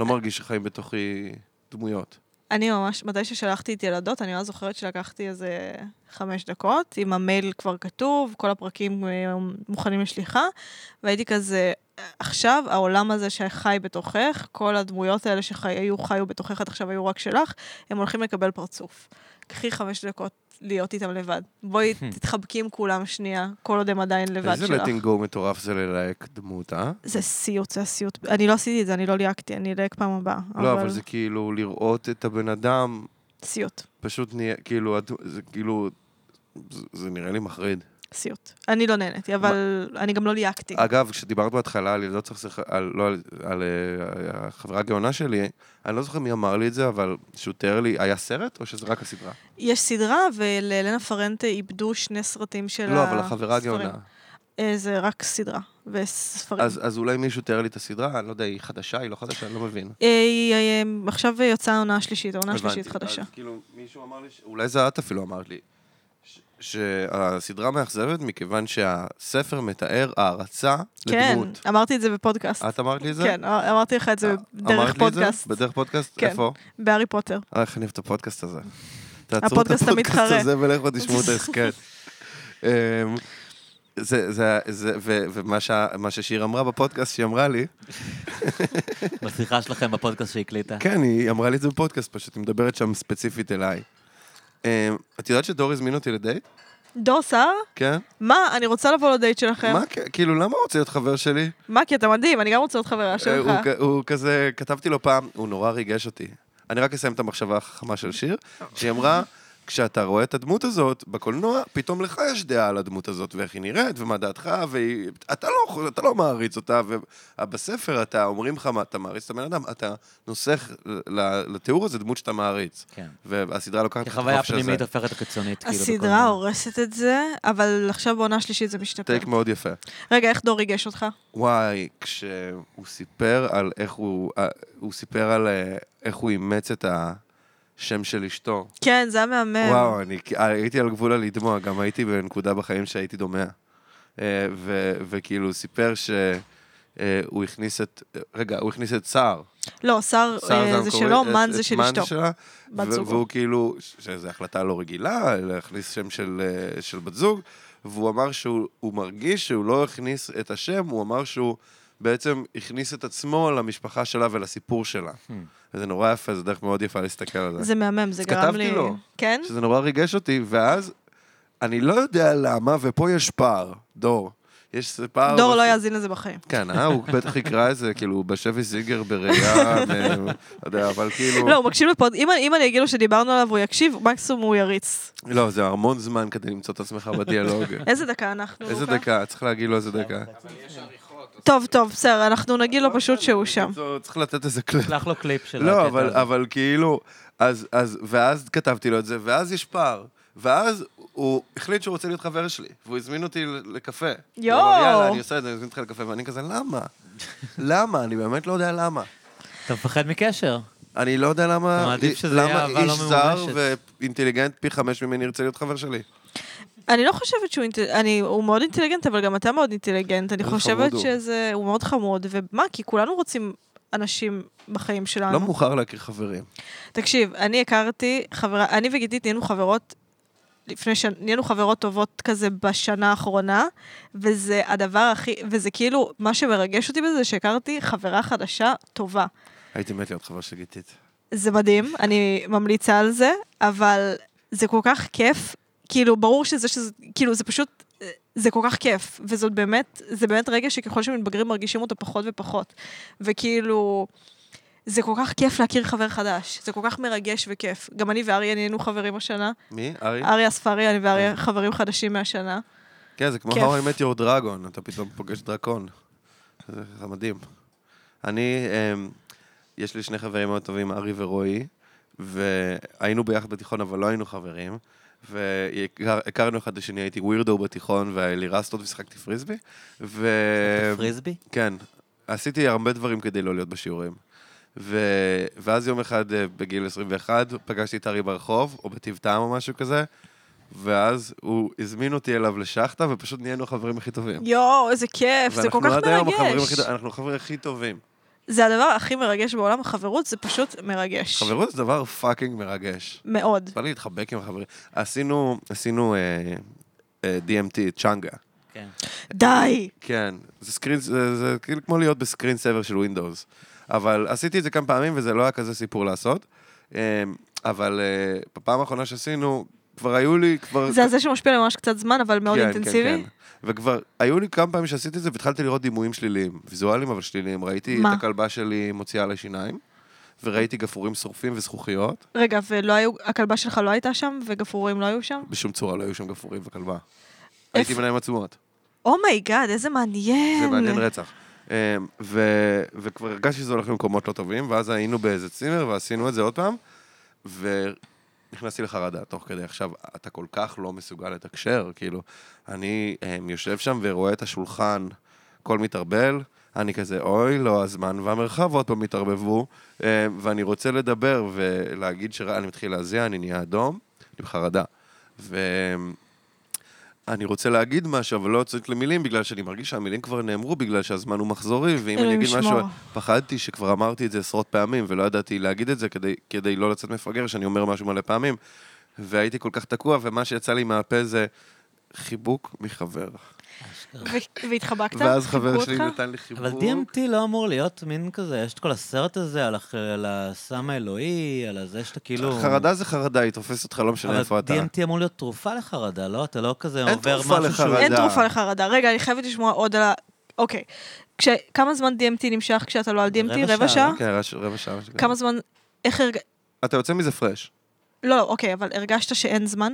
S2: לא מרגיש שחיים בתוכי דמויות.
S3: אני ממש, מתי ששלחתי את ילדות, אני ממש זוכרת שלקחתי איזה חמש דקות, עם המייל כבר כתוב, כל הפרקים אה, מוכנים לשליחה, והייתי כזה, עכשיו העולם הזה שחי בתוכך, כל הדמויות האלה שהיו חיו בתוכך עד עכשיו היו רק שלך, הם הולכים לקבל פרצוף. קחי חמש דקות להיות איתם לבד. בואי תתחבקי עם כולם שנייה, כל עוד הם עדיין לבד
S2: איזה
S3: שלך.
S2: letting go מטורף זה ללהק דמות, אה?
S3: זה סיוט, זה הסיוט. אני לא עשיתי את זה, אני לא ליהקתי, אני אלהק פעם הבאה.
S2: לא, אבל זה כאילו לראות את הבן אדם,
S3: סיוט.
S2: פשוט נהיה, כאילו, את- זה כאילו, זה- זה נראה לי מחריד.
S3: סיוט. אני לא נהניתי, אבל אני גם לא ליהקתי.
S2: אגב, כשדיברת בהתחלה על ילדות סכסך, על, לא על, על אה, החברה הגאונה שלי, אני לא זוכר מי אמר לי את זה, אבל שהוא תיאר לי, היה סרט או שזה רק הסדרה?
S3: יש סדרה, וללנה פרנטה איבדו שני סרטים של
S2: לא, אבל החברה
S3: הספרים.
S2: הגאונה.
S3: אה, זה רק סדרה וספרים.
S2: אז, אז אולי מישהו תיאר לי את הסדרה, אני לא יודע, היא חדשה, היא לא חדשה, אני לא מבין.
S3: אה, היא- אה, עכשיו יצאה העונה השלישית, העונה השלישית
S2: הבנתי.
S3: חדשה.
S2: אז כאילו, מישהו אמר לי, ש- אולי זה את אפילו אמרת לי, ש- שהסדרה מאכזבת מכיוון שהספר מתאר הערצה
S3: כן,
S2: לדמות.
S3: אמרתי את זה בפודקאסט.
S2: את אמרת לי את זה?
S3: כן, אה, אמרתי לך את זה
S2: אמרת לי
S3: דרך
S2: את
S3: פודקאסט,
S2: זה? בדרך פודקאסט?
S3: כן.
S2: איפה?
S3: בהארי פוטר.
S2: אה, איך אני אוהב את הפודקאסט הזה. תעצרו את
S3: הפודקאסט
S2: הפודקאסט
S3: המתחרה.
S2: הזה ולכו תשמעו את ההסכת. אמ, זה, זה, זה, ו- ומה שה- מה ששיר אמרה בפודקאסט, שהיא אמרה לי,
S1: בשיחה שלכם בפודקאסט שהקליטה.
S2: כן, היא אמרה לי את זה בפודקאסט פשוט, היא מדברת שם ספציפית אליי. אמ, את יודעת שדור הזמין אותי לדייט?
S3: דור סער?
S2: כן?
S3: מה, אני רוצה לבוא לדייט שלכם.
S2: מה, כן? כאילו, למה הוא רוצה להיות חבר שלי?
S3: מה, כי אתה מדהים, אני גם רוצה להיות חברה
S2: אה, הוא
S3: שלך.
S2: כ- הוא כזה, כתבתי לו פעם, הוא נורא ריגש אותי. אני רק אסיים את המחשבה החכמה של שיר, שהיא אמרה, כשאתה רואה את הדמות הזאת בקולנוע, פתאום לך יש דעה על הדמות הזאת, ואיך היא נראית, ומה דעתך, ואתה לא, אתה לא מעריץ אותה, ובספר אתה, אומרים לך מה, אתה מעריץ את הבן אדם, אתה נוסך ל- לתיאור הזה דמות שאתה מעריץ.
S1: כן.
S2: והסדרה לוקחת
S1: כי
S2: לך
S1: החוויה
S2: את החופש
S1: הפנימית
S2: הזה.
S1: הופכת לחיצונית, כאילו. בכל
S3: הסדרה
S1: מיני-
S3: הורסת את זה, אבל עכשיו בעונה השלישית זה משתפר.
S2: טייק מאוד יפה.
S3: רגע, איך דור ריגש אותך?
S2: וואי, כשהוא סיפר על איך הוא, אה, הוא סיפר על אה, איך הוא אימץ את השם של אשתו.
S3: כן, זה היה מהמם.
S2: וואו, אני כ- אה, הייתי על גבול הלדמוע, גם הייתי בנקודה בחיים שהייתי דומע. אה, ו- וכאילו, הוא סיפר שהוא הכניס את, רגע, הוא הכניס את סער.
S3: לא, שר
S2: סער
S3: אה, זה
S2: המקורי,
S3: שלו,
S2: את-
S3: מן
S2: את
S3: זה של
S2: מן
S3: אשתו.
S2: שלה,
S3: בת
S2: ו-
S3: זוגו.
S2: והוא כאילו, ש- שזו החלטה לא רגילה, להכניס שם של, אה, של בת זוג, והוא אמר שהוא הוא מרגיש שהוא לא הכניס את השם, הוא אמר שהוא בעצם הכניס את עצמו למשפחה שלה ולסיפור שלה. וזה נורא יפה, זו דרך מאוד יפה להסתכל על זה.
S3: Hmm. זה מהמם, זה
S2: אז
S3: גרם
S2: כתבתי
S3: לי...
S2: לו.
S3: כן?
S2: שזה נורא ריגש אותי, ואז אני לא יודע למה, ופה יש פער, דור. יש פער...
S3: דור לא
S2: בפי-
S3: יאזין לזה בחיים.
S2: כן, אה? הוא בטח יקרא את זה, כאילו, הוא בשבי זיגר בראייה, מ- לא יודע, אבל כאילו...
S3: לא, הוא מקשיב לפוד... אם אני- אם אני אגיד לו שדיברנו עליו, הוא יקשיב, מקסימום הוא יריץ.
S2: לא, זה המון זמן כדי למצוא את עצמך בדיאלוג.
S3: איזה דקה אנחנו?
S2: איזה
S3: לוקה?
S2: דקה, צריך להגיד לו איזה דקה.
S3: טוב, טוב, בסדר, אנחנו נגיד לו פשוט שהוא שם.
S2: זו- צריך לתת איזה קליפ.
S1: שלח לו קליפ של
S2: לא,
S1: הקטע
S2: אבל-
S1: הזה.
S2: אבל כאילו, אז, אז, ואז כתבתי לו את זה, ואז יש פער. ואז הוא החליט שהוא רוצה להיות חבר שלי, והוא הזמין אותי ל- לקפה.
S3: יואו.
S2: הוא אמר, יאללה, אני עושה את זה, אני אזמין אותך לקפה, ואני כזה, למה? למה? אני באמת לא יודע למה.
S1: אתה מפחד מקשר.
S2: אני לא יודע למה...
S1: אתה מעדיף שזה יהיה
S2: למה
S1: אהבה לא
S2: איש זר
S1: ממומשת.
S2: ואינטליגנט פי חמש ממני ירצה להיות חבר שלי.
S3: אני לא חושבת שהוא אינטל... אני... הוא מאוד אינטליגנט, אבל גם אתה מאוד אינטליגנט. אני
S2: איזה
S3: חושבת
S2: חמוד הוא.
S3: שזה... הוא מאוד חמוד, ומה? כי כולנו רוצים אנשים בחיים
S1: אה.
S3: שלנו.
S2: לא מאוחר להכיר חברים.
S3: תקשיב, אני הכרתי חברה, אני וגידית נהיינו חברות לפני ש... נהיינו חברות טובות כזה בשנה האחרונה, וזה הדבר הכי, וזה כאילו, מה שמרגש אותי בזה זה שהכרתי חברה חדשה טובה.
S2: הייתי מת להיות חבר של גיתית.
S3: זה מדהים, אני ממליצה על זה, אבל זה כל כך כיף, כאילו, ברור שזה, שזה כאילו, זה פשוט, זה כל כך כיף, וזאת באמת, זה באמת רגע שככל שמתבגרים מרגישים אותו פחות ופחות, וכאילו, זה כל כך כיף להכיר חבר חדש, זה כל כך מרגש וכיף. גם אני ואריה נהיינו חברים השנה,
S2: מי? ארי?
S3: אריה אספרי, אני ואריה
S2: אוקיי.
S3: חברים חדשים מהשנה.
S2: כן, זה כמו
S3: כיף.
S2: How I Met Your Dragon, אתה פתאום פוגש דרקון. זה זה מדהים. אני, אמ, יש לי שני חברים מאוד טובים, ארי ורועי, והיינו ביחד בתיכון, אבל לא היינו חברים. והכרנו אחד את השני, הייתי ווירדו בתיכון, והיה לי רסטות ושיחקתי פריסבי. ו...
S1: פריסבי?
S2: כן, עשיתי הרבה דברים כדי לא להיות בשיעורים. ו... ואז יום אחד, אה, בגיל 21, פגשתי את ארי ברחוב, או בטיב טעם או משהו כזה, ואז הוא הזמין אותי אליו לשחטה, ופשוט נהיינו החברים הכי טובים.
S3: יואו, איזה כיף, זה כל
S2: ואנחנו
S3: כך
S2: עד היום החברים
S3: מרגש.
S2: הכי טוב- אנחנו החברים הכי טובים.
S3: זה הדבר הכי מרגש בעולם, החברות זה פשוט מרגש.
S2: חברות זה דבר פאקינג מרגש.
S3: מאוד.
S2: בא לי להתחבק עם החברים. עשינו, עשינו אה, אה, DMT, צ'אנגה.
S1: כן.
S3: די!
S2: כן, זה סקרין, זה, זה כאילו כמו להיות בסקרין סבר של ווינדוס. אבל עשיתי את זה כמה פעמים וזה לא היה כזה סיפור לעשות. אמ, אבל אה, בפעם האחרונה שעשינו, כבר היו לי, כבר...
S3: זה הזה שמשפיע עליי ממש קצת זמן, אבל מאוד
S2: כן,
S3: אינטנסיבי.
S2: כן, כן. וכבר היו לי כמה פעמים שעשיתי את זה והתחלתי לראות דימויים שליליים, ויזואליים אבל שליליים. ראיתי
S3: מה?
S2: את הכלבה שלי מוציאה עלי שיניים, וראיתי גפרורים שורפים וזכוכיות.
S3: רגע, ולא היו, הכלבה שלך לא הייתה שם, וגפרורים לא היו שם?
S2: בשום צורה לא היו שם גפרורים וכלבה. הייתי
S3: איפה?
S2: ביניהם עצומות.
S3: אומייגאד, איזה מעניין.
S2: זה מעניין רצח. אמ, ו- וכבר הרגשתי שזה הולך למקומות לא טובים, ואז היינו באיזה צימר ועשינו את זה עוד פעם, ונכנסתי לחרדה תוך כדי עכשיו, אתה כל כך לא מסוגל לתקשר, כאילו, אני אמ, יושב שם ורואה את השולחן, הכל מתערבל, אני כזה, אוי, לא, הזמן והמרחב עוד פעם התערבבו, אמ, ואני רוצה לדבר ולהגיד שרע, אני מתחיל להזיע, אני נהיה אדום, אני בחרדה. ו- אני רוצה להגיד משהו, אבל לא יוצאת למילים, בגלל שאני מרגיש שהמילים כבר נאמרו, בגלל שהזמן הוא מחזורי, ואם אני
S3: אלוהים
S2: אגיד משהו,
S3: ישמור.
S2: פחדתי שכבר אמרתי את זה עשרות פעמים, ולא ידעתי להגיד את זה כדי, כדי לא לצאת מפגר, שאני אומר משהו מלא פעמים, והייתי כל כך תקוע, ומה שיצא לי מהפה זה חיבוק מחבר.
S3: ו- והתחבקת?
S2: ואז
S3: חיבקו
S2: חבר שלי
S3: אותך?
S2: נתן לי חיבוק.
S1: אבל DMT לא אמור להיות מין כזה, יש את כל הסרט הזה על הח- על הסם האלוהי, על הזה שאתה כאילו...
S2: חרדה זה חרדה, היא תופסת אותך, לא משנה איפה אתה.
S1: אבל DMT אמור להיות תרופה לחרדה, לא? אתה לא כזה
S2: אין
S1: עובר
S2: תרופה
S1: משהו שהוא...
S2: לחרדה.
S3: אין תרופה לחרדה. רגע, אני חייבת לשמוע עוד על ה... אוקיי. כש- כמה זמן DMT נמשך כשאתה לא על DMT?
S1: רבע שעה,
S3: רבע שעה?
S1: לא?
S2: כן, רש- רבע שעה. משהו כזה.
S3: כמה זמן... איך הרג...
S2: אתה יוצא מזה פרש.
S3: לא, לא, אוקיי, אבל הרגשת שאין זמן?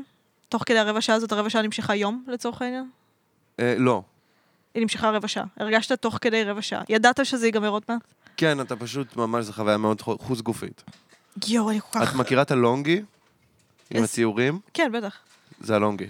S3: תוך כדי הרבע שעה הזאת, הרבע שעה נמשכה יום, לצורך העניין?
S2: אה, לא.
S3: היא נמשכה רבע שעה. הרגשת תוך כדי רבע שעה. ידעת שזה ייגמר עוד מעט?
S2: כן, אתה פשוט, ממש, זו חוויה מאוד חו- חוץ גופית.
S3: יואו, אני כל כך...
S2: את מכירה את הלונגי? עם
S3: איזה-
S2: הציורים?
S3: כן, בטח.
S2: זה הלונגי.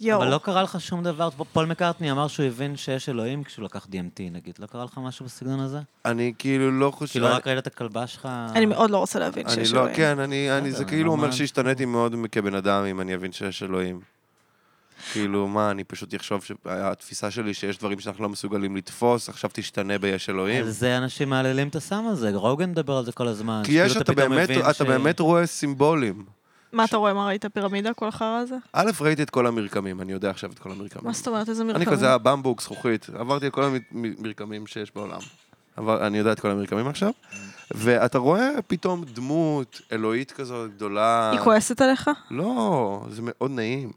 S3: יואו.
S1: אבל לא קרה לך שום דבר, פול מקארטני אמר שהוא הבין שיש אלוהים כשהוא לקח DMT נגיד, לא קרה לך משהו בסגנון הזה?
S2: אני כאילו לא חושב...
S1: כאילו רק ראית את הכלבה שלך...
S3: אני מאוד לא רוצה להבין
S2: אני
S3: שיש
S2: לא,
S3: אלוהים.
S2: כן, אני, אני, זה
S1: בסדר,
S2: כאילו אומר
S1: נורמל.
S2: שהשתניתי מאוד כבן אדם, אם אני אבין שיש אלוהים. כאילו, מה, אני פשוט אחשוב שהתפיסה שלי שיש דברים שאנחנו לא מסוגלים לתפוס, עכשיו תשתנה ביש אלוהים.
S1: על זה אנשים מהללים את הסם הזה, רוגן מדבר על זה כל הזמן.
S2: כי
S1: שכאילו
S2: יש, אתה
S1: כאילו פתאום
S2: באמת,
S1: מבין
S2: אתה
S1: ש-
S2: באמת רואה סימבולים.
S3: מה אתה רואה, מה ראית? פירמידה, כל החרא הזה?
S2: א', ראיתי את כל המרקמים, אני יודע עכשיו את כל המרקמים.
S3: מה זאת אומרת, איזה
S2: אני
S3: מרקמים?
S2: כזה הבמבוק, זכוכית, עברתי את כל המרקמים שיש בעולם. אבל אני יודע את כל המרקמים עכשיו. ואתה רואה פתאום דמות אלוהית כזאת גדולה.
S3: היא כועסת עליך?
S2: לא, זה מאוד נעים.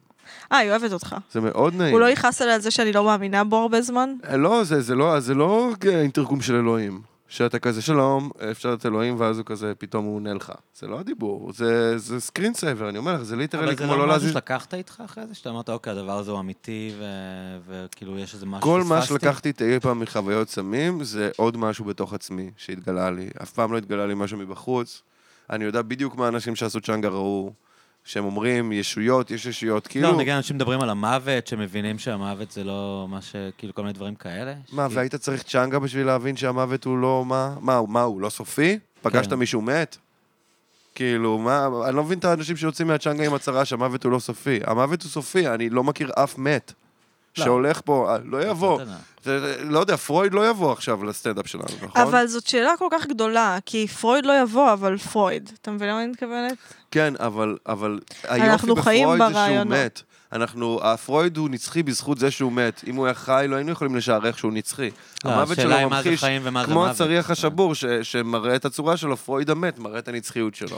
S3: אה, היא אוהבת אותך.
S2: זה מאוד נעים.
S3: הוא לא יכעס עליה על זה שאני לא מאמינה בו הרבה זמן?
S2: אה, לא, זה, זה לא, זה לא אה, תרגום של אלוהים. שאתה כזה שלום, אפשר את אלוהים, ואז הוא כזה, פתאום הוא עונה לך. זה לא הדיבור, זה, זה סקרין סייבר, אני אומר לך, זה ליטרלי
S1: אבל זה
S2: כמו
S1: לא
S2: לא
S1: משהו
S2: להזיז...
S1: שלקחת איתך אחרי זה? שאתה אמרת, אוקיי, הדבר הזה הוא אמיתי, ו- וכאילו יש איזה משהו
S2: כל מה
S1: שפספסתי"?
S2: שלקחתי אי פעם מחוויות סמים, זה עוד משהו בתוך עצמי שהתגלה לי. אף פעם לא התגלה לי משהו מבחוץ. אני יודע בדיוק מה האנשים שעשו צ'אנגה ראו, שהם אומרים, ישויות, יש ישויות, כאילו...
S1: לא, נגיד אנשים מדברים על המוות, שמבינים שהמוות זה לא מה ש... כאילו כל מיני דברים כאלה. כאילו
S2: מה,
S1: שכאילו-
S2: והיית צריך צ'אנגה בשביל להבין שהמוות הוא לא... מה, מה, הוא- מה הוא, לא סופי? פגשת
S1: כן.
S2: מישהו מת? כאילו, מה, אני לא מבין את האנשים שיוצאים מהצ'אנגה עם הצהרה שהמוות הוא לא סופי. המוות הוא סופי, אני לא מכיר אף מת
S1: לא.
S2: שהולך פה, אה, לא יבוא.
S1: אתה יודע.
S2: זה- זה- לא יודע, פרויד לא יבוא עכשיו לסטנדאפ שלנו, נכון?
S3: אבל זאת שאלה כל כך גדולה, כי פרויד לא יבוא, אבל פרויד. אתה מבין למה אני מתכוונת?
S2: כן, אבל, אבל היופי
S3: אנחנו חיים
S2: בפרויד זה שהוא
S3: ברעיונות.
S2: מת. אנחנו, הפרויד הוא נצחי בזכות זה שהוא מת. אם הוא היה חי, לא היינו יכולים לשערך שהוא נצחי.
S1: לא,
S2: המוות
S1: השאלה היא
S2: שלו
S1: מה זה
S2: ממחיש,
S1: חיים ומה זה
S2: כמו
S1: מוות. אה.
S2: הצריח השבור ש, שמראה את הצורה שלו, פרויד המת, מראה את הנצחיות שלו.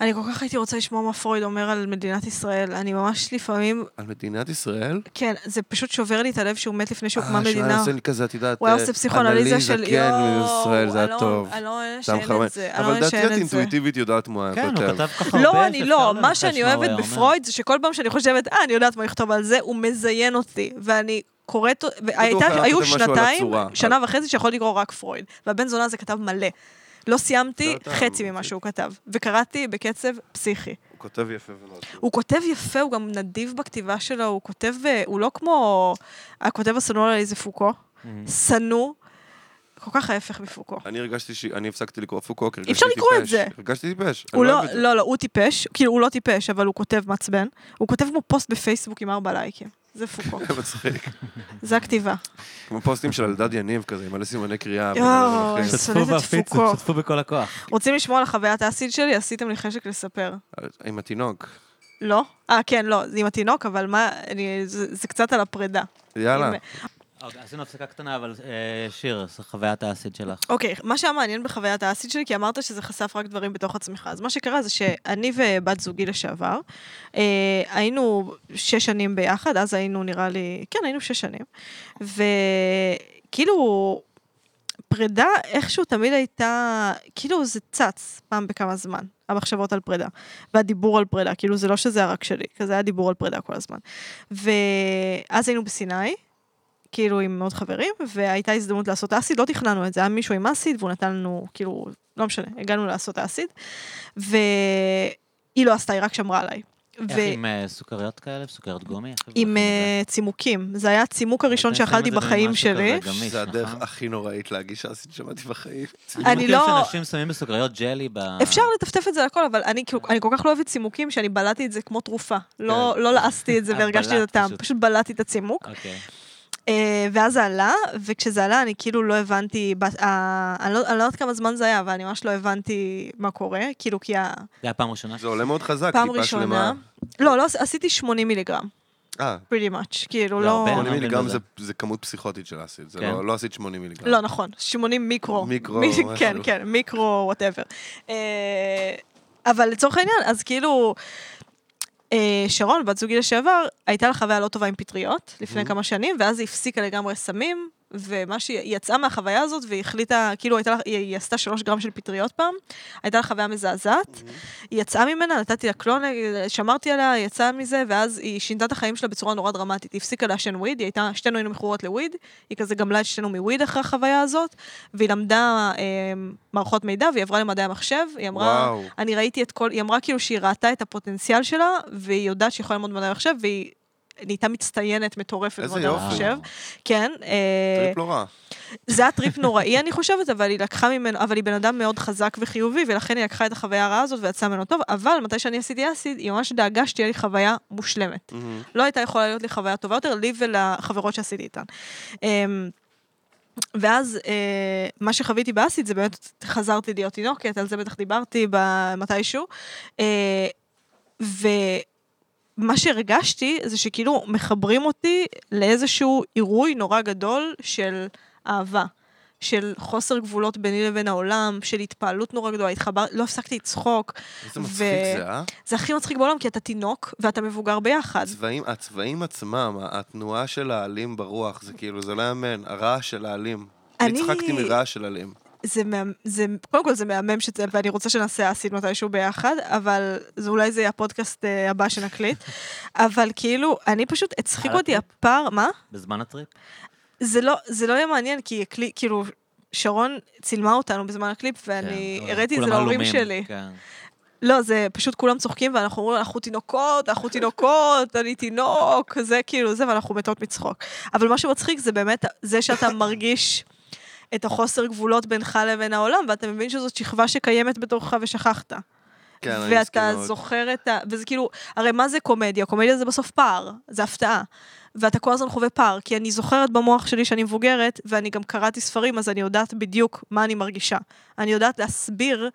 S3: אני כל כך הייתי רוצה לשמוע מה פרויד אומר על מדינת ישראל. אני ממש לפעמים,
S2: על מדינת ישראל?
S3: כן, זה פשוט שובר לי את הלב שהוא מת לפני שהוקמה
S2: אה, שהוא היה
S3: מדינה.
S2: עושה לי כזה, את יודעת,
S3: הוא היה
S2: אה,
S3: עושה פסיכואנליזה של
S2: אנליזה, כן, מישראל, זה
S3: אני
S2: היה
S3: לא-
S2: טוב.
S3: אני לא אוהבת
S2: זה היה
S3: שאין
S2: מחרמן.
S3: את זה. אני לא
S2: אבל
S3: אוהבת
S2: לדעתי
S3: שאין
S2: את
S3: את זה.
S2: אינטואיטיבית יודעת מה היה
S1: כן, הוא
S2: כותב.
S1: כתב כל כך הרבה
S3: לא, אני
S1: שאפשר
S3: לא. מה
S1: לנחש
S3: שאני
S1: הוא
S3: אוהבת
S1: היה אומר.
S3: בפרויד זה שכל פעם שאני חושבת, אה, אני יודעת מה הוא יכתוב על זה, הוא מזיין אותי. ואני קוראת, והייתה-
S2: היה
S3: היו
S2: כותב משהו על
S3: שנתיים,
S2: הצורה.
S3: שנה וחצי שיכולתי לקרוא רק פרויד. והבן זונה הזה כתב מלא. לא סיימתי
S2: לא אתה,
S3: חצי
S2: אבל-
S3: ממה שהוא כתב, וקראתי בקצב פסיכי.
S2: הוא כותב יפה ולא טוב.
S3: הוא כותב יפה, הוא גם נדיב בכתיבה שלו, הוא כותב, אה, הוא לא כמו הכותב השנוא עליי זה פוקו, שנוא, כל כך ההפך מפוקו.
S2: אני הרגשתי ש... אני הפסקתי לקרוא פוקו, כי הרגשתי טיפש.
S3: אפשר לקרוא את זה.
S2: הרגשתי טיפש. אני
S3: הוא לא,
S2: אוהב את זה.
S3: לא, לא, הוא טיפש, כאילו הוא לא טיפש, אבל הוא כותב מעצבן, הוא כותב כמו פוסט בפייסבוק עם ארבע לייקים, זה פוקו,
S2: מצחיק.
S3: זה הכתיבה.
S2: כמו פוסטים של אלדד יניב כזה, עם מלא סימני קריאה.
S3: יואו,
S2: וכל מיני
S3: איזה-
S1: שתפו
S3: שונאת את
S1: והפיצו,
S3: פוקו.
S1: שתפו בכל הכוח.
S3: רוצים לשמוע על חוויית האסיד שלי? עשיתם לי חשק לספר.
S2: דרכים. עם התינוק.
S3: לא? אה, כן, לא, זה עם התינוק, אבל מה, אני, זה, זה קצת על הפרידה.
S2: יאללה.
S3: אם-
S1: אוקיי, עשינו הפסקה קטנה, אבל אה, שיר, זו חוויית האסיד שלך.
S3: אוקיי, מה שהיה מעניין בחוויית האסיד שלי, כי אמרת שזה חשף רק דברים בתוך עצמך. אז מה שקרה זה שאני ובת זוגי לשעבר, אה, היינו שש שנים ביחד, אז היינו נראה לי, כן, היינו שש שנים. כאילו, וכאילו, פרידה איכשהו תמיד הייתה, כאילו זה צץ פעם בכמה זמן, המחשבות על פרידה. והדיבור על פרידה, כאילו זה לא שזה היה רק שלי, כזה היה דיבור על פרידה כל הזמן. ואז היינו בסיני. כאילו עם עוד חברים, והייתה הזדמנות לעשות אסיד, לא תכננו את זה, היה מישהו עם אסיד, והוא נתן לנו, כאילו, לא משנה, הגענו לעשות אסיד, והיא לא עשתה, היא רק שמרה עליי.
S1: איך עם אה, סוכריות כאלה? סוכריות גומי? איך
S3: עם
S1: עושים את
S3: אה, צימוקים, זה היה הצימוק
S1: אתם
S3: הראשון
S1: שמים
S3: שאכלתי
S1: את זה
S3: בחיים
S1: במשהו
S3: שלי.
S1: כזה גמיש,
S2: זה הדרך
S1: נכון?
S2: הכי נוראית להגיש שעשית שמעתי בחיים.
S1: זה? אני
S3: אני
S1: מכיר
S3: לא-
S1: שאנשים שמים בסוכריות ג'לי ב...
S3: אפשר לטפטף את זה לכל, אבל אני, כאילו- אני כל כך לא אוהבת צימוקים, שאני בלעתי את זה כמו תרופה. לא לא לעסתי את זה
S1: אה,
S3: והרגשתי את
S1: בלעת
S3: הטעם,
S1: פשוט.
S3: פשוט בלעתי את הצימוק.
S1: אוקיי.
S3: אה, ואז זה עלה, וכשזה עלה אני כאילו לא הבנתי, בת- אה, אני לא אני לא יודעת כמה זמן זה היה, אבל אני ממש לא הבנתי מה קורה, כאילו כי ה-
S1: זה היה פעם ראשונה?
S2: זה עולה מאוד חזק,
S3: פעם
S2: טיפה
S3: ראשונה.
S2: שלמה.
S3: לא, לא, עשיתי 80 מיליגרם.
S2: אה,
S3: pretty much, כאילו,
S1: זה
S3: לא...
S1: הרבה,
S2: 80
S1: מאמין
S2: מיליגרם
S1: כן, בזה.
S2: זה- זה כמות פסיכוטית של אסיד, זה
S1: כן.
S2: לא- לא אסיד 80 מיליגרם.
S3: לא, נכון, 80 מיקרו.
S2: מיקרו,
S3: מי-
S2: משהו.
S3: כן, כן, מיקרו, וואטאבר. אבל לצורך העניין, אז כאילו, אה, שרון, בת זוגי לשעבר, הייתה לה חוויה לא טובה עם פטריות
S2: Mm-hmm.
S3: לפני כמה שנים, ואז היא הפסיקה לגמרי סמים, ומה שהיא היא יצאה מהחוויה הזאת, והיא החליטה, כאילו, הייתה לה, היא, היא עשתה שלוש גרם של פטריות פעם, הייתה לה חוויה מזעזעת,
S2: Mm-hmm.
S3: היא יצאה ממנה, נתתי לה קלון, אה, שמרתי עליה, היא יצאה מזה, ואז היא שינתה את החיים שלה בצורה נורא דרמטית. היא הפסיקה לעשן וויד, היא הייתה, שתינו היינו מכורות לוויד, היא כזה גמלה את שתינו מוויד אחרי החוויה הזאת, והיא למדה אה, מערכות מידע, והיא עברה למדעי המחשב, היא אמרה,
S2: וואו.
S3: אני ראיתי את כל, היא אמרה כאילו שהיא ראתה את הפוטנציאל שלה, והיא יודעת שהיא יכולה ללמוד מדעי המחשב, והיא נהייתה מצטיינת מטורפת
S2: איזה
S3: במדעי
S2: יופי.
S3: המחשב. כן, אה,
S2: טריפ לא רע.
S3: זה היה טריפ נוראי, אני חושבת, אבל היא לקחה ממנו, אבל היא בן אדם מאוד חזק וחיובי, ולכן היא לקחה את החוויה הרעה הזאת ויצאה ממנו טוב, אבל מתי שאני עשיתי אסיד, היא ממש דאגה שתהיה לי חוויה מושלמת.
S2: מהמם.
S3: לא הייתה יכולה להיות לי חוויה טובה יותר, לי ולחברות שעשיתי איתן. אמ, ואז אה, מה שחוויתי באסיד זה באמת חזרתי להיות תינוקת, על זה בטח דיברתי ב- מתישהו. אה, ומה שהרגשתי זה שכאילו מחברים אותי לאיזשהו עירוי נורא גדול של אהבה. של חוסר גבולות ביני לבין העולם, של התפעלות נורא גדולה, התחבר, לא הפסקתי לצחוק.
S2: איזה
S3: ו-
S2: מצחיק זה, אה?
S3: זה הכי מצחיק בעולם, כי אתה תינוק ואתה מבוגר ביחד.
S2: הצבעים, הצבעים עצמם, ה- התנועה של העלים ברוח, זה כאילו, זה לא יאמן, הרעש של העלים.
S3: אני-
S2: אני הצחקתי מרעש של עלים.
S3: זה, מה... זה, קודם כל זה מהמם שזה, ואני רוצה שנעשה אסיד מתישהו ביחד, אבל זה אולי זה יהיה הפודקאסט אה, הבא שנקליט. אבל כאילו, אני פשוט, הצחיק
S1: על
S3: אותי
S1: הטריפ?
S3: הפער, מה?
S1: בזמן הטריפ?
S3: זה לא, זה לא יהיה מעניין, כי הקלי- כאילו, שרון צילמה אותנו בזמן הקליפ, ואני
S1: כן,
S3: הראיתי את זה
S1: כולם
S3: להורים
S1: עלומים,
S3: שלי.
S1: כן.
S3: לא, זה פשוט כולם צוחקים, ואנחנו אומרים, אנחנו תינוקות, אנחנו תינוקות, אני תינוק, זה כאילו זה, ואנחנו מתות מצחוק. אבל מה שמצחיק זה באמת זה שאתה מרגיש את החוסר גבולות בינך לבין העולם, ואתה מבין שזאת שכבה שקיימת בתוכך ושכחת.
S2: כן, אני מסכים
S3: ואתה
S2: מאוד.
S3: זוכר את ה... וזה כאילו, הרי מה זה קומדיה? קומדיה זה בסוף פער, זה הפתעה. ואתה כל הזמן חווה פער, כי אני זוכרת במוח שלי שאני מבוגרת, ואני גם קראתי ספרים, אז אני יודעת בדיוק מה אני מרגישה. אני יודעת להסביר,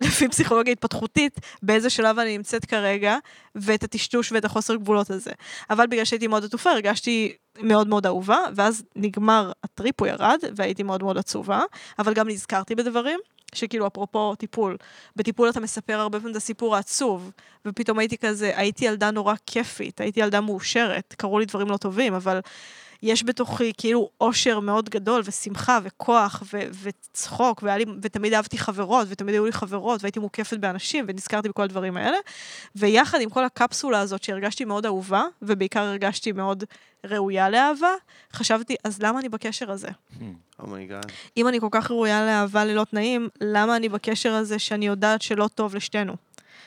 S3: לפי פסיכולוגיה התפתחותית, באיזה שלב אני נמצאת כרגע, ואת הטשטוש ואת החוסר גבולות הזה. אבל בגלל שהייתי מאוד עטופה, הרגשתי מאוד מאוד אהובה, ואז נגמר הטריפ, הוא ירד, והייתי מאוד מאוד עצובה, אבל גם נזכרתי בדברים. שכאילו, אפרופו טיפול, בטיפול אתה מספר הרבה פעמים את הסיפור העצוב, ופתאום הייתי כזה, הייתי ילדה נורא כיפית, הייתי ילדה מאושרת, קרו לי דברים לא טובים, אבל יש בתוכי כאילו אושר מאוד גדול, ושמחה, וכוח, ו- וצחוק, והיה לי, ותמיד אהבתי חברות, ותמיד היו לי חברות, והייתי מוקפת באנשים, ונזכרתי בכל הדברים האלה, ויחד עם כל הקפסולה הזאת שהרגשתי מאוד אהובה, ובעיקר הרגשתי מאוד ראויה לאהבה, חשבתי, אז למה אני בקשר הזה?
S2: אומייגאד.
S3: אם אני כל כך ראויה לאהבה ללא תנאים, למה אני בקשר הזה שאני יודעת שלא טוב לשתינו?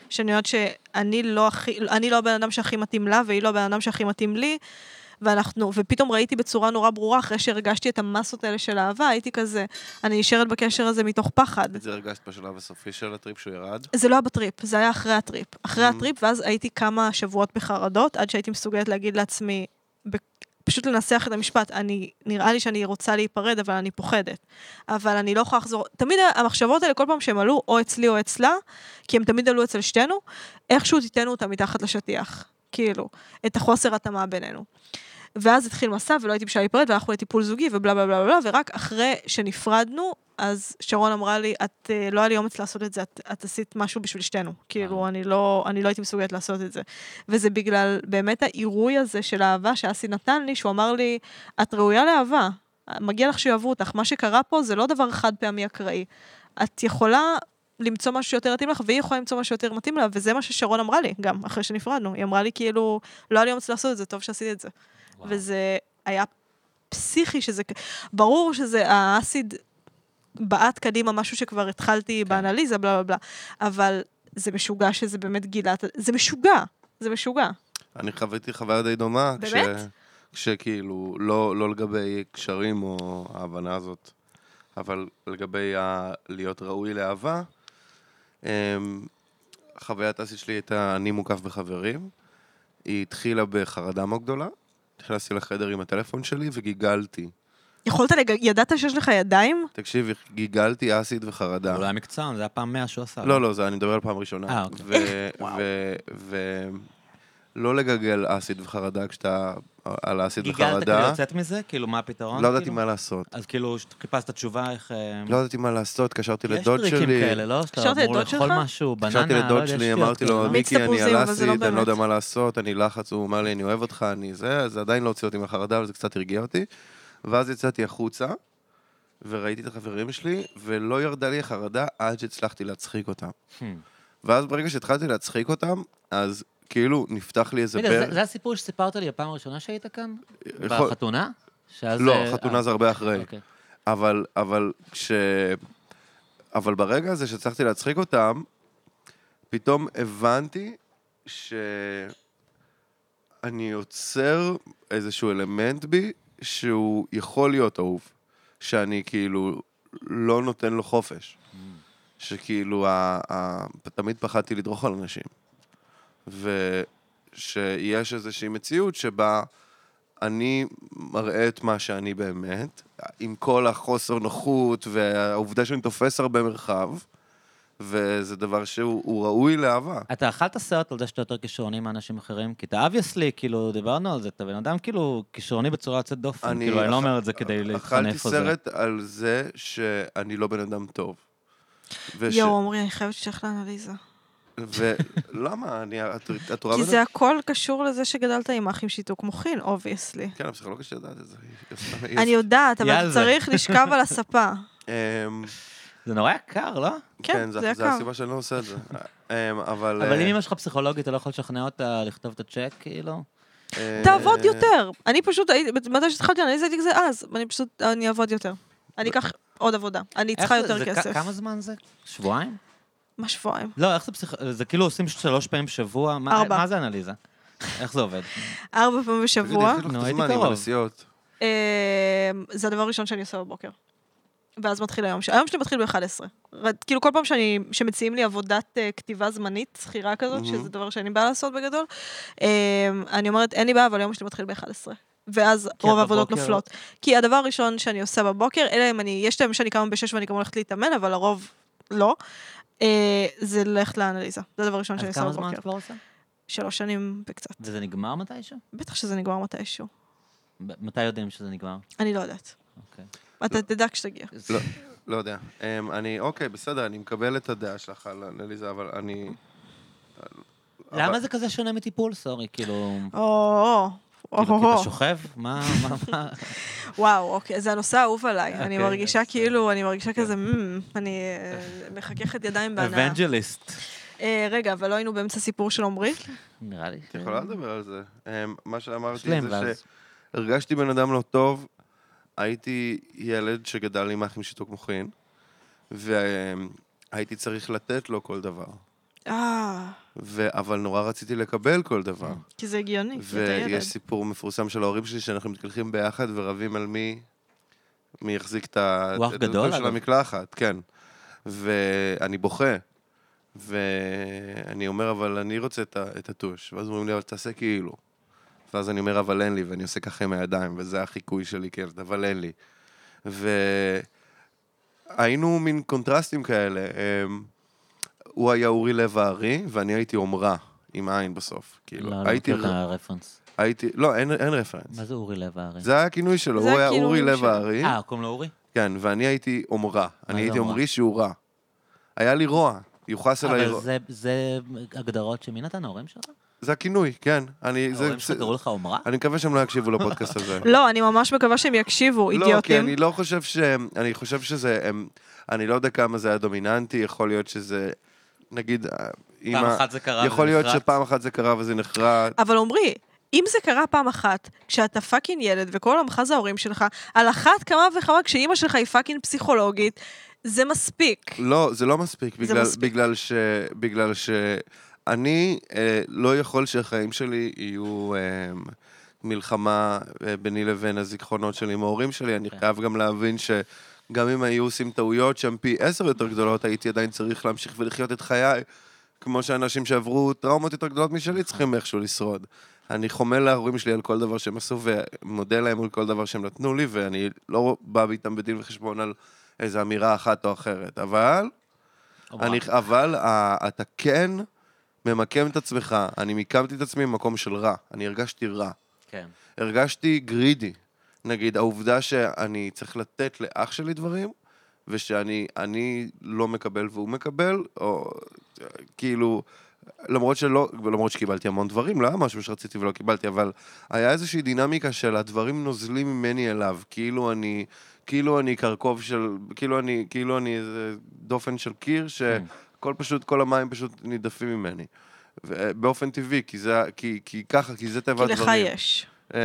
S3: שאני יודעת שאני לא הכי, אני לא הבן אדם שהכי מתאים לה, והיא לא הבן אדם שהכי מתאים לי, ואנחנו, ופתאום ראיתי בצורה נורא ברורה, אחרי שהרגשתי את המסות האלה של אהבה, הייתי כזה, אני נשארת בקשר הזה מתוך פחד.
S2: את זה הרגשת בשלב הסופי של הטריפ שהוא ירד?
S3: זה לא היה בטריפ, זה היה אחרי הטריפ. אחרי הטריפ, ואז הייתי כמה שבועות בחרדות, עד שהייתי מסוגלת להגיד לעצמי, ב- פשוט לנסח את המשפט, אני, נראה לי שאני רוצה להיפרד, אבל אני פוחדת. אבל אני לא יכולה לחזור, תמיד המחשבות האלה, כל פעם שהן עלו, או אצלי או אצלה, כי הן תמיד עלו אצל שתינו, איכשהו תיתנו אותן מתחת לשטיח, כאילו, את החוסר התאמה בינינו. ואז התחיל מסע, ולא הייתי בשביל להיפרד, והלכנו לטיפול זוגי, ובלה בלה בלה בלה, ורק אחרי שנפרדנו, אז שרון אמרה לי, את אה, לא היה לי אומץ לעשות את זה, את, את עשית משהו בשביל שתינו. כאילו, אני לא, אני לא הייתי מסוגלת לעשות את זה. וזה בגלל באמת העירוי הזה של האהבה שאסי נתן לי, שהוא אמר לי, את ראויה לאהבה, מגיע לך שיאהבו אותך. מה שקרה פה זה לא דבר חד פעמי אקראי. את יכולה למצוא משהו שיותר מתאים לך, והיא יכולה למצוא משהו שיותר מתאים לה, וזה מה ששרון אמרה לי, גם אחרי שנפרדנו. היא אמרה לי, כאילו, לא היה לי אומץ לעשות את זה, טוב שעשית את זה.
S1: וואו.
S3: וזה היה פסיכי, שזה... ברור שזה האסיד בעט קדימה משהו שכבר התחלתי באנליזה, בלה בלה בלה, אבל זה משוגע שזה באמת גילה... את ה- זה משוגע, זה משוגע.
S2: אני חוויתי חוויה די דומה. כש-
S3: באמת?
S2: כשכאילו, לא לא לגבי קשרים או ההבנה הזאת, אבל לגבי ה- להיות ראוי לאהבה, אמ, חוויית אסי שלי הייתה אני מוקף בחברים. היא התחילה בחרדה מאוד גדולה. נכנסתי לחדר עם הטלפון שלי וגיגלתי.
S3: יכולת לג... ידעת שיש לך ידיים?
S2: תקשיבי, גיגלתי אסיד וחרדה.
S1: הוא לא היה מקצוען, זה היה פעם מאה שהוא עשה.
S2: לא, לא, זה, אני מדבר על פעם ראשונה.
S1: אה, אוקיי.
S2: ו-
S1: וואו.
S2: ו- ו- לא לגגל אסיד וחרדה כשאתה על אסיד
S1: גיגלת כדי
S2: וחרדה.
S1: לצאת מזה? כאילו, מה הפתרון?
S2: לא ידעתי
S1: כאילו?
S2: מה לעשות.
S1: אז כאילו, ש- חיפשת תשובה איך... אה,
S2: לא ידעתי מה לעשות, התקשרתי
S1: יש
S2: לדוד
S1: טריקים
S2: שלי.
S1: כאלה, לא? שאתה
S3: התקשרת
S1: אמור
S3: לדוד
S1: לאכול
S3: שלך?
S1: משהו, בננה,
S2: התקשרתי
S1: לא
S2: לדוד
S1: יודע,
S2: שלי,
S1: שטויות,
S2: אמרתי
S1: כאילו.
S2: לו,
S3: מיץ
S2: מיקי, אני
S3: תפוזים,
S2: על
S3: אבל זה לא
S2: אסיד, אני לא יודע מה
S3: באמת.
S2: לעשות, אני לחץ, הוא אמר לי, אני אוהב אותך, אני זה, זה עדיין לא הוציא אותי מהחרדה, אבל זה קצת הרגיע אותי. ואז יצאתי החוצה, וראיתי את החברים שלי, ולא ירדה לי החרדה עד שהצלחתי להצחיק אותם.
S1: Hmm.
S2: ואז ברגע שהתחלתי להצחיק אותם, אז כאילו נפתח לי איזה
S1: רגע,
S2: בר...
S1: זה- זה הסיפור שסיפרת לי הפעם הראשונה שהיית כאן?
S2: יכול-
S1: בחתונה? שאז,
S2: לא,
S1: אה,
S2: חתונה
S1: אה,
S2: זה הרבה אחרי.
S1: אוקיי.
S2: אבל, אבל כש... אבל ברגע הזה שהצלחתי להצחיק אותם, פתאום הבנתי שאני יוצר איזשהו אלמנט בי שהוא יכול להיות אהוב. שאני כאילו לא נותן לו חופש. שכאילו, ה, ה, תמיד פחדתי לדרוך על אנשים. ושיש איזושהי מציאות שבה אני מראה את מה שאני באמת, עם כל החוסר נוחות והעובדה שאני תופס הרבה מרחב, וזה דבר שהוא הוא ראוי לאהבה.
S1: אתה אכלת סרט על זה שאתה יותר כישרוני מאנשים אחרים? כי אתה אבייסלי, כאילו, דיברנו על זה, אתה בן אדם כאילו כישרוני בצורה יוצאת דופן. כאילו, אני לא
S2: אכ-
S1: אומר את זה כדי להתחנף על
S2: אכלתי
S1: זה.
S2: סרט על זה שאני לא בן אדם טוב. וש...
S3: יואו, עמרי, אני חייבת שתלך לאנליזה.
S2: ולמה? אני... את, את רואה
S3: כי
S2: בן
S3: זה הכל קשור לזה שגדלת עם אח עם שיתוק מוחין, אובייסלי.
S2: כן, הפסיכולוגיה שיודעת את זה. היא- היא-
S3: אני יודעת, אבל
S1: יאללה.
S3: אתה צריך לשכב על הספה.
S2: אמ,
S1: זה נורא יקר, לא?
S3: כן, זה
S2: זה
S3: יקר.
S2: הסיבה שאני לא עושה את זה. אמ, אבל...
S1: אבל
S2: אה,
S1: אם אמא שלך פסיכולוגית, אתה לא יכול לשכנע אותה לכתוב את הצ'ק, כאילו?
S2: אה,
S3: תעבוד יותר. אני פשוט, הייתי- מתי שהתחלתי לאנליזה הייתי כזה, אז, אני פשוט, אני אעבוד יותר. אני אקח עוד עבודה. אני צריכה
S1: איך זה-
S3: יותר
S1: זה כ-
S3: כסף.
S1: כמה זמן זה? שבועיים?
S3: מה שבועיים?
S1: לא, איך זה פסיכ... זה כאילו עושים שלוש פעמים בשבוע? מה-
S3: ארבע.
S1: מה זה אנליזה? איך זה עובד?
S3: ארבע פעמים בשבוע.
S2: תגידי, איך
S1: נו,
S2: לך את
S1: הייתי
S2: הזמן עם
S1: קרוב.
S2: הנסיעות?
S3: אה, זה הדבר הראשון שאני עושה בבוקר. ואז מתחיל היום שלי. היום שלי מתחיל ב-11. כאילו כל פעם שאני, שמציעים לי עבודת אה, כתיבה זמנית, שכירה
S1: Mhm.
S3: כזאת,
S2: מהמם.
S3: שזה דבר שאין לי בעיה לעשות בגדול, אה, אני אומרת, אין לי בעיה, אבל היום שלי מתחיל ב-11. ואז
S1: כי
S3: רוב
S1: את
S3: העבודות
S1: בבוקר-
S3: נופלות. כי הדבר הראשון שאני עושה בבוקר, אלא אם אני, יש להם שאני קמה ב-6 ואני גם הולכת להתאמן, אבל לרוב לא, אה, זה ללכת לאנליזה. זה הדבר הראשון שאני
S1: אז
S3: עושה
S1: כמה זמן
S3: בבוקר.
S1: את כבר עושה?
S3: שלוש שנים וקצת.
S1: וזה נגמר מתישהו?
S3: בטח שזה נגמר מתישהו.
S1: ב- מתי יודעים שזה נגמר?
S3: אני לא יודעת.
S1: אוקיי.
S3: אתה תדע כשתגיע.
S2: לא, לא יודע. אמ, אני, אוקיי, בסדר, אני מקבל את הדעה שלך על אנליזה, אבל אני... אבל-
S1: למה זה כזה שונה מטיפול? סורי, כאילו...
S3: או, או, או,
S1: כאילו, כי
S3: או,
S1: אתה שוכב? מה, מה, מה?
S3: וואו, אוקיי, זה הנושא האהוב עליי.
S2: אה,
S3: אני
S1: אוקיי,
S2: כן,
S3: מרגישה
S1: אז-
S3: כאילו, אני מרגישה כזה, "מ, אני אה, מחככת ידיים בהנאה.
S1: אבנג'ליסט.
S3: אה, רגע, אבל לא היינו באמצע סיפור של עמרי?
S1: נראה לי.
S2: את יכולה לדבר על זה. אמ, מה שאמרתי
S1: שלם,
S2: זה
S1: ואז.
S2: שהרגשתי בן אדם לא טוב, הייתי ילד שגדל עם אח עם שיתוק מוחין, והייתי צריך לתת לו כל דבר.
S3: אה,
S2: ו- אבל נורא רציתי לקבל כל דבר.
S3: כי זה הגיוני, כי אתה ילד.
S2: ויש סיפור מפורסם של ההורים שלי, שאנחנו מתקלחים ביחד ורבים על מי, מי יחזיק את ה-
S1: הוא אח
S2: את
S1: גדול,
S2: הדלתות של
S1: אגב.
S2: המקלחת, כן. ואני בוכה. ואני אומר, אבל אני רוצה את ה- את הטוש. ואז אומרים לי, אבל תעשה כאילו. ואז אני אומר, אבל אין לי, ואני עושה ככה עם הידיים, וזה החיקוי שלי כילד, אבל אין לי. והיינו מין קונטרסטים כאלה. אמ, הוא היה אורי לב הארי, ואני הייתי עומרה, עם עין בסוף. כאילו,
S1: לא, לא
S2: הייתי
S1: מכיר את הרפרנס.
S2: הייתי, לא, אין, אין רפרנס.
S1: מה זה אורי לב הארי?
S2: זה היה הכינוי שלו,
S3: זה
S2: הוא היה
S3: הכינוי
S2: אורי לב
S3: שלו.
S2: הארי,
S1: אה, קוראים לו אורי?
S2: כן, ואני הייתי עומרה.
S1: זה
S2: אני הייתי
S1: עומרה?
S2: עומרי שהוא רע. היה לי רוע, יוחס אליי
S1: אבל
S2: רוע.
S1: זה- זה הגדרות שמי נתן ההורים שלך?
S2: זה הכינוי, כן. אני, זה,
S1: ההורים שלך
S2: זה-
S1: קראו לך עומרה?
S2: אני מקווה שהם לא יקשיבו לפודקאסט הזה.
S3: לא, אני ממש מקווה שהם יקשיבו,
S2: לא, כי
S3: אידיוטים.
S2: אני לא חושב שהם, אני חושב שזה, הם, אני לא יודע כמה זה היה דומיננטי, יכול להיות שזה, נגיד, אה,
S1: פעם אחת זה קרה
S2: יכול
S1: וזה
S2: להיות
S1: נחרט.
S2: שפעם אחת זה קרה וזה נחרט.
S3: אבל עמרי, אם זה קרה פעם אחת, כשאתה פאקינג ילד וכל עמך זה ההורים שלך, על אחת כמה וכמה כשאימא שלך היא פאקינג פסיכולוגית, זה מספיק.
S2: לא, זה לא מספיק,
S3: זה
S2: בגלל,
S3: מספיק.
S2: בגלל ש... בגלל ש... אני אה, לא יכול שהחיים שלי יהיו אה, מלחמה אה, ביני לבין הזיכרונות שלי עם ההורים שלי. אני
S1: כן.
S2: חייב גם להבין שגם אם היו עושים טעויות שהן פי עשר יותר גדולות, הייתי עדיין צריך להמשיך ולחיות את חיי, כמו שאנשים שעברו טראומות יותר גדולות
S3: נכון.
S2: משלי צריכים איכשהו לשרוד. אני חומל להורים שלי על כל דבר שהם עשו, ומודה להם על כל דבר שהם נתנו לי, ואני לא בא איתם בדין וחשבון על איזו אמירה אחת או אחרת. אבל
S1: אוקיי. עומרה.
S2: אני, אבל ה- אתה כן ממקם את עצמך, אני מיקמתי את עצמי במקום של רע, אני הרגשתי רע.
S1: כן.
S2: הרגשתי גרידי. נגיד, העובדה שאני צריך לתת לאח שלי דברים, ושאני אני לא מקבל והוא מקבל, או אה, כאילו, למרות שלא, ולמרות שקיבלתי המון דברים, לא היה משהו שרציתי ולא קיבלתי, אבל היה איזושהי דינמיקה של הדברים נוזלים ממני אליו, כאילו אני, כאילו אני קרקוב של, כאילו אני, כאילו אני איזה דופן של
S3: Mm.
S2: קיר, שכל פשוט, כל המים פשוט נידפים ממני. ו- באופן טבעי, כי זה, כי, כי ככה, כי זה טבע
S3: כי
S2: הדברים.
S3: לך יש.
S2: אמ,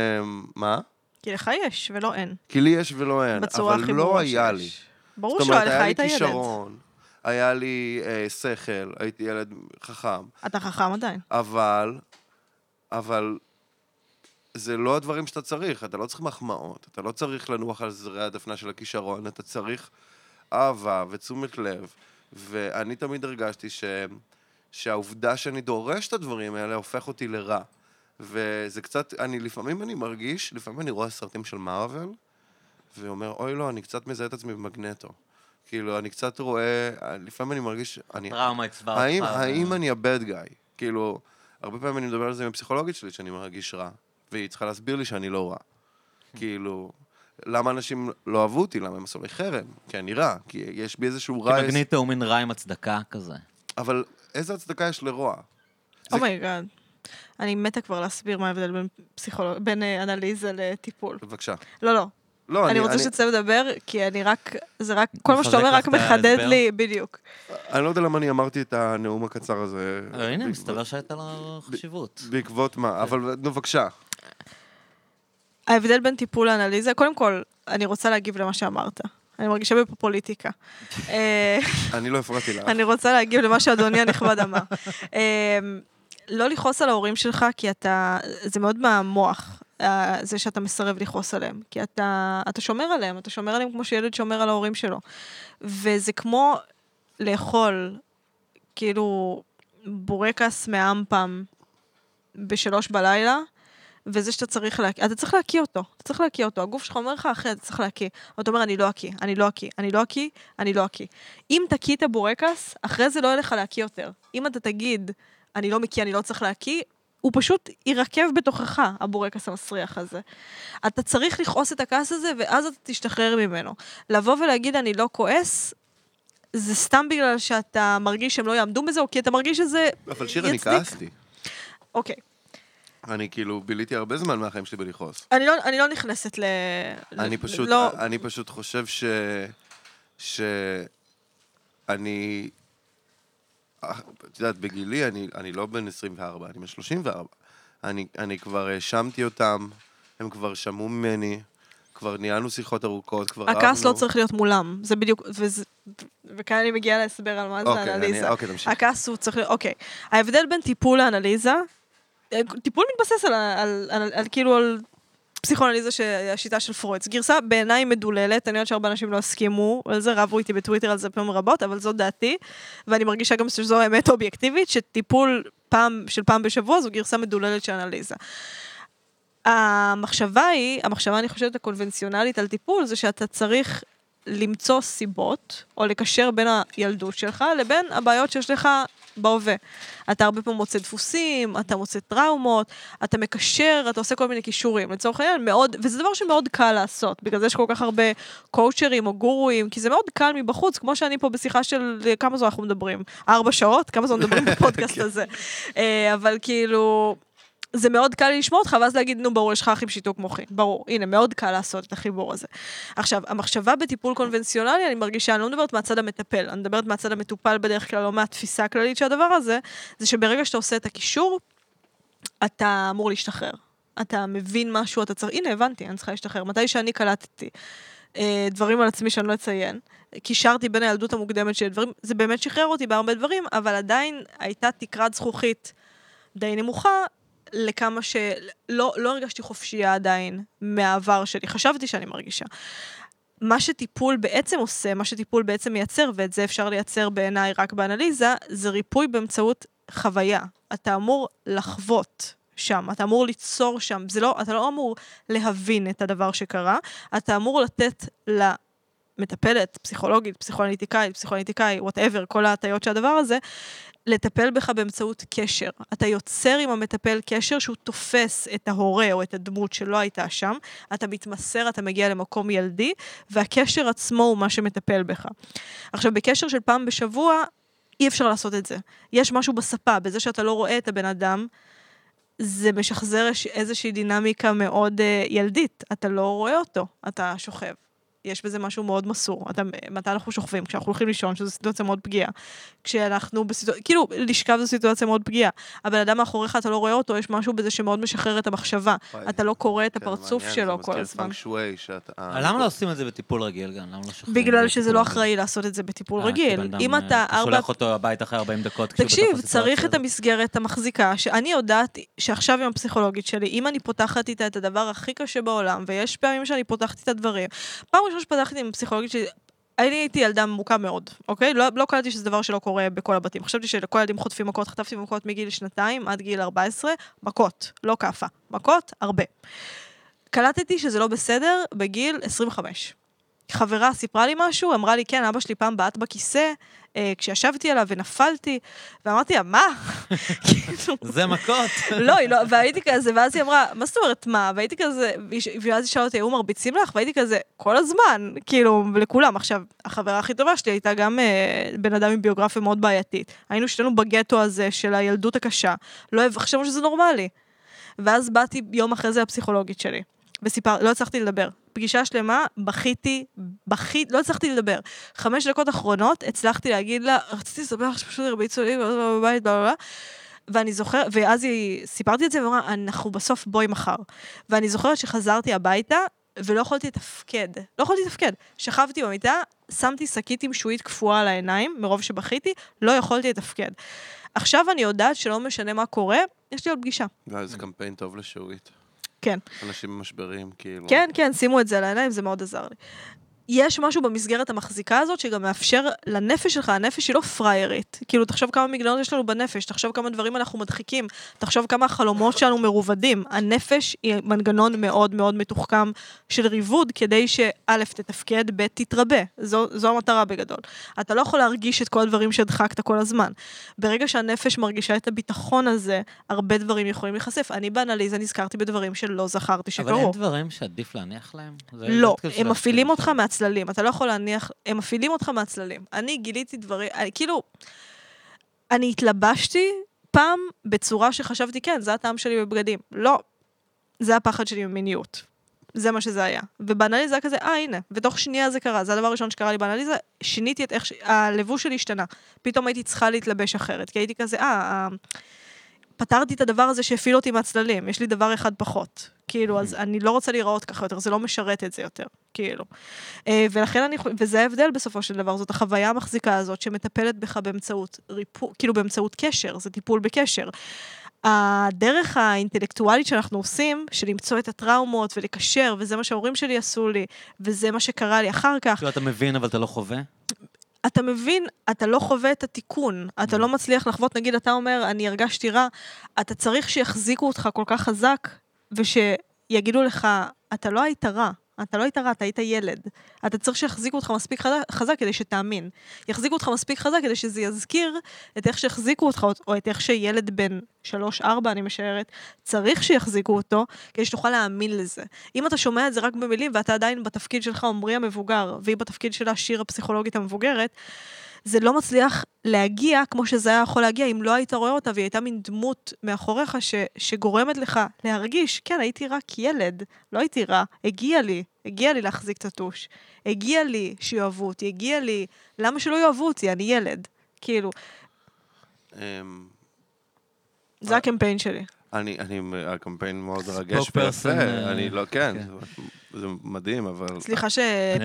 S2: מה?
S3: כי לך יש ולא אין.
S2: כי לי יש ולא אין,
S3: בצורה
S2: אבל
S3: הכי
S2: לא
S3: ברורה
S2: היה לי.
S3: שיש. ברור
S2: זאת
S3: שלא,
S2: אומרת,
S3: לך
S2: היה לי
S3: היית ילד.
S2: כישרון, היה לי אה, שכל, הייתי ילד חכם,
S3: אתה חכם עדיין.
S2: אבל, אבל זה לא הדברים שאתה צריך, אתה לא צריך מחמאות, אתה לא צריך לנוח על זרי הדפנה של הכישרון, אתה צריך אהבה ותשומת לב, ואני תמיד הרגשתי ש... שהעובדה שאני דורש את הדברים האלה הופך אותי לרע. וזה קצת, אני לפעמים אני מרגיש, לפעמים אני רואה סרטים של מארוול, ואומר, אוי לא, אני קצת מזהה את עצמי במגנטו. כאילו, אני קצת רואה, לפעמים אני מרגיש, אני
S1: טראומה הצבעה אותך.
S3: אה,
S2: האם, האם אני ה-bad guy? כאילו, הרבה פעמים אני מדבר על זה עם הפסיכולוגית שלי, שאני מרגיש רע, והיא צריכה להסביר לי שאני לא רע. כאילו, למה אנשים לא אהבו אותי? למה הם עשו לי חרם? כי אני רע, כי יש בי איזשהו רע...
S1: כמגנית הוא מין רע עם הצדקה כזה.
S2: אבל איזה הצדקה יש לרוע? זה-
S3: אומייגאד. אני מתה כבר להסביר מה ההבדל בין פסיכולוג... בין אה, אנליזה לטיפול.
S2: בבקשה.
S3: לא, לא.
S2: לא,
S3: אני
S2: אני,
S3: רוצה
S2: אני,
S3: שתצא לדבר, כי אני רק... זה רק... כל מה שאתה
S1: מחזק
S3: אומר
S1: לך
S3: רק
S1: את
S3: מחדד
S1: ההסבר.
S3: לי, בדיוק.
S2: אני לא יודע למה אני אמרתי את הנאום הקצר הזה.
S1: אה, הנה,
S2: בעקבות-
S1: מסתבר שהייתה לו חשיבות.
S2: אה, בעקבות מה? אבל, נו, בבקשה.
S3: ההבדל בין טיפול לאנליזה, קודם כל, אני רוצה להגיב למה שאמרת. אני מרגישה בפופוליטיקה. אה,
S2: אני לא הפרעתי לך.
S3: אני רוצה להגיב למה שאדוני הנכבד אמר. אמ, לא לכעוס על ההורים שלך, כי אתה... זה מאוד מהמוח, אה, זה שאתה מסרב לכעוס עליהם. כי אתה, אתה שומר עליהם, אתה שומר עליהם כמו שילד שומר על ההורים שלו. וזה כמו לאכול, כאילו, בורקס מאמפם בשלוש בלילה. וזה שאתה צריך להקיא, אתה צריך להקיא אותו, אתה צריך להקיא אותו, הגוף שלך אומר לך, אחי, אתה צריך להקיא. אתה אומר, אני לא אקיא, אני לא אקיא, אני לא אקיא, אני לא אקיא. אם תקיא את הבורקס, אחרי זה לא יהיה לך להקיא יותר. אם אתה תגיד, אני לא מקיא, אני לא צריך להקיא, הוא פשוט יירקב בתוכך, הבורקס המסריח הזה. אתה צריך לכעוס את הכעס הזה, ואז אתה תשתחרר ממנו. לבוא ולהגיד, אני לא כועס, זה סתם בגלל שאתה מרגיש שהם לא יעמדו בזה, או כי אתה מרגיש שזה
S2: אבל שיר, אני
S3: יצדיק.
S2: כעסתי.
S3: אוקיי.
S2: אני כאילו ביליתי הרבה זמן מהחיים שלי בלכעוס.
S3: אני לא, אני לא נכנסת ל...
S2: אני פשוט, אה,
S3: לא,
S2: אני פשוט חושב ש... ש... אני... אה, את יודעת, בגילי, אני, אני לא בן 24, אני בן 34. אני, אני כבר האשמתי אותם, הם כבר שמעו ממני, כבר ניהלנו שיחות ארוכות, כבר
S3: הכעס
S2: רבנו.
S3: לא צריך להיות מולם, זה בדיוק, וזה, וכאן אני מגיעה להסבר על מה זה
S2: אוקיי,
S3: אנליזה.
S2: אני, אוקיי, תמשיך.
S3: הכעס הוא צריך להיות, אוקיי. ההבדל בין טיפול לאנליזה, אה, טיפול מתבסס על, ה- על, על, על כאילו על פסיכואנליזה שהשיטה של פרויד. זו גרסה בעיניי מדוללת, אני יודעת שהרבה אנשים לא הסכימו על זה, רבו איתי בטוויטר על זה פעמים רבות, אבל זאת דעתי, ואני מרגישה גם שזו אמת אובייקטיבית, שטיפול פעם, של פעם בשבוע זו גרסה מדוללת של אנליזה. המחשבה היא, המחשבה אני חושבת הקונבנציונלית על טיפול, זה שאתה צריך למצוא סיבות, או לקשר בין הילדות שלך לבין הבעיות שיש לך בהווה. אתה הרבה פעמים מוצא דפוסים, אתה מוצא טראומות, אתה מקשר, אתה עושה כל מיני כישורים. לצורך העניין, מאוד, וזה דבר שמאוד קל לעשות, בגלל זה יש כל כך הרבה קואוצ'רים או גורואים, כי זה מאוד קל מבחוץ, כמו שאני פה בשיחה של אה, כמה זמן אנחנו מדברים? ארבע שעות? כמה זמן מדברים בפודקאסט הזה? אה, אבל כאילו... זה מאוד קל לי לשמוע אותך, ואז להגיד, נו, ברור, יש לך אחי עם שיתוק מוחי. ברור, הנה, מאוד קל לעשות את החיבור הזה. עכשיו, המחשבה בטיפול קונבנציונלי, אני מרגישה, אני לא מדברת מהצד המטפל, אני מדברת מהצד המטופל בדרך כלל, לא מהתפיסה הכללית של הדבר הזה, זה שברגע שאתה עושה את הקישור, אתה אמור להשתחרר. אתה מבין משהו, אתה צריך, הנה, הבנתי, אני צריכה להשתחרר. מתי שאני קלטתי אה, דברים על עצמי שאני לא אציין, קישרתי בין הילדות המוקדמת של דברים, זה באמת שחרר אותי בהרבה דברים, אבל עדיין הייתה תקרת זכוכית די נמוכה, לכמה ש... לא, לא הרגשתי חופשייה עדיין מהעבר שלי, חשבתי שאני מרגישה. מה שטיפול בעצם עושה, מה שטיפול בעצם מייצר, ואת זה אפשר לייצר בעיניי רק באנליזה, זה ריפוי באמצעות חוויה. אתה אמור לחוות שם, אתה אמור ליצור שם, זה לא, אתה לא אמור להבין את הדבר שקרה, אתה אמור לתת ל... מטפלת, פסיכולוגית, פסיכואנליטיקאית, פסיכואנליטיקאי, וואטאבר, כל ההטיות של הדבר הזה, לטפל בך באמצעות קשר. אתה יוצר עם המטפל קשר שהוא תופס את ההורה או את הדמות שלא הייתה שם, אתה מתמסר, אתה מגיע למקום ילדי, והקשר עצמו הוא מה שמטפל בך. עכשיו, בקשר של פעם בשבוע, אי אפשר לעשות את זה. יש משהו בספה, בזה שאתה לא רואה את הבן אדם, זה משחזר איש- איזושהי דינמיקה מאוד אה, ילדית. אתה לא רואה אותו, אתה שוכב. יש בזה משהו מאוד מסור. אתה, מתי אנחנו שוכבים? כשאנחנו הולכים לישון, שזו סיטואציה מאוד פגיעה. כשאנחנו בסיטואציה, כאילו, לשכב זו סיטואציה מאוד פגיעה. הבן אדם מאחוריך, אתה לא רואה אותו, יש משהו בזה שמאוד משחרר את המחשבה.
S2: וואי,
S3: אתה לא קורא את
S2: כן,
S3: הפרצוף
S2: מעניין,
S3: שלו כל
S2: זה מזכיר
S3: הזמן.
S2: פאנק שווי שאתה... אה,
S1: למה לא עושים את זה בטיפול רגיל גם? למה לא שוכרים? את
S3: בגלל
S1: זה
S3: שזה
S1: בטיפול
S3: לא
S1: רגיל?
S3: אחראי לעשות את זה בטיפול
S1: אה, כי בן
S3: רגיל.
S1: אדם,
S3: אם אתה
S1: אה,
S3: ארבע
S1: שולח אותו הביתה אחרי 40 דקות. כשהוא בתוך
S3: תקשיב,
S1: הסיטואציה
S3: צריך את
S1: הזאת.
S3: המסגרת המחזיקה, שאני יודעת שעכשיו עם הפסיכולוגית שלי, אם אני פותחת איתה את הדבר הכי קשה בעולם, ויש פעמים שאני פותחת איתה דברים, פעם ראשונה שפתחתי עם הפסיכולוגית שלי, אני הייתי ילדה מוכה מאוד, אוקיי? לא, לא קלטתי שזה דבר שלא קורה בכל הבתים. חשבתי שלכל הילדים חוטפים מכות, חטפתי מכות מגיל שנתיים עד גיל 14, מכות, לא כאפה, מכות, הרבה. קלטתי שזה לא בסדר בגיל 25. חברה סיפרה לי משהו, אמרה לי, כן, אבא שלי פעם בעט בכיסא, אה, כשישבתי עליו ונפלתי, ואמרתי לה, מה? כאילו,
S1: זה מכות.
S3: לא, היא לא, והייתי כזה, ואז היא אמרה, מה זאת אומרת מה? והייתי כזה, והיא- ואז היא שאלה אותי, היו מרביצים לך? והייתי כזה, כל הזמן, כאילו, לכולם. עכשיו, החברה הכי טובה שלי הייתה גם אה, בן אדם עם ביוגרפיה מאוד בעייתית. היינו שנינו בגטו הזה של הילדות הקשה. לא הב- חשבנו שזה נורמלי. ואז באתי יום אחרי זה לפסיכולוגית שלי, וסיפר, לא הצלחתי לדבר. פגישה שלמה, בכיתי, בכיתי, לא הצלחתי לדבר. חמש דקות אחרונות הצלחתי להגיד לה, רציתי לספר לך שפשוט הרביצו לי, בבית, בלה בלה בלה. ואני זוכרת, ואז היא, סיפרתי את זה, והיא אמרה, אנחנו בסוף בואי מחר. ואני זוכרת שחזרתי הביתה, ולא יכולתי לתפקד. לא יכולתי לתפקד. שכבתי במיטה, שמתי שקית עם שועית קפואה על העיניים, מרוב שבכיתי, לא יכולתי לתפקד. עכשיו אני יודעת שלא משנה מה קורה, יש לי עוד פגישה.
S2: לא, זה קמפיין טוב לשורית.
S3: כן.
S2: אנשים במשברים, כאילו.
S3: כן, כן, שימו את זה על העיניים, זה מאוד עזר לי. יש משהו במסגרת המחזיקה הזאת שגם מאפשר לנפש שלך, הנפש היא לא פראיירית. כאילו, תחשוב כמה מגננות יש לנו בנפש, תחשוב כמה דברים אנחנו מדחיקים, תחשוב כמה החלומות שלנו מרובדים. הנפש היא מנגנון מאוד מאוד מתוחכם של ריבוד, כדי שא', תתפקד, ב', תתרבה. זו, זו המטרה בגדול. אתה לא יכול להרגיש את כל הדברים שהדחקת כל הזמן. ברגע שהנפש מרגישה את הביטחון הזה, הרבה דברים יכולים להיחשף. אני באנליזה נזכרתי בדברים שלא זכרתי שקרו.
S1: אבל אין דברים שעדיף להניח להם? זה-
S3: לא,
S1: זה כאילו
S3: הם
S1: שזה-
S3: מפעילים אותך מהצללים, אתה לא יכול להניח, הם מפעילים אותך מהצללים. אני גיליתי דברים, אני, כאילו, אני התלבשתי פעם בצורה שחשבתי, כן, זה הטעם שלי בבגדים. לא, זה הפחד שלי ממיניות. זה מה שזה היה. ובאנליזה היה כזה, אה, הנה, ותוך שנייה זה קרה, זה הדבר הראשון שקרה לי באנליזה, שיניתי את איך, ש... הלבוש שלי השתנה. פתאום הייתי צריכה להתלבש אחרת, כי הייתי כזה, אה, אה, פתרתי את הדבר הזה שהפעיל אותי מהצללים, יש לי דבר אחד פחות. כאילו, אז אני לא רוצה להיראות ככה יותר, זה לא משרת את זה יותר, כאילו. אה, ולכן אני, חו- וזה ההבדל בסופו של דבר, זאת החוויה המחזיקה הזאת שמטפלת בך באמצעות ריפו, כאילו באמצעות קשר, זה טיפול בקשר. הדרך האינטלקטואלית שאנחנו עושים, של למצוא את הטראומות ולקשר, וזה מה שההורים שלי עשו לי, וזה מה שקרה לי אחר כך,
S1: כאילו, אתה מבין, אבל אתה לא חווה?
S3: אה, אתה מבין, אתה לא חווה את התיקון, אתה לא מצליח לחוות, נגיד אתה אומר, אני הרגשתי רע, אתה צריך שיחזיקו אותך כל כך חזק, ושיגידו לך, אתה לא היית רע, אתה לא היית רע, אתה היית ילד. אתה צריך שיחזיקו אותך מספיק חזק, חזק כדי שתאמין. יחזיקו אותך מספיק חזק כדי שזה יזכיר את איך שהחזיקו אותך, או את איך שילד בן 3-4, אני משערת, צריך שיחזיקו אותו, כדי שתוכל להאמין לזה. אם אתה שומע את זה רק במילים, ואתה עדיין בתפקיד שלך עמרי המבוגר, והיא בתפקיד שלה שיר הפסיכולוגית המבוגרת, זה לא מצליח להגיע כמו שזה היה יכול להגיע אם לא היית רואה אותה והיא הייתה מין דמות מאחוריך ש, שגורמת לך להרגיש, כן, הייתי רק ילד, לא הייתי רע, הגיע לי, הגיע לי להחזיק את הטוש, הגיע לי שיאהבו אותי, הגיע לי, למה שלא יאהבו אותי, אני ילד. כאילו,
S2: אמ,
S3: זה הקמפיין שלי.
S2: אני, אני, הקמפיין מאוד מרגש
S1: person,
S2: ויפה,
S1: אה,
S2: אני לא, כן,
S1: כן.
S2: זה מדהים, אבל...
S3: סליחה
S1: אני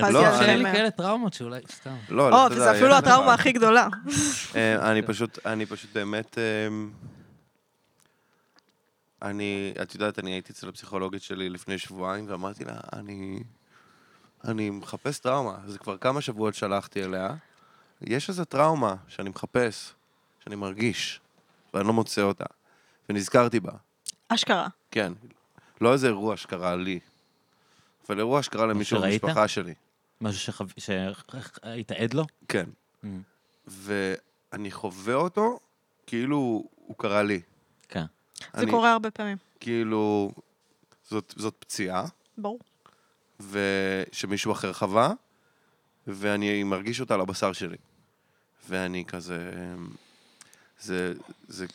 S3: שפזתי
S1: לא,
S3: על
S2: חושב
S1: שאין לי
S3: זה.
S1: כאלה טראומות שאולי, סתם.
S2: לא,
S3: או,
S2: אתה יודע,
S3: וזה אפילו
S2: יש דבר.
S3: הטראומה הכי גדולה.
S2: אה, אני פשוט, אני פשוט באמת... אמ, אני, את יודעת, אני הייתי אצל הפסיכולוגית שלי לפני שבועיים, ואמרתי לה, אני... אני מחפש טראומה. זה כבר כמה שבועות שלחתי אליה. יש איזו טראומה שאני מחפש, שאני מרגיש, ואני לא מוצא אותה. ונזכרתי בה.
S3: אשכרה.
S2: כן. לא איזה אירוע שקרה לי, אבל אירוע שקרה למישהו
S1: שראית?
S2: במשפחה שלי.
S1: משהו שחו- שהיית עד לו?
S2: כן.
S1: Mm.
S2: ואני חווה אותו כאילו הוא קרה לי.
S1: כן.
S3: זה
S2: אני,
S3: קורה הרבה פעמים,
S2: כאילו, זאת, זאת פציעה,
S3: ברור.
S2: ושמישהו אחר חווה, ואני מרגיש אותה על הבשר שלי. ואני כזה... זה... זה...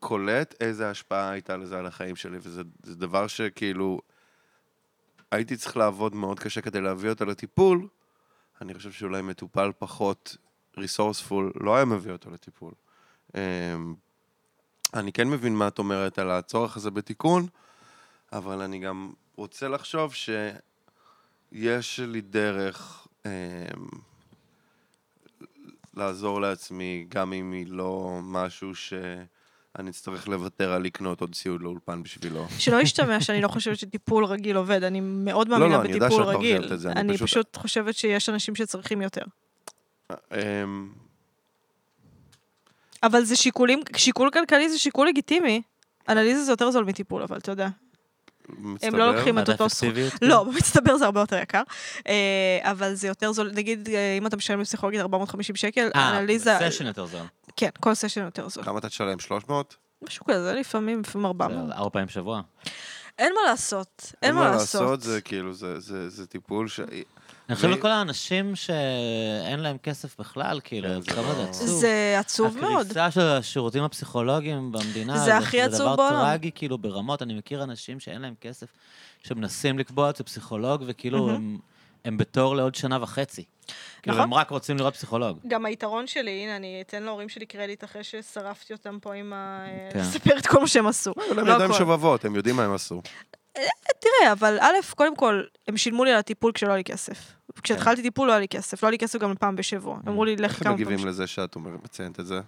S2: קולט איזה השפעה הייתה לזה על החיים שלי, וזה זה דבר שכאילו... הייתי צריך לעבוד מאוד קשה כדי להביא אותה לטיפול, אני חושב שאולי מטופל פחות ריסורספול לא היה מביא אותו לטיפול. אמ, אני כן מבין מה את אומרת על הצורך הזה בתיקון, אבל אני גם רוצה לחשוב שיש לי דרך אמ, לעזור לעצמי, גם אם היא לא משהו שאני אצטרך לוותר על לקנות עוד ציוד לאולפן בשבילו.
S3: שלא ישתמע שאני לא חושבת שטיפול רגיל עובד, אני מאוד
S2: לא,
S3: מאמינה
S2: לא, אני יודע
S3: בטיפול
S2: שאת לא
S3: רגיל.
S2: חושבת את זה, אני
S3: אני
S2: פשוט-
S3: פשוט חושבת שיש אנשים שצריכים יותר.
S2: אמ,
S3: אבל זה שיקולים, שיקול כלכלי זה שיקול לגיטימי. אנליזה זה יותר זול מטיפול, אבל אתה יודע. הם
S2: מצטבר.
S3: לא לוקחים את
S1: ועדה
S3: אותו סכום.
S1: אפקטיביות, כן.
S3: לא, במצטבר זה הרבה יותר יקר. אה, אבל זה יותר זול, נגיד, אה, אם אתה משלם לפסיכולוגית 450 שקל, אנליזה...
S1: אה, סשן יותר זול.
S3: כן, כל סשן יותר זול.
S2: כמה אתה תשלם? 300?
S3: משהו כזה, לפעמים, לפעמים 400.
S1: זה ארבע פעמים בשבוע.
S3: אין מה לעשות, אין מה לעשות. לא
S2: זה כאילו, זה, זה, זה טיפול ש...
S1: אני חושב
S2: זה-
S1: לכל האנשים שאין להם כסף בכלל, כאילו,
S2: כן, זה
S1: כמה
S2: לא-
S1: זה עצוב.
S3: זה עצוב מאוד.
S1: הקריסה של השירותים הפסיכולוגיים במדינה,
S3: זה הכי עצוב
S1: זה
S3: בעולם.
S1: דבר טרגי, כאילו, ברמות. אני מכיר אנשים שאין להם כסף, שמנסים לקבוע אצל פסיכולוג, וכאילו, הם- הם בתור לעוד שנה וחצי. כאילו,
S3: נכון.
S1: הם רק רוצים לראות פסיכולוג.
S3: גם היתרון שלי, הנה, אני אתן להורים שלי קרדיט אחרי ששרפתי אותם פה עם ה... אה,
S1: כן.
S3: לספר את כל מה שהם עשו.
S2: הם
S3: לא
S2: ידיים
S3: הכל.
S2: שובבות, הם יודעים מה הם עשו.
S3: תראה, אבל א', קודם כל, הם שילמו לי על הטיפול כשלא היה לי כסף. כשהתחלתי טיפול לא היה לי כסף, לא היה לי כסף גם פעם בשבוע. אמרו לי, לך
S2: כן. איך הם
S3: כמה
S2: מגיבים
S3: פעמים.
S2: לזה שאת אומרת- מציינת את זה?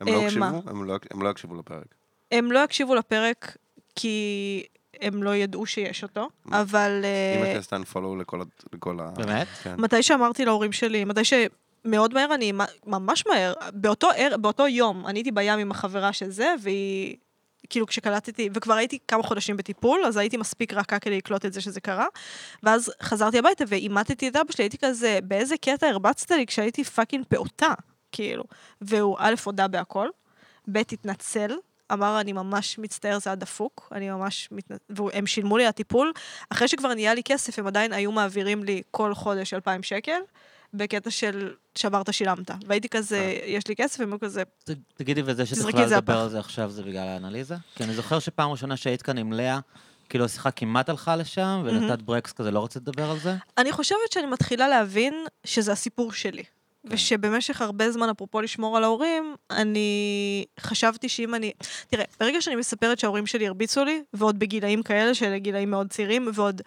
S2: הם
S3: אה,
S2: לא
S3: מה?
S2: הקשיבו? הם לא- הם לא הקשיבו לפרק.
S3: הם לא יקשיבו לפרק, כי הם לא ידעו שיש אותו, אבל...
S2: אם
S3: אה,
S2: את עשתה unfollow לכל ה- לכל ה...
S1: באמת?
S2: כן.
S3: מתי שאמרתי להורים שלי, מתי ש... מאוד מהר, אני ממש מהר, באותו, ער, באותו יום, אני הייתי בים עם החברה של זה, והיא, כאילו כשקלטתי, וכבר הייתי כמה חודשים בטיפול, אז הייתי מספיק רכה כדי לקלוט את זה שזה קרה, ואז חזרתי הביתה ועימתתי את אבא שלי, הייתי כזה, באיזה קטע הרבצת לי כשהייתי פאקינג פעוטה, כאילו. והוא א', הודה בהכל, ב', התנצל, אמר, אני ממש מצטער, זה היה דפוק, אני ממש מתנצל, והם שילמו לי על הטיפול, אחרי שכבר נהיה לי כסף, הם עדיין היו מעבירים לי כל חודש 2,000 שקל, בקטע של שברת, שילמת. והייתי כזה, יש לי כסף, הם היו כזה,
S1: ת- תגידי, וזה שאת
S3: תזרקי
S1: יכולה
S3: את זה
S1: לדבר
S3: לפח.
S1: על זה עכשיו זה בגלל האנליזה? כי אני זוכר שפעם ראשונה שהיית כאן עם לאה, כאילו השיחה כמעט הלכה לשם,
S3: Mhm.
S1: ונתת ברקס כזה, לא רוצה לדבר על זה?
S3: אני חושבת שאני מתחילה להבין שזה הסיפור שלי. ושבמשך הרבה זמן, אפרופו לשמור על ההורים, אני חשבתי שאם אני... תראה, ברגע שאני מספרת שההורים שלי הרביצו לי, ועוד בגילאים כאלה, שאלה גילאים מאוד צעירים, ועוד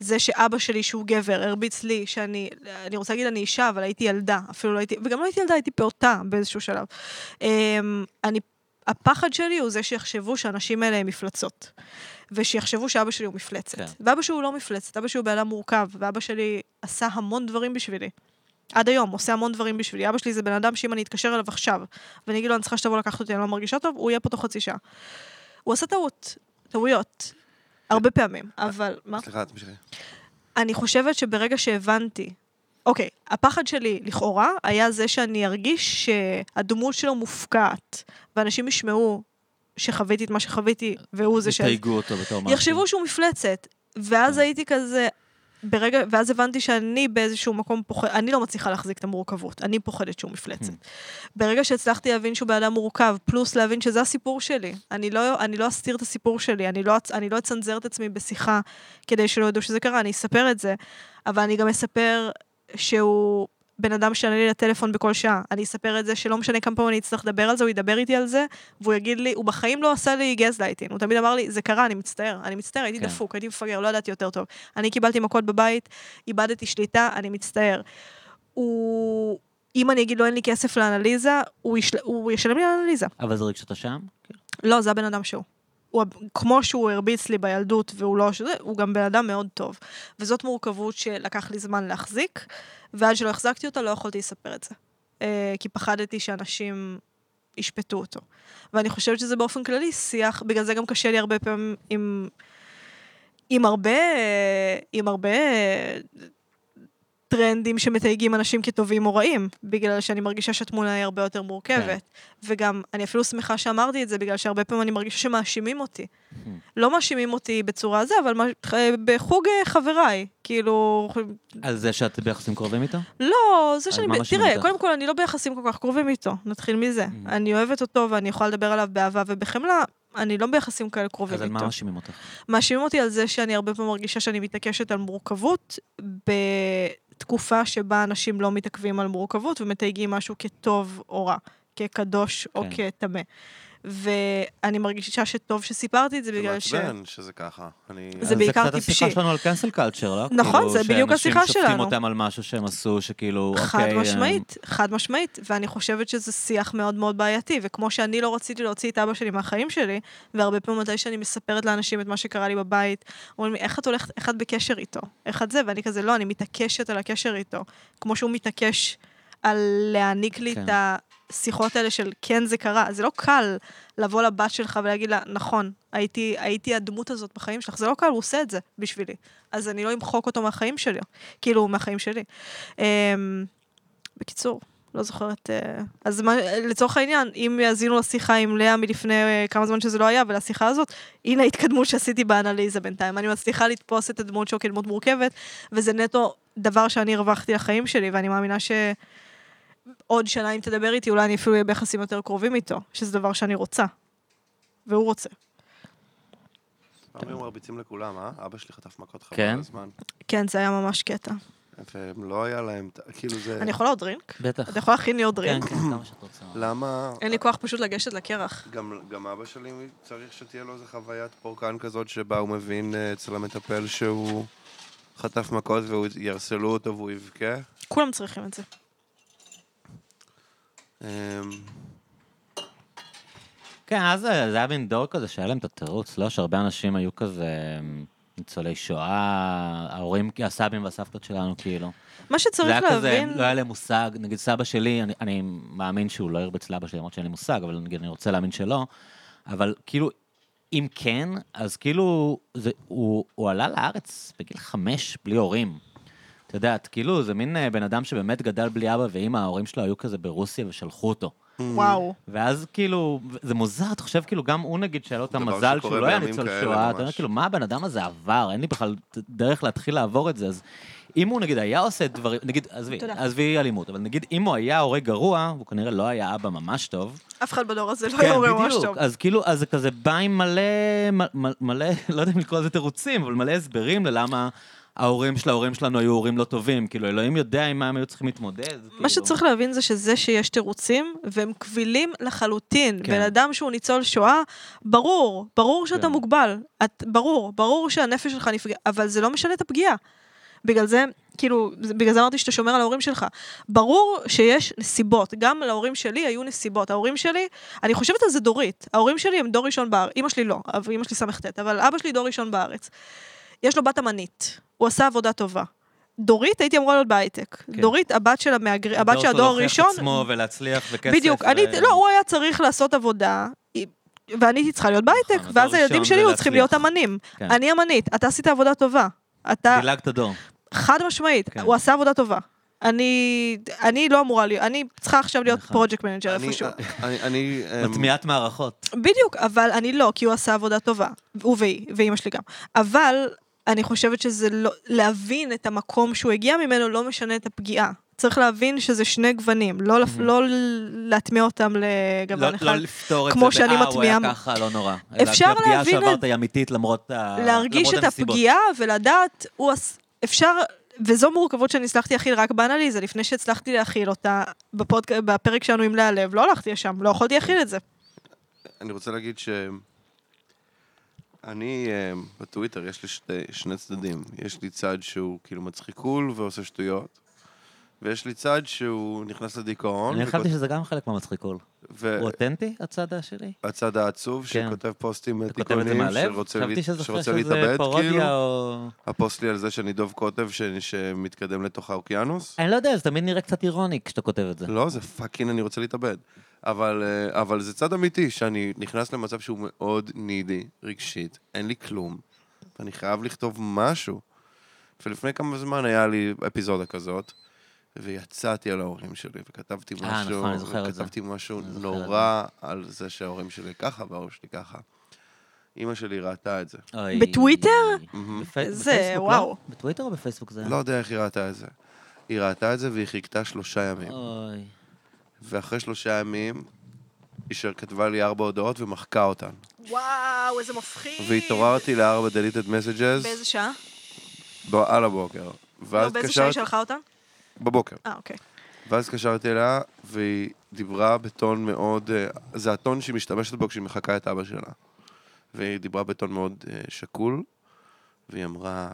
S3: זה שאבא שלי, שהוא גבר, הרביץ לי, שאני... אני רוצה להגיד אני אישה, אבל הייתי ילדה, אפילו לא הייתי... וגם לא הייתי ילדה, הייתי פעוטה באיזשהו שלב. אמ, אני... הפחד שלי הוא זה שיחשבו שהאנשים האלה הם מפלצות. ושיחשבו שאבא שלי הוא מפלצת.
S1: כן.
S3: כן. ואבא שלי הוא לא מפלצת, אבא שלי הוא בן אדם מורכב, ואבא שלי עשה המון דברים בשבילי. עד היום, עושה המון דברים בשבילי. אבא שלי זה בן אדם שאם אני אתקשר אליו עכשיו, ואני אגיד לו, אני צריכה שתבוא לקחת אותי, אני לא מרגישה טוב, הוא יהיה פה תוך חצי שעה. הוא עשה טעות, טעויות, הרבה פעמים, אבל... מה?
S2: סליחה, תמשיכי.
S3: אני חושבת שברגע שהבנתי, אוקיי, הפחד שלי לכאורה היה זה שאני ארגיש שהדמות שלו מופקעת, ואנשים ישמעו שחוויתי את מה שחוויתי, והוא זה ש...
S1: תתייגו אותו בתור משהו. כן.
S3: יחשבו שהוא מפלצת. ואז הייתי כזה, ברגע, ואז הבנתי שאני באיזשהו מקום פוחדת, אני לא מצליחה להחזיק את המורכבות, אני פוחדת שהוא מפלצת.
S1: כן.
S3: ברגע שהצלחתי להבין שהוא בן אדם מורכב, פלוס להבין שזה הסיפור שלי, אני לא, אני לא אסתיר את הסיפור שלי, אני לא, אצ- אני לא אצנזר את עצמי בשיחה כדי שלא ידעו שזה קרה, אני אספר את זה, אבל אני גם אספר שהוא... בן אדם שענה לי לטלפון בכל שעה. אני אספר את זה שלא משנה כמה פעמים אני אצטרך לדבר על זה, הוא ידבר איתי על זה, והוא יגיד לי, הוא בחיים לא עשה לי גזלייטינג. הוא תמיד אמר לי, זה קרה, אני מצטער, אני מצטער, הייתי
S1: כן.
S3: דפוק, הייתי מפגר, לא ידעתי יותר טוב. אני קיבלתי מכות בבית, איבדתי שליטה, אני מצטער. הוא... אם אני אגיד לו אין לי כסף לאנליזה, הוא, ישל... הוא ישלם לי על אנליזה.
S1: אבל זה רגשת אשם?
S3: לא, זה הבן אדם שהוא. הוא, הב- כמו שהוא הרביץ לי בילדות והוא לא... שזה, הוא גם בן אדם מאוד טוב. וזאת מורכבות שלקח לי זמן להחזיק, ועד שלא החזקתי אותה לא יכולתי לספר את זה. אה, כי פחדתי שאנשים ישפטו אותו. ואני חושבת שזה באופן כללי שיח, בגלל זה גם קשה לי הרבה פעמים עם... עם הרבה, אה, עם הרבה אה, טרנדים שמתייגים אנשים כטובים או רעים, בגלל שאני מרגישה שהתמונה היא הרבה יותר מורכבת.
S1: כן.
S3: וגם, אני אפילו שמחה שאמרתי את זה, בגלל שהרבה פעמים אני מרגישה שמאשימים אותי.
S1: Mhm.
S3: לא מאשימים אותי בצורה זה, אבל מה- בחוג אה, חבריי, כאילו,
S1: על זה שאת ביחסים קרובים איתו?
S3: לא, זה
S1: אז
S3: שאני...
S1: מה
S3: ב-
S1: מאשימים
S3: תראה,
S1: אותך? Mhm.
S3: קודם כל, אני לא ביחסים כל כך קרובים איתו, נתחיל מזה. אני אוהבת אותו ואני יכולה לדבר עליו באהבה ובחמלה, אני לא ביחסים כאלה קרובים
S1: אז על מה
S3: איתו.
S1: מאשימים אותך?
S3: מאשימים אותי על זה שאני הרבה פעמים מרגישה שאני מתעקשת על מורכבות בתקופה שבה אנשים לא מתעכבים על מורכבות ומתייגים משהו כטוב או רע, כקדוש או
S1: כן.
S3: כטמא. ואני מרגישה שטוב שסיפרתי את זה בגלל ש...
S2: זה מעצבן שזה ככה. אני...
S3: זה בעיקר
S1: זה קצת השיחה
S3: טיפשי.
S1: שלנו על קאנסל קלצ'ר, לא?
S3: נכון,
S1: כאילו
S3: זה בדיוק השיחה
S1: שאנשים שופטים
S3: שלנו.
S1: אותם על משהו שהם עשו, שכאילו, אוקיי...
S3: חד
S1: הם-
S3: משמעית, חד משמעית, ואני חושבת שזה שיח מאוד מאוד בעייתי, וכמו שאני לא רציתי להוציא את אבא שלי מהחיים שלי, והרבה פעמים מתי שאני מספרת לאנשים את מה שקרה לי בבית, אומרים לי, איך את הולכת, איך את בקשר איתו? איך את זה? ואני כזה, לא, אני מתעקשת על הקשר איתו, כמו שהוא מתעקש על להעניק לי
S1: כן.
S3: את השיחות האלה של כן זה קרה. זה לא קל לבוא לבת שלך ולהגיד לה, נכון, הייתי, הייתי הדמות הזאת בחיים שלך, זה לא קל, הוא עושה את זה בשבילי. אז אני לא אמחוק אותו מהחיים שלי, כאילו, מהחיים שלי. אמ, בקיצור, לא זוכרת... אה, אז מה, לצורך העניין, אם יאזינו לשיחה עם לאה מלפני אה, כמה זמן שזה לא היה, ולשיחה הזאת, הנה ההתקדמות שעשיתי באנליזה בינתיים. אני מצליחה לתפוס את הדמות שלו כדמות מורכבת, וזה נטו דבר שאני הרווחתי לחיים שלי, ואני מאמינה ש... עוד שנה אם תדבר איתי, אולי אני אפילו אהיה ביחסים יותר קרובים איתו, שזה דבר שאני רוצה. והוא רוצה.
S2: פעם היו מרביצים לכולם, אה? אבא שלי חטף מכות חבל
S1: כן?
S2: על הזמן.
S3: כן, זה היה ממש קטע.
S2: והם לא היה להם... ת- כאילו זה...
S3: אני יכולה עוד דרינק?
S1: בטח.
S3: אתה יכול להכין לי עוד
S1: כן,
S3: דרינק?
S1: כן, כמה שאת רוצה.
S2: למה...
S3: אין לי כוח פשוט לגשת לקרח.
S2: גם, גם אבא שלי צריך שתהיה לו איזה חוויית פורקן כזאת שבה הוא מבין אה, אצל המטפל שהוא חטף מכות והוא ירסלו אותו והוא יבכה.
S3: כולם צריכים את זה.
S2: אמ,
S1: כן, אז זה זה היה מין דור כזה שהיה להם את התירוץ, לא? שהרבה אנשים היו כזה אמ, ניצולי שואה, ההורים, הסבים והסבתות שלנו, כאילו.
S3: מה שצריך
S1: זה היה
S3: להבין...
S1: כזה, לא היה להם מושג, נגיד סבא שלי, אני, אני מאמין שהוא לא הרביץ לאבא שלי, למרות שאין לי מושג, אבל נגיד אני רוצה להאמין שלא, אבל כאילו, אם כן, אז כאילו, זה, הוא, הוא עלה לארץ בגיל חמש, בלי הורים. את יודעת, כאילו, זה מין אה, בן אדם שבאמת גדל בלי אבא ואימא, ההורים שלו היו כזה ברוסיה ושלחו אותו.
S3: וואו.
S1: ואז כאילו, זה מוזר, אתה חושב כאילו, גם הוא נגיד שהיה לו את
S2: דבר
S1: המזל
S2: שקורה
S1: שהוא לא היה
S2: בימים
S1: ניצול
S2: כאלה
S1: שואה, אתה אומר
S2: ממש.
S1: כאילו, מה הבן אדם הזה עבר? אין לי בכלל דרך להתחיל לעבור את זה, אז אם הוא נגיד היה עושה דברים, נגיד, עזבי,
S3: תודה.
S1: עזבי אלימות, אבל נגיד אם הוא היה הורה גרוע, והוא כנראה לא היה אבא ממש טוב,
S3: אף אחד בדור הזה לא
S1: כן,
S3: יורה ממש
S1: בדיוק.
S3: טוב.
S1: אז כאילו, אז זה כזה בא עם מלא, מ- מ- מלא, לא יודע אם לקרוא לזה תירוצים, אבל מלא הסברים ללמה ההורים של ההורים שלנו היו הורים לא טובים. כאילו, אלוהים יודע עם מה הם היו צריכים להתמודד. כאילו.
S3: מה שצריך להבין זה שזה שיש תירוצים, והם קבילים לחלוטין.
S1: כן.
S3: בן אדם שהוא ניצול שואה, ברור, ברור שאתה
S1: כן.
S3: מוגבל. את, ברור, ברור שהנפש שלך נפגע, אבל זה לא משנה את הפגיעה. בגלל זה, כאילו, זה- בגלל זה אמרתי שאתה שומר על ההורים שלך. ברור שיש נסיבות, גם להורים שלי היו נסיבות. ההורים שלי, אני חושבת על זה דורית. ההורים שלי הם דור ראשון בארץ, אימא שלי לא, אבל אימא שלי סט, אבל אבא שלי דור ראשון בארץ. יש לו בת אמנית, הוא עשה עבודה טובה. דורית, הייתי אמורה להיות בהייטק.
S1: כן.
S3: דורית, הבת של, המהגר... הבת של הדור הראשון,
S1: הדור שלו להוכיח את עצמו ולהצליח וכסף.
S3: בדיוק, אני,
S1: ו-
S3: לא, הוא היה צריך לעשות עבודה, היא- ואני הייתי צריכה להיות בהייטק,
S1: נכון, הדור
S3: ואז הילדים
S1: הראשון
S3: שלי
S1: זה
S3: היו צריכים להיות
S1: להצליח.
S3: אמנים.
S1: כן.
S3: אני אמנית, אתה עשית עבודה טובה. אתה,
S1: דילגת דור.
S3: חד משמעית,
S1: כן.
S3: הוא עשה עבודה טובה. אני, אני לא אמורה להיות, אני צריכה עכשיו להיות
S1: נכון.
S3: פרויקט מנג'ר
S2: אני-
S3: איפשהו.
S2: אני... אני... אמ,
S1: מטמיעת מערכות.
S3: בדיוק, אבל אני לא, כי הוא עשה עבודה טובה. הוא והיא, ואימא שלי גם. אבל אני חושבת שזה לא, להבין את המקום שהוא הגיע ממנו לא משנה את הפגיעה. צריך להבין שזה שני גוונים, לא, לפ- לא להטמיע אותם
S1: לא
S3: לגוון אחד.
S1: לא לפתור את זה,
S3: כמו שאני
S1: ב"אה, הוא היה
S3: מטמיעה-
S1: ככה, לא נורא.
S3: אפשר
S1: אלא כי הפגיעה
S3: להבין את-
S1: שעברת היא אמיתית למרות ה-
S3: להרגיש
S1: אה, למרות
S3: את
S1: הנסיבות.
S3: הפגיעה ולדעת, הוא עש- אפשר, וזו מורכבות שאני הצלחתי להכיל רק באנליזה, לפני שהצלחתי להכיל אותה בפודק... בפרק שלנו עם לאה לב, לא הלכתי לשם, לא יכולתי להכיל את זה.
S2: אני רוצה להגיד ש... אני, אמ, בטוויטר יש לי שתי, שני צדדים. יש לי צד שהוא כאילו מצחיק קול ועושה שטויות, ויש לי צד שהוא נכנס לדיכאון,
S1: אני חשבתי שזה גם חלק מהמצחיקול.
S2: ו-
S1: הוא אותנטי, הצד השני?
S2: הצד העצוב
S1: כן.
S2: שכותב פוסטים
S1: אתה כותב את זה
S2: עתיקונים,
S1: מהלב?
S2: שרוצה
S1: חשבתי
S2: להת-
S1: שזה
S2: שרוצה
S1: אחרי שזה
S2: להתאבד, כאילו.
S1: פרודיה או...
S2: הפוסט שלי על זה שאני דוב קוטב ש... שמתקדם לתוך האוקיינוס.
S1: אני לא יודע, זה תמיד נראה קצת אירוני כשאתה כותב את זה.
S2: לא, זה פאקינג, אני רוצה להתאבד. אבל, אה, אבל זה צד אמיתי, שאני נכנס למצב שהוא מאוד נידי, רגשית, אין לי כלום, ואני חייב לכתוב משהו. ולפני כמה זמן היה לי אפיזודה כזאת, ויצאתי על ההורים שלי, וכתבתי משהו,
S1: אה, נכון, אני זוכר את זה.
S2: וכתבתי משהו
S1: אני זוכר את
S2: נורא על זה שההורים שלי ככה וההורים שלי ככה. אימא שלי ראתה את זה.
S1: אוי.
S3: בטוויטר?
S2: מהמם.
S1: בפי-
S3: זה,
S1: בפייסבוק, לא?
S3: וואו.
S1: בטוויטר או בפייסבוק זה? היה?
S2: לא יודע איך היא ראתה את זה. היא ראתה את זה והיא חיכתה שלושה ימים.
S1: אוי.
S2: ואחרי שלושה ימים, היא ש- כתבה לי ארבע הודעות ומחקה אותן.
S3: וואו, איזה מפחיד.
S2: והתעוררתי לארבע deleted messages
S3: באיזה שעה?
S2: ב- על הבוקר.
S3: לא,
S2: ואז
S3: באיזה שעה היא
S2: התקשרתי...
S3: שלחה אותה?
S2: בבוקר.
S3: אה, אוקיי.
S2: ואז התקשרתי אליה, והיא דיברה בטון מאוד... אה, זה הטון שהיא משתמשת בו כשהיא מחקה את אבא שלה. והיא דיברה בטון מאוד אה, שקול, והיא אמרה...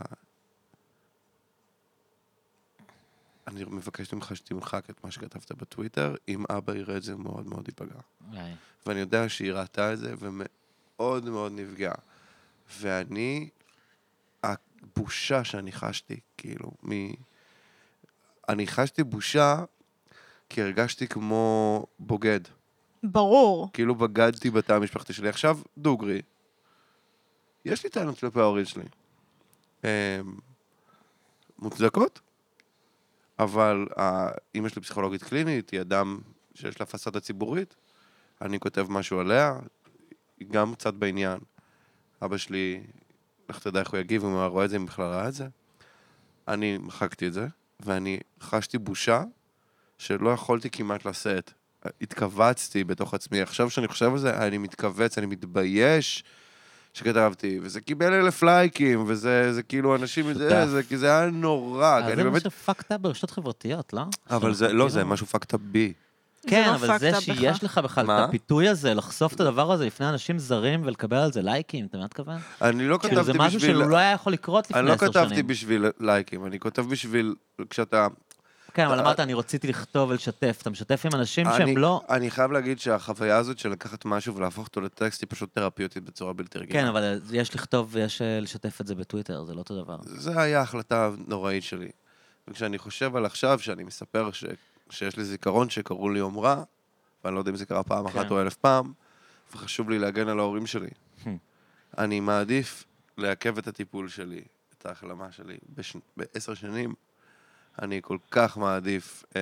S2: אני מבקשת ממך שתמחק את מה שכתבת בטוויטר, אם אבא יראה את זה הוא מאוד מאוד ייפגע.
S1: אוי.
S2: ואני יודע שהיא ראתה את זה, ומאוד מאוד נפגעה. ואני, הבושה שאני חשתי, כאילו, מ... אני חשתי בושה, כי הרגשתי כמו בוגד.
S3: ברור.
S2: כאילו בגדתי בתא המשפחתי שלי. עכשיו, דוגרי, יש לי טענות כלפי ההורים שלי. אמ, מוצדקות, אבל אה, אימא שלי פסיכולוגית קלינית, היא אדם שיש לה פסאדה ציבורית, אני כותב משהו עליה, היא גם קצת בעניין. אבא שלי, לך תדע איך הוא יגיב, אם הוא היה רואה את זה, אם בכלל ראה את זה. אני מחקתי את זה, ואני חשתי בושה שלא יכולתי כמעט לשאת. התכווצתי בתוך עצמי. עכשיו שאני חושב על זה, אני מתכווץ, אני מתבייש שכתבתי, וזה קיבל אלף לייקים, וזה זה כאילו אנשים,
S1: שותף.
S2: זה, זה, כי זה היה נורא, כי
S1: אבל
S2: אני
S1: אה, זה
S2: באמת...
S1: משהו fucked up ברשתות חברתיות, לא?
S2: אבל זה,
S1: כאילו-
S2: לא, זה משהו fucked up בי.
S1: כן,
S3: לא
S1: אבל
S3: fucked
S1: זה
S3: up
S1: שיש
S3: בך.
S1: לך בכלל את
S2: מה?
S1: הפיתוי הזה, לחשוף את הדבר הזה לפני אנשים זרים ולקבל על זה לייקים, אתה מבין מה התכוון?
S2: אני לא
S1: כאילו, זה
S2: כתבתי
S1: משהו
S2: בשביל...
S1: שהוא לא היה יכול לקרות לפני
S2: אני לא
S1: עשר שנים.
S2: כתבתי בשביל לייקים, אני כותב בשביל... כשאתה...
S1: כן, אבל
S2: אתה-
S1: אמרת, אני רציתי לכתוב ולשתף. אתה משתף עם אנשים
S2: אה, אני-
S1: שהם לא...
S2: אני חייב להגיד שהחוויה הזאת של לקחת משהו ולהפוך אותו לטקסט היא פשוט תרפיוטית בצורה בלתי רגילה.
S1: כן, אבל יש לכתוב ויש אה, לשתף את זה בטוויטר, זה לא אותו דבר.
S2: זה היה החלטה נוראית שלי. וכשאני חושב על עכשיו, שאני מספר ש... שיש לי זיכרון שקראו לי אומרה, ואני לא יודע אם זה קרה פעם
S1: כן. Hmm.
S2: אחת או אלף פעם, וחשוב לי להגן על ההורים שלי. אני מעדיף לעכב את הטיפול שלי, את ההחלמה שלי, בש... בעשר שנים. אני כל כך מעדיף אה,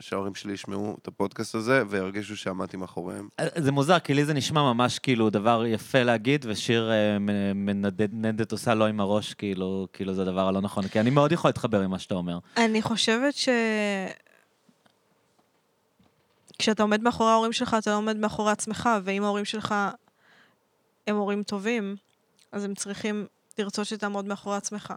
S2: שההורים שלי ישמעו את הפודקאסט הזה וירגישו שעמדתי מאחוריהם.
S1: אה, זה מוזר, כי לי זה נשמע ממש כאילו דבר יפה להגיד, ושיר אה, מ- מנדנדת עושה לא עם הראש, כאילו, כאילו זה הדבר הלא נכון. כי אני מאוד יכול להתחבר עם מה שאתה אומר.
S3: אני חושבת ש... כשאתה עומד מאחורי ההורים שלך, אתה לא עומד מאחורי עצמך, ואם ההורים שלך הם הורים טובים, אז הם צריכים לרצות שתעמוד מאחורי עצמך.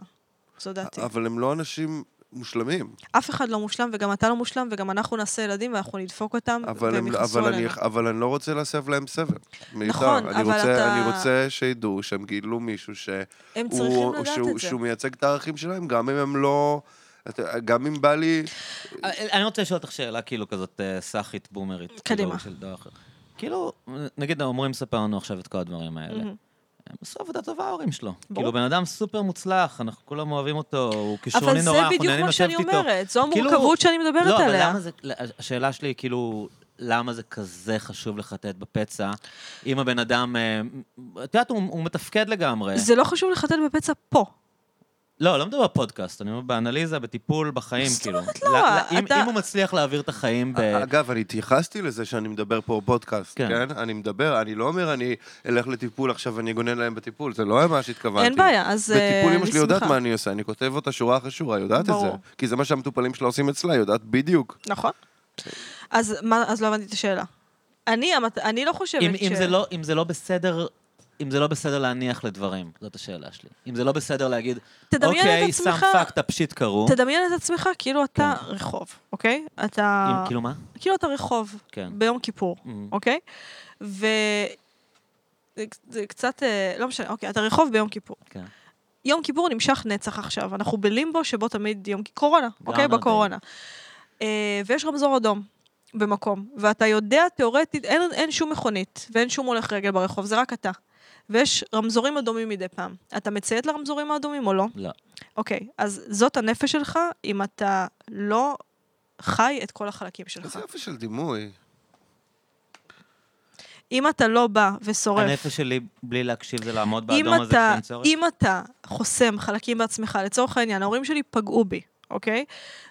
S3: זו דעתי.
S2: אבל הם לא אנשים מושלמים.
S3: אף אחד לא מושלם, וגם אתה לא מושלם, וגם אנחנו נעשה ילדים, ואנחנו נדפוק אותם,
S2: אבל,
S3: והם
S2: הם,
S3: יכעסו
S2: אבל, אני,
S3: עלינו.
S2: אבל אני לא רוצה להסב להם סבל. מיותר.
S3: נכון,
S2: אני
S3: אבל
S2: רוצה,
S3: אתה-
S2: אני רוצה שידעו שהם גילו מישהו ש...
S3: הם
S2: הוא-
S3: צריכים לדעת
S2: שהוא,
S3: את זה.
S2: שהוא מייצג את הערכים שלהם, גם אם הם לא... אתה- גם אם בא לי...
S1: אה, אני רוצה לשאול אותך שאלה כאילו כזאת אה, סאחית בומרית.
S3: קדימה.
S1: כאילו, של דור אחר. כאילו, נגיד אומרים, ספר לנו עכשיו את כל הדברים האלה.
S3: מהמם.
S1: הם עשו עבודה טובה ההורים שלו.
S3: ברור.
S1: כאילו, בן אדם סופר מוצלח, אנחנו כולם אוהבים אותו, הוא
S3: אבל
S1: כישרוני
S3: זה
S1: נורא, אנחנו
S3: בדיוק
S1: נהנים
S3: מה
S1: לשבת
S3: שאני
S1: איתו.
S3: אומרת, זו
S1: כאילו-
S3: המורכבות שאני מדברת
S1: לא, אבל
S3: עליה.
S1: למה זה, השאלה שלי היא כאילו, למה זה כזה חשוב לחטט בפצע, אם הבן אדם, אה, את יודעת, הוא, הוא מתפקד לגמרי.
S3: זה לא חשוב לחטט בפצע פה.
S1: לא, לא מדבר בפודקאסט, אני אומר באנליזה, בטיפול, בחיים,
S3: זאת
S1: כאילו.
S3: אומרת, לא,
S1: אם,
S3: אתה-
S1: אם הוא מצליח להעביר את החיים ב...
S2: אגב, אני התייחסתי לזה שאני מדבר פה בפודקאסט,
S1: כן.
S2: כן? אני מדבר, אני לא אומר אני אלך לטיפול עכשיו ואני אגונן להם בטיפול, זה לא מה שהתכוונתי.
S3: אין בעיה, אז אה, אני שמחה.
S2: בטיפול אמא שלי יודעת מה אני עושה, אני כותב אותה שורה אחרי שורה, יודעת את
S3: ברור.
S2: זה. כי זה מה שהמטופלים שלה עושים אצלה, יודעת בדיוק.
S3: נכון. אז, מה, אז לא הבנתי את השאלה. אני, המת- אני לא חושבת
S1: אם,
S3: ש...
S1: אם, זה לא, אם זה לא בסדר... אם זה לא בסדר להניח לדברים, זאת השאלה שלי. אם זה לא בסדר להגיד,
S3: תדמיין את
S1: אוקיי,
S3: עצמך-
S1: סם פאק, תפשיט קרו.
S3: תדמיין את עצמך כאילו אתה רחוב, אוקיי? אתה...
S1: אם- כאילו מה?
S3: כאילו אתה רחוב
S1: כן.
S3: ביום כיפור, אוקיי? ו... זה- זה קצת, אה, לא משנה, אוקיי, אתה רחוב ביום כיפור.
S1: כן.
S3: יום כיפור נמשך נצח עכשיו, אנחנו בלימבו שבו תמיד יום קורונה, אוקיי?
S1: עוד
S3: בקורונה. אה, ויש רמזור אדום במקום, ואתה יודע תיאורטית, אין, אין שום מכונית ואין שום הולך רגל ברחוב, זה רק אתה. ויש רמזורים אדומים מדי פעם. אתה מציית לרמזורים האדומים או לא?
S1: לא.
S3: אוקיי, אז זאת הנפש שלך אם אתה לא חי את כל החלקים שלך.
S2: איזה יופי של דימוי.
S3: אם אתה לא בא ושורף
S1: הנפש שלי, בלי להקשיב, זה לעמוד
S3: אם
S1: באדום הזה
S3: אתה,
S1: כשאין צורך?
S3: אם אתה חוסם חלקים בעצמך, לצורך העניין, ההורים שלי פגעו בי, אוקיי?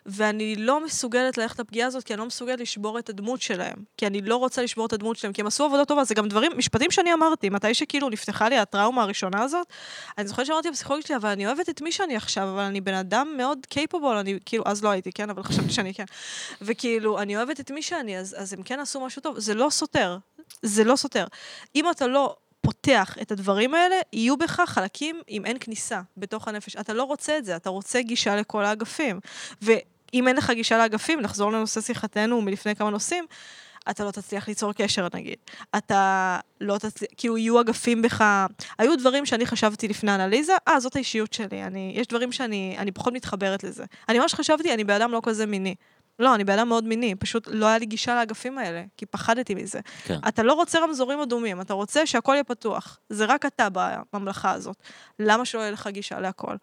S3: ואני לא מסוגלת ללכת לפגיעה הזאת, כי אני לא מסוגלת לשבור את הדמות שלהם. כי אני לא רוצה לשבור את הדמות שלהם, כי הם עשו עבודה טובה. זה גם דברים, משפטים שאני אמרתי, מתי שכאילו נפתחה לי הטראומה הראשונה הזאת, אני זוכרת שאמרתי לפסיכולוגית שלי, אבל אני אוהבת את מי שאני עכשיו, אבל אני בן אדם מאוד קייפובול, אני כאילו, אז לא הייתי, כן? אבל חשבתי שאני כן. וכאילו, אני אוהבת את מי שאני, אז, אז הם כן עשו משהו טוב. זה לא סותר. זה לא סותר. אם אתה לא פותח את הדברים האלה, יהיו בך חלקים אם אין כניסה בתוך הנפש. אתה לא רוצה את זה, אתה רוצה גישה לכל האגפים. ואם אין לך גישה לאגפים, נחזור לנושא שיחתנו מלפני כמה נושאים, אתה לא תצליח ליצור קשר נגיד. אתה לא תצליח, כאילו יהיו אגפים בך. היו דברים שאני חשבתי לפני אנליזה, אה, זאת האישיות שלי, אני, יש דברים שאני אני פחות מתחברת לזה. אני ממש חשבתי, אני באדם לא כזה מיני. לא, אני באדם מאוד מיני, פשוט לא היה לי גישה לאגפים האלה, כי פחדתי מזה.
S1: כן.
S3: אתה לא רוצה רמזורים אדומים, אתה רוצה שהכל יהיה פתוח. זה רק אתה בממלכה הזאת. למה שלא יהיה לך גישה להכל?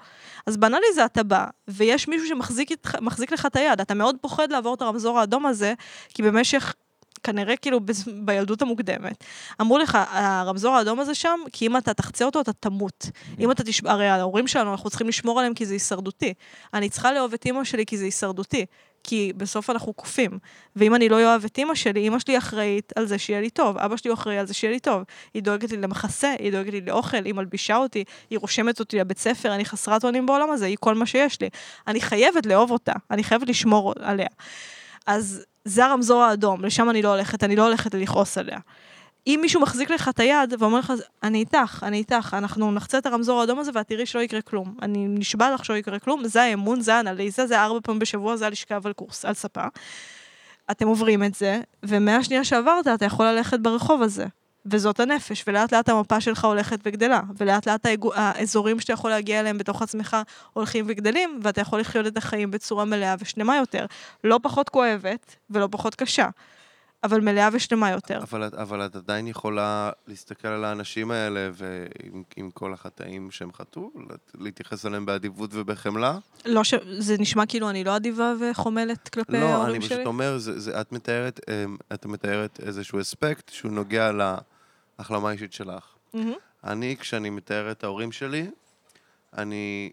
S3: אז באנליזה אתה בא, ויש מישהו שמחזיק איתך- מחזיק לך את היד. אתה מאוד פוחד לעבור את הרמזור האדום הזה, כי במשך, כנראה כאילו בז- בילדות המוקדמת, אמרו לך, הרמזור האדום הזה שם, כי אם אתה תחצה אותו, אתה תמות. אם אתה תשמע, הרי ההורים שלנו, אנחנו צריכים לשמור עליהם כי זה הישרדותי. אני צריכה לאהוב את אימא שלי כי זה הישרדותי. כי בסוף אנחנו קופים. ואם אני לא אוהב את אימא שלי, אימא שלי אחראית על זה שיהיה לי טוב, אבא שלי הוא אחראי על זה שיהיה לי טוב. היא דואגת לי למחסה, היא דואגת לי לאוכל, היא מלבישה אותי, היא רושמת אותי לבית ספר, אני חסרת אונים בעולם הזה, היא כל מה שיש לי. אני חייבת לאהוב אותה, אני חייבת לשמור עליה. אז זה הרמזור האדום, לשם אני לא הולכת, אני לא הולכת לכעוס עליה. אם מישהו מחזיק לך את היד ואומר לך, אני איתך, אני איתך, אנחנו נחצה את הרמזור האדום הזה ואת תראי שלא יקרה כלום. אני נשבע לך שלא יקרה כלום, זה האמון, זה האנליזה, זה ארבע פעמים בשבוע, זה הלשכב על קורס, על ספה. אתם עוברים את זה, ומהשנייה שעברת אתה יכול ללכת ברחוב הזה. וזאת הנפש, ולאט לאט המפה שלך הולכת וגדלה, ולאט לאט האגו- האזורים שאתה יכול להגיע אליהם בתוך עצמך הולכים וגדלים, ואתה יכול לחיות את החיים בצורה מלאה ושלמה יותר. לא פחות כואבת ולא פחות קשה, אבל מלאה ושלמה יותר.
S2: אבל, את- אבל את עדיין יכולה להסתכל על האנשים האלה ועם עם כל החטאים שהם חטאו, לת- להתייחס אליהם באדיבות ובחמלה.
S3: לא ש... זה נשמע כאילו אני לא אדיבה וחומלת כלפי
S2: לא,
S3: ההורים
S2: אני
S3: שלי?
S2: פשוט אומר, זה, זה, את מתארת, אמ, את מתארת איזשהו אספקט שהוא נוגע להחלמה האישית שלך.
S3: מהמם.
S2: אני, כשאני מתאר את ההורים שלי, אני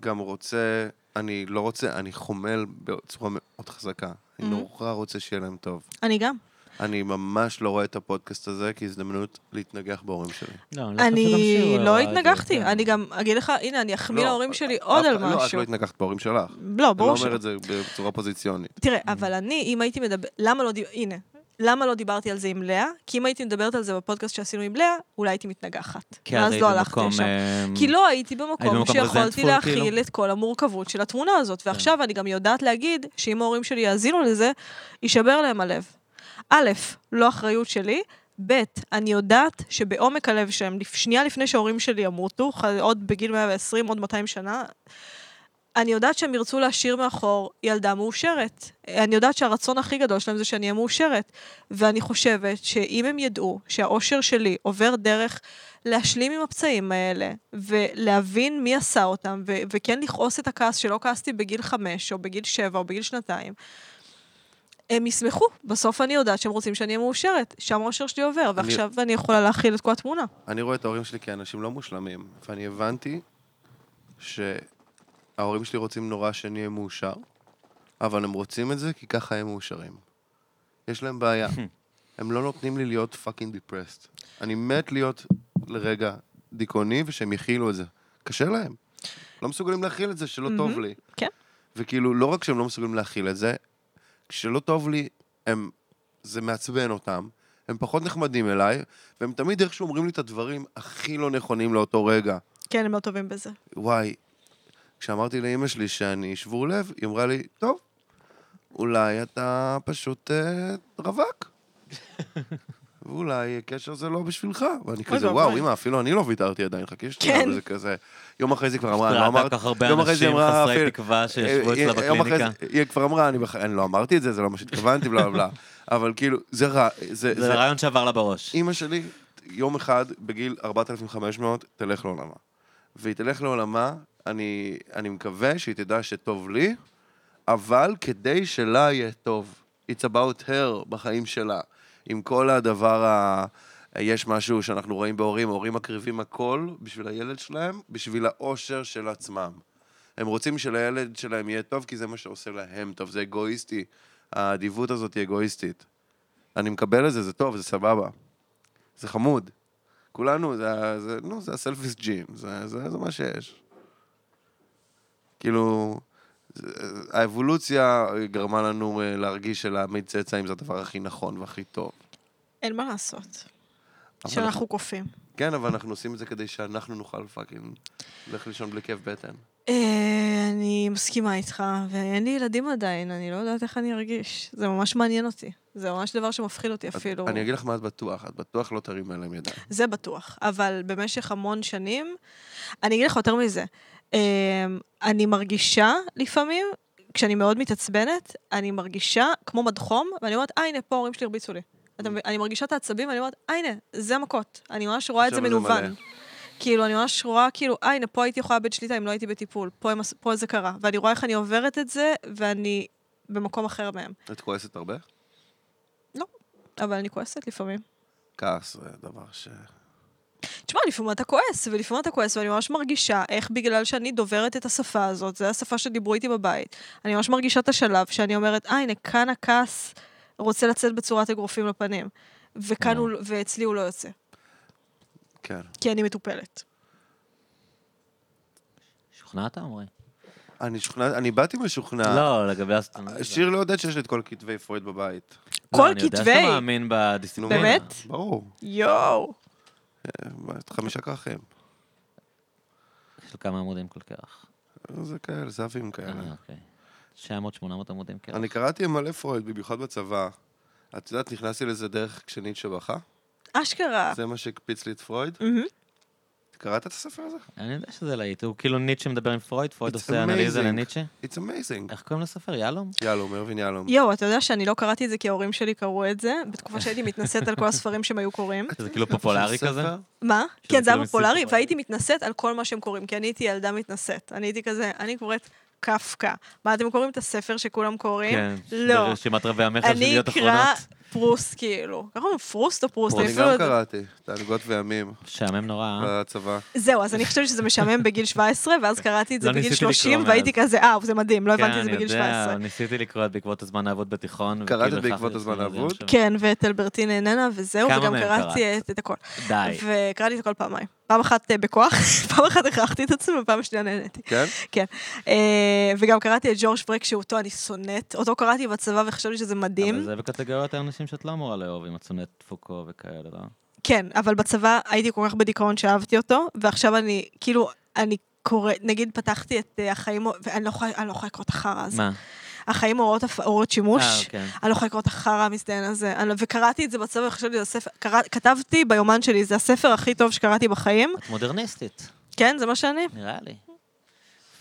S2: גם רוצה, אני לא רוצה, אני חומל בצורה מאוד חזקה. אני
S3: Mhm.
S2: נורא רוצה שיהיה להם טוב.
S3: אני גם.
S2: אני ממש לא רואה את הפודקאסט הזה כהזדמנות להתנגח בהורים שלי.
S1: לא, אני לא חושב שגם
S3: אני
S1: שיעור
S3: לא
S1: היה את זה,
S3: התנגחתי,
S1: כן.
S3: אני גם אגיד לך, הנה, אני אחמיא
S2: לא,
S3: להורים שלי
S2: אף-
S3: עוד על
S2: לא, את
S3: משהו.
S2: לא התנגחת בהורים שלך. אני
S3: לא,
S2: לא Mm.
S3: ברור ש...
S2: אומר את זה בצורה פוזיציונית.
S3: תראה, אבל אני, אם הייתי מדבר... למה לא דיב... הנה. למה לא דיברתי על זה עם לאה? כי אם הייתי מדברת על זה בפודקאסט שעשינו עם לאה, אולי הייתי מתנגחת.
S1: כי כן, אז
S3: ואז
S1: היית
S3: לא הלכתי
S1: במקום,
S3: לשם.
S1: אמ,
S3: כי לא הייתי
S1: היית
S3: במקום
S1: במקום
S3: שיכולתי
S1: resentful,
S3: להכיל
S1: כאילו? כן.
S3: את כל המורכבות של התמונה הזאת. ועכשיו אני גם יודעת להגיד שאם ההורים שלי יאזינו לזה, יישבר להם הלב. א', לא אחריות שלי, ב', אני יודעת שבעומק הלב שלהם, לפ- שנייה לפני שההורים שלי ימותו, ח- עוד בגיל 120, עוד 200 שנה, אני יודעת שהם ירצו להשאיר מאחור ילדה מאושרת. אני יודעת שהרצון הכי גדול שלהם זה שאני אהיה מאושרת. ואני חושבת שאם הם ידעו שהאושר שלי עובר דרך להשלים עם הפצעים האלה, ולהבין מי עשה אותם, ו- וכן לכעוס את הכעס שלא כעסתי בגיל חמש, או בגיל שבע, או בגיל שנתיים, הם ישמחו. בסוף אני יודעת שהם רוצים שאני אהיה מאושרת. שם האושר שלי עובר, ועכשיו אני, יכולה להכיל את כל התמונה.
S2: אני רואה את ההורים שלי כאנשים לא מושלמים, ואני הבנתי שההורים שלי רוצים נורא שאני אהיה מאושר, אבל הם רוצים את זה כי ככה הם מאושרים. יש להם בעיה. הם לא נותנים לי להיות פאקינג דיפרסט. אני מת להיות לרגע דיכאוני ושהם יכילו את זה. קשה להם. לא מסוגלים להכיל את זה שלא טוב לי.
S3: כן.
S2: וכאילו, לא רק שהם לא מסוגלים להכיל את זה, כשלא טוב לי, הם... זה מעצבן אותם, הם פחות נחמדים אליי, והם תמיד איכשהו אומרים לי את הדברים הכי לא נכונים לאותו רגע.
S3: כן, הם לא טובים בזה.
S2: וואי, כשאמרתי לאימא שלי שאני שבור לב, היא אמרה לי, טוב, אולי אתה פשוט אה, רווק. ואולי קשר זה לא בשבילך. ואני כזה,
S3: ואבוי.
S2: וואו, אימא, אפילו אני לא ויתרתי עדיין, חכי שנייה,
S3: כן.
S2: וזה כזה. יום אחרי זה כבר אמרה, אני לא
S1: ראתה
S2: אמרתי,
S1: כל כך הרבה
S2: יום אחרי זה
S1: אנשים
S2: אמרה,
S1: חסרי
S2: "אפילו-
S1: תקווה שישבו
S2: אה,
S1: אצלה
S2: אה, יום אחרי
S1: בקליניקה.
S2: זה- היא כבר אמרה, "אני בח- אני לא אמרתי את זה, זה לא מה שהתכוונתי, בלה בלה בלה. אבל כאילו, זה רע, זה...
S1: זה
S2: זה-
S1: רעיון שעבר לה בראש.
S2: אימא שלי, יום אחד, בגיל 4,500, תלך לעולמה. והיא תלך לעולמה, אני, אני מקווה שהיא תדע שטוב לי, אבל כדי שלה יהיה טוב. It's about her בחיים שלה. עם כל הדבר ה... יש משהו שאנחנו רואים בהורים, הורים מקריבים הכל בשביל הילד שלהם, בשביל האושר של עצמם. הם רוצים שלילד שלהם יהיה טוב, כי זה מה שעושה להם טוב, זה אגואיסטי. האדיבות הזאת היא אגואיסטית. אני מקבל את זה, זה טוב, זה סבבה. זה חמוד. כולנו, זה, ה- זה, נו, זה הסלפיס ג'ים, זה, זה, זה מה שיש. כאילו, זה- האבולוציה גרמה לנו אה, להרגיש שלהעמיד צאצאים זה הדבר הכי נכון והכי טוב.
S3: אין מה לעשות.
S2: אבל
S3: שאנחנו קופים.
S2: כן, אבל אנחנו עושים את זה כדי שאנחנו נוכל פאקינג ללכת לישון בלי כאב בטן.
S3: אה, אני מסכימה איתך, ואין לי ילדים עדיין, אני לא יודעת איך אני ארגיש. זה ממש מעניין אותי. זה ממש דבר שמפחיד אותי
S2: את-
S3: אפילו.
S2: אני אגיד לך מה את בטוח, את בטוח לא תרים עליהם ידיים.
S3: זה בטוח, אבל במשך המון שנים, אני אגיד לך יותר מזה, אמ, אני מרגישה לפעמים, כשאני מאוד מתעצבנת, אני מרגישה כמו מדחום, ואני אומרת, אה, הנה, פה ההורים שלי הרביצו לי. אתה מבין? אני מרגישה את העצבים, ואני אומרת, אה, הנה, זה המכות. אני ממש רואה את זה
S2: עכשיו זה
S3: מנוון.
S2: מלא.
S3: כאילו, אני ממש רואה, כאילו, אה, הנה, פה הייתי יכולה לאבד שליטה אם לא הייתי בטיפול. פה, הם עש- פה זה קרה. ואני רואה איך אני עוברת את זה, ואני במקום אחר מהם.
S2: את כועסת הרבה?
S3: לא, אבל אני כועסת לפעמים.
S2: כעס זה דבר ש...
S3: תשמע, לפעמים אתה כועס, ולפעמים אתה כועס, ואני ממש מרגישה איך בגלל שאני דוברת את השפה הזאת, זו השפה שדיברו איתי בבית, אני ממש מרגישה את השלב שאני אומרת, אה, הנה, כאן הכעס רוצה לצאת בצורת אגרופים לפנים, וכאן הוא, ואצלי הוא לא יוצא,
S2: כן.
S3: כי אני מטופלת.
S1: שוכנעת, עמרי?
S2: אני שוכנע, אני באתי משוכנע.
S1: לא, לגבי הסטנה.
S2: שיר לא יודעת שיש לי את כל כתבי פרויד בבית.
S3: כל
S1: לא, אני יודע
S3: כתבי-
S1: שאתה מאמין בדיסציפלינה.
S3: באמת?
S2: ברור.
S3: יואו!
S2: אה, מה, את חמישה כרכים.
S1: של כמה עמודים כל כך.
S2: זה כאלה, זהבים כאלה.
S1: אה, כן. אוקיי. 900-800 עמודים כאילו. כאלה.
S2: כן, אני קראתי מלא פרויד, במיוחד בצבא. את יודעת, נכנסתי לזה דרך כשניטשה בכה?
S1: אה.
S3: אשכרה.
S2: זה מה שהקפיץ לי את פרויד?
S3: מהמם.
S2: קראת את הספר הזה?
S1: אני יודע שזה להיט. הוא כאילו ניטשה מדבר עם פרויד, פרויד
S2: It's
S1: עושה אנליזה
S2: amazing.
S1: לניטשה.
S2: It's amazing.
S1: איך קוראים לספר? יהלום?
S2: יהלום, ארווין יהלום.
S3: יואו, אתה יודע שאני לא קראתי את זה כי ההורים שלי קראו את זה, בתקופה שהייתי מתנשאת על כל הספרים שהם היו קוראים.
S1: שזה כאילו פופולרי
S2: ספר?
S1: כזה?
S3: מה?
S1: שזה
S3: כן, זה היה
S1: כאילו
S3: פופולרי,
S1: מסוג-
S3: והייתי מתנשאת על כל מה שהם קוראים, כי אני הייתי ילדה מתנשאת. אני הייתי כזה, אני קוראת קפקא. מה, אתם קוראים את הספר שכולם קוראים?
S1: כן.
S3: לא.
S1: ברשימת רבי המכר של
S3: אני
S1: ידיעות
S3: אקרא
S1: אחרונות.
S3: פרוסט, כאילו. ככה אומרים פרוסט או פרוסט?
S2: אני
S3: אני אפילו
S2: גם
S3: לא יודעת.
S2: קראתי, תענוגות וימים,
S1: משעמם נורא. אה?
S2: בצבא.
S3: זהו, אז אני חושבת שזה משעמם בגיל 17, ואז קראתי את זה
S1: לא
S3: בגיל
S1: ניסיתי לקרוא
S3: 30,
S1: מאז.
S3: והייתי כזה, אה, זה מדהים, לא
S1: כן,
S3: הבנתי את זה בגיל
S1: אני יודע,
S3: 17.
S1: ניסיתי לקרוא את בעקבות הזמן האבוד בתיכון.
S2: קראת
S1: וכאילו
S2: את בעקבות
S1: הכרחתי
S2: הזמן
S1: עצמי לזה, אני
S2: האבוד?
S1: חושב.
S3: כן, ואת אלברטין איננה, וזהו,
S1: כמה
S3: וגם
S1: מהם
S3: קראתי את- את הכל.
S1: די.
S3: וקראתי את הכל פעמיים. פעם אחת אה, בכוח, פעם אחת הכרחתי את עצמי, ופעם שנייה נהניתי.
S2: כן?
S3: כן. אה, וגם קראתי את ג'ורג' פרק, שאותו אני שונאת. אותו קראתי בצבא וחשבתי שזה
S1: אבל
S3: מדהים.
S1: זה בקטגוריית האנשים שאת לא אמורה לאהוב, עם הצונט פוקו וכאלה, לא?
S3: כן, אבל בצבא הייתי כל כך בדיכאון שאהבתי אותו, ועכשיו אני, כאילו, אני קוראת, נגיד פתחתי את אה, החיים, ואני לא יכולה אני לא יכולה לקרוא את החרא הזה.
S1: מה?
S3: החיים הוראות הפ- הוראות
S1: אה,
S3: שימוש.
S1: כן.
S3: אני לא יכולה לקרוא את החרא המזדיין הזה. אני לא- וקראתי את זה בצבא וחשבתי שזה הספר, קרא- כתבתי ביומן שלי, זה הספר הכי טוב שקראתי בחיים.
S1: את מודרניסטית,
S3: כן, זה מה שאני.
S1: נראה לי.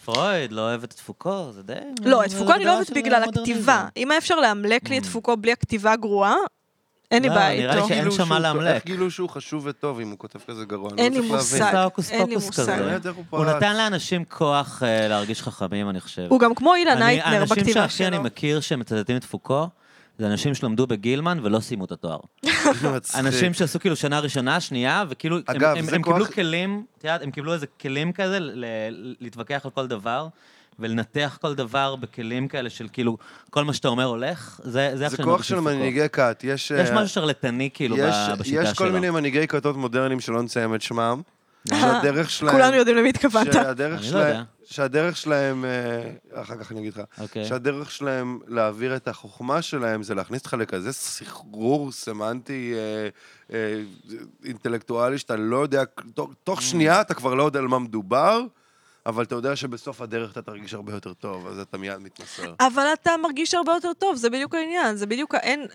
S1: פרויד לא אוהב את תפוקו, זה די...
S3: לא, את
S1: זה
S3: פוקו אני לא
S1: הגדרה
S3: אוהבת
S1: של
S3: בגלל
S1: אה, המודרניזם.
S3: הכתיבה. אם היה אפשר לאמלק לי את
S1: Mm.
S3: פוקו בלי הכתיבה הגרועה, אין לי
S1: לא,
S3: בעיה
S1: נראה
S3: איתו.
S1: לי
S2: איך
S1: שאין
S2: גילו
S1: שם
S2: שהוא
S1: מה
S2: טוב?
S1: לאמלק.
S2: איך גילו שהוא חשוב וטוב אם הוא כותב כזה גרוע? אני
S3: אין
S2: לא
S3: לי
S2: צריך להבין.
S1: זה
S3: מושג.
S1: הוקוס
S3: אין לי
S1: פוקוס
S3: מושג.
S1: כזה.
S2: באמת, איך הוא
S1: הוא
S2: פרץ?
S1: נתן לאנשים כוח אה, להרגיש חכמים, אני חושב.
S3: הוא גם כמו אילן
S1: אני-
S3: אייטנר בכתיבה
S1: האנשים שהכי
S3: שלו.
S1: אני מכיר שמצטטים את פוקו, זה אנשים שלמדו בגילמן ולא סיימו את התואר.
S2: מצחיק.
S1: אנשים שעשו כאילו שנה ראשונה, שנייה, וכאילו, הם-
S2: אגב,
S1: הם
S2: זה
S1: הם קיבלו
S2: כוח-
S1: כלים, את יודעת, הם קיבלו איזה כלים כזה ל- ל- להתווכח על כל דבר. ולנתח כל דבר בכלים כאלה של כאילו, כל מה שאתה אומר הולך, זה זה איך
S2: זה
S1: שאני
S2: כוח
S1: מרגיש
S2: של
S1: עם פוקו.
S2: מנהיגי כת. יש
S1: יש
S2: אה,
S1: משהו שרלטני כאילו
S2: יש-
S1: ב- בשיטה שלו. אה,
S2: יש כל מיני מנהיגי כתות מודרניים שלא נציין את שמם. שהדרך שלהם...
S3: כולנו יודעים למי התכוונת.
S2: שהדרך
S1: אני לא
S2: שלהם...
S1: יודע.
S2: שהדרך שלהם... אה, אחר כך אני אגיד לך.
S1: אוקיי.
S2: שהדרך שלהם להעביר את החוכמה שלהם זה להכניס אותך לכזה סחרור סמנטי אה, אה, אינטלקטואלי שאתה לא יודע, תוך,
S1: Mm.
S2: תוך שנייה אתה כבר לא יודע על מה מדובר, אבל אתה יודע שבסוף הדרך אתה תרגיש הרבה יותר טוב, אז אתה מיד מתנסר.
S3: אבל אתה מרגיש הרבה יותר טוב, זה בדיוק העניין, זה בדיוק ה... אין...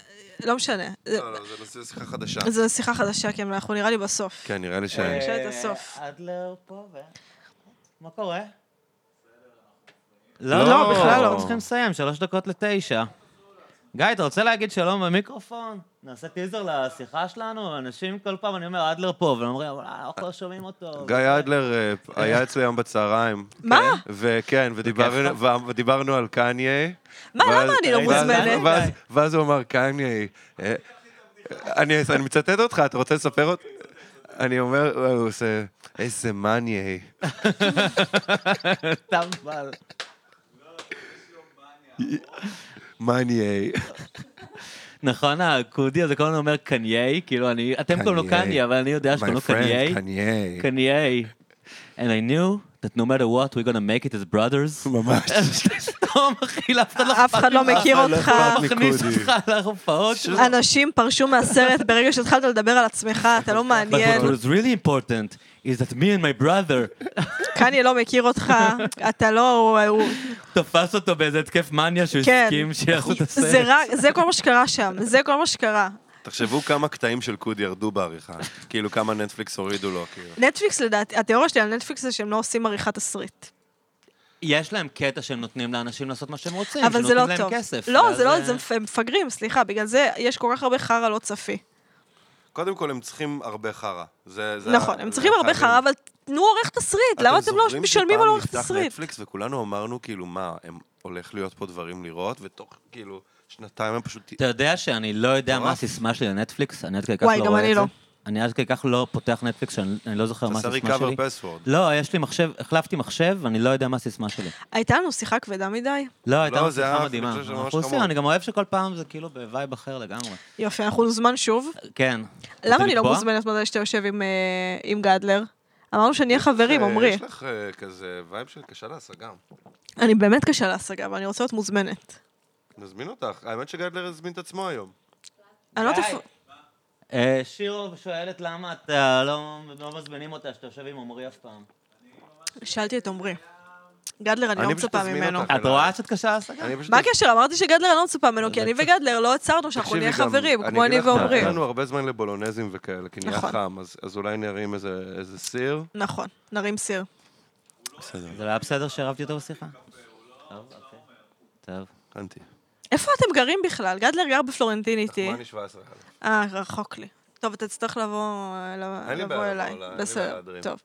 S3: לא משנה. זה-
S2: לא, לא, זה נושא שיחה חדשה.
S3: זו שיחה חדשה, כי אנחנו נראה לי בסוף.
S2: כן, נראה לי
S1: אה,
S2: ש...
S3: נשאל את הסוף.
S1: אדלר פה, ו... מה קורה?
S2: לא,
S1: לא, לא,
S2: בכלל
S1: בכלל
S2: לא.
S1: לא. צריכים לסיים, שלוש דקות לתשע. גיא, אתה רוצה להגיד שלום במיקרופון? נעשה טיזר לשיחה שלנו? אנשים כל פעם, אני אומר, אדלר פה, והם אומרים, אבל אה, אנחנו לא שומעים אותו.
S2: גיא אדלר אה, היה אצלי היום בצהריים.
S3: מה?
S2: וכן, ודיברנו- ודיברנו על קניה.
S3: מה,
S2: ואז-
S3: למה אני לא
S2: ואז-
S3: מוזמנת?
S2: ואז- ואז הוא אמר, קניה, אה, אני אני מצטט אותך, אתה רוצה לספר אותי? אני אומר, "אה, הוא עושה, איזה מאניי.
S1: טמבל.
S2: מאניי.
S1: נכון, הכודי הזה כל הזמן אומר קניי, כאילו אני, אתם קוראים לו
S2: קניי.
S1: קניה, אבל אני יודע שקוראים לו קניי.
S2: קניי.
S1: קניי. And I knew that no matter what, we're gonna make it as brothers.
S2: ממש.
S1: סתום, אחי, לאף אחד לא
S3: אף אחד לא מכיר
S2: אבל לא
S3: אותך.
S2: אכפת לי.
S1: מכניס
S2: מכיר.
S1: אותך להופעות שלו.
S3: אנשים פרשו מהסרט ברגע שהתחלת לדבר על עצמך, אתה לא
S1: But
S3: מעניין.
S1: what was really important is that me and my brother
S3: קניה לא מכיר אותך, אתה לא... הוא- הוא-
S1: תפס אותו באיזה התקף מניה שהוא
S3: כן.
S1: הסכים שיעשו את הסרט.
S3: זה רק- זה כל מה שקרה שם, זה כל מה שקרה.
S2: תחשבו כמה קטעים של קוד ירדו בעריכה. כאילו, כמה נטפליקס הורידו לו, כאילו.
S3: נטפליקס לדעתי, התיאוריה שלי על נטפליקס זה שהם לא עושים עריכת תסריט.
S1: יש להם קטע שהם נותנים לאנשים לעשות מה שהם רוצים,
S3: אבל זה לא
S1: שנותנים
S3: טוב.
S1: להם כסף.
S3: לא,
S1: ואז,
S3: זה
S1: אה,
S3: לא, זה מפ- הם מפגרים, סליחה, בגלל זה יש כל כך הרבה חרא לא צפי.
S2: קודם כל, הם צריכים הרבה חרא. זה- זה
S3: נכון,
S2: ה-
S3: הם
S2: זה
S3: צריכים הרבה
S2: חייבים.
S3: חרא, אבל תנו עורך תסריט, למה אתם לא
S2: זוכרים
S3: משלמים על עורך
S2: שפעם נפתח
S3: תסריט?
S2: נטפליקס וכולנו אמרנו, כאילו, מה, הם הולך להיות פה דברים לראות, ותוך, כאילו, שנתיים הם פשוט...
S1: אתה יודע שאני לא יודע מה
S2: מטורף.
S1: הסיסמה שלי לנטפליקס? אני עד כדי כך לא רואה
S3: וואי,
S1: את זה.
S3: גם אני לא.
S1: אני עד כדי כך לא פותח נטפליקס, שאני אני לא זוכר מה
S2: תעשה
S1: הסיסמה שלי.
S2: recover password.
S1: לא, יש לי מחשב, החלפתי מחשב, אני לא יודע מה הסיסמה שלי.
S3: הייתה לנו שיחה כבדה מדי.
S1: לא, הייתה
S2: לא,
S1: לנו
S2: זה
S1: שיחה
S2: היה-
S1: מדהימה.
S2: אני חושב שזה ממש
S1: אנחנו עושים,
S2: חמוד.
S1: אני גם אוהב שכל פעם זה כאילו בווייב אחר לגמרי.
S3: יופי, אנחנו נוזמן שוב.
S1: כן. רוצה
S3: למה אני לא
S1: לקבוע?
S3: מוזמנת מתי שאתה יושב עם, אה, עם גדלר? אמרנו שנהיה חברים,
S2: אה,
S3: עמרי.
S2: יש לך אה, כזה וייב של קשה להשגה.
S3: אני באמת קשה להשגה, ואני רוצה להיות מוזמנת.
S2: נזמין אותך. האמת שגדלר הזמין את עצמו היום.
S3: אני לא
S1: די.
S3: תפ...
S1: אה, שירו שואלת למה אתה לא לא מזמינים אותה שאתה יושב עם עמרי אף פעם.
S3: שאלתי את עמרי. גדלר, אני לא
S2: אני
S3: מצפה
S2: פשוט אזמין
S3: ממנו.
S2: אותך.
S1: את רואה שאת קשה להשגה?
S2: אני פשוט-
S3: מה הקשר? אמרתי שגדלר אני לא מצפה ממנו, כי
S1: זה
S3: אני
S1: קצת-
S3: וגדלר לא הצהרנו שאנחנו
S2: תקשיבי,
S3: נהיה
S2: גם-
S3: חברים, כמו
S2: אגיד
S3: אני
S2: לך,
S3: ועמרי.
S2: אין לנו הרבה זמן לבולונזים וכאלה, כי נהיה
S3: נכון.
S2: חם, אז אז אולי נרים איזה איזה סיר.
S3: נכון, נרים סיר.
S2: בסדר.
S1: זה לא היה בסדר שערבתי אותו בשיחה? טוב, אוקיי. טוב.
S2: הבנתי.
S3: איפה אתם גרים בכלל? גדלר גר בפלורנטין איתי.
S2: מה אני 17,000?
S3: אה, רחוק לי. טוב, אתה תצטרך לבוא
S2: אין לי
S3: לבוא
S2: בעיה לבוא
S3: אליי.
S2: אליי, אין לי בעיה
S3: בסדר,
S2: להדרים.
S3: טוב.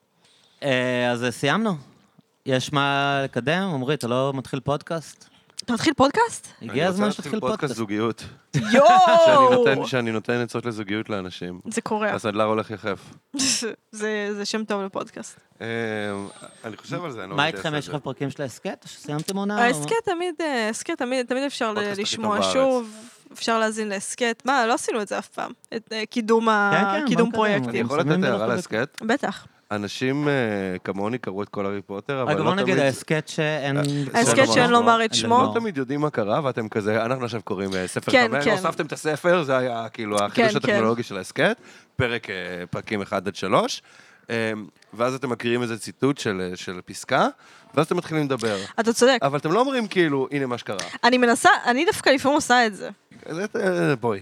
S1: אה, אז אה, סיימנו. יש מה לקדם? עמרי, אתה לא מתחיל פודקאסט?
S3: אתה מתחיל פודקאסט?
S1: הגיע הזמן שתתחיל
S2: אני רוצה להתחיל פודקאסט
S1: פודקאסט.
S2: זוגיות. שאני
S3: יואו!
S2: נותן- שאני נותן עצות לזוגיות לאנשים.
S3: זה קורה.
S2: אז הדלר הולך יחף.
S3: זה זה שם טוב לפודקאסט.
S2: אה, אני חושב על זה, אני לא
S1: מה
S2: יודע איך
S1: איתכם,
S2: לעשות
S1: יש
S2: את
S1: לכם פרקים של ההסכת? או שסיימתם עונה? או-
S3: ההסכת תמיד, אה, הסכת תמיד, תמיד אפשר ל-
S2: הפודקאסט הכי
S3: לשמוע
S2: טוב בארץ.
S3: שוב, אפשר להאזין להסכת. מה, לא עשינו את זה אף פעם. את אה, קידום ה-
S1: כן, כן,
S3: קידום
S1: מה קרה?
S2: זה. אני
S3: פרויקטים.
S2: יכול
S1: שמים
S2: לתת
S1: בלב
S2: הערה
S1: כזה-
S2: להסכת?
S3: בטח.
S2: אנשים אה, כמוני קראו את כל הארי פוטר, אבל
S1: רגע,
S2: לא
S1: בוא נגיד
S2: תמיד...
S1: ההסכת שאין...
S3: ההסכת
S2: לא
S3: שאין
S2: ממש
S3: לומר את
S1: לא.
S3: שמו.
S2: לא תמיד יודעים מה קרה, ואתם כזה, אנחנו עכשיו קוראים אה, ספר
S3: כן,
S2: חמש,
S3: כן.
S2: הוספתם את הספר, זה היה כאילו החידוש
S3: כן.
S2: הטכנולוגי של ההסכת, פרק, אה, פרקים 1 עד 3, ואז אתם מקריאים איזה ציטוט של אה, של פסקה, ואז אתם מתחילים לדבר.
S3: אתה צודק.
S2: אבל אתם לא אומרים כאילו, הנה מה שקרה.
S3: אני מנסה, אני דווקא לפעמים עושה את זה.
S2: זה- אה, בואי.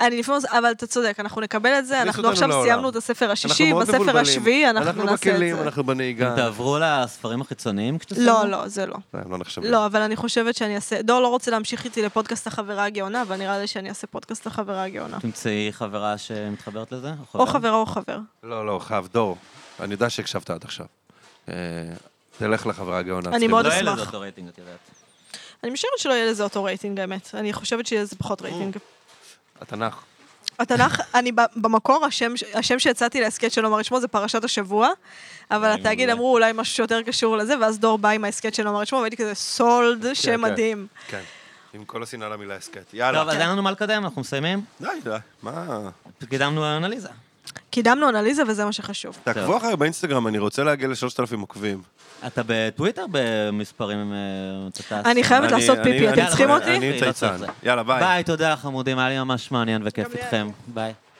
S3: אני לפעמים עושה, אבל אתה צודק, אנחנו נקבל את זה,
S2: תכניס
S3: אנחנו
S2: אותנו
S3: עכשיו
S2: לעולם.
S3: סיימנו את הספר
S2: אנחנו
S3: השישי,
S2: מאוד
S3: בספר
S2: מבולבלים.
S3: השביעי אנחנו נעשה את
S2: בכלים,
S3: זה.
S2: אנחנו בנהיגה.
S1: תעברו לספרים החיצוניים כשתסיימו?
S3: לא, לא, זה לא.
S2: לא, הם לא נחשבים.
S3: לא, אבל אני חושבת שאני אעשה... דור לא רוצה להמשיך איתי לפודקאסט החברה הגאונה, אבל נראה לי שאני אעשה פודקאסט החברה הגאונה.
S1: תמצאי חברה שמתחברת לזה?
S3: או חברה או חבר.
S2: לא, לא, חייב, דור. אני יודע שהקשבת עד עכשיו. אה, תלך לחברה הגאונה.
S3: אני
S2: צריכים-
S3: מאוד
S1: לא יהיה לזה
S3: אשמח.
S1: אותו רייטינג, את יודעת.
S3: אני משערת שלא יהיה לזה אותו רייטינג, האמת. אני חושבת שיהיה לזה פחות
S2: Mm.
S3: רייטינג.
S2: התנ"ך.
S3: התנ"ך, אני ב- במקור, השם ש- השם שהצעתי להסכת של נאמר את שמו זה פרשת השבוע, אבל
S1: מעולה.
S3: התאגיד אמרו אולי משהו שיותר קשור לזה, ואז דור בא עם ההסכת של נאמר את שמו, והייתי כזה סולד, שם
S2: כן.
S3: מדהים.
S2: כן. עם כל השנאה למילה הסכת.
S1: טוב,
S3: לא,
S2: יאללה.
S1: אז לא, אין לנו מה לקדם, אנחנו מסיימים.
S2: די, די. מה?
S1: קידמנו אנליזה.
S3: קידמנו אנליזה וזה מה שחשוב.
S2: תעקבו אחרי באינסטגרם, אני רוצה להגיע לשלושת אלפים עוקבים.
S1: אתה בטוויטר במספרים, אה, אתה טס.
S3: אני חייבת
S2: אני-
S3: לעשות
S2: אני-
S3: פיפי,
S2: אני-
S3: אתם צריכים
S2: אני-
S3: אותי?
S2: אני
S1: לא צריך
S2: צייצן.
S1: זה.
S2: יאללה, ביי.
S1: ביי, תודה חמודים, היה לי ממש מעניין וכיף
S3: גם לי
S1: איתכם. ביי.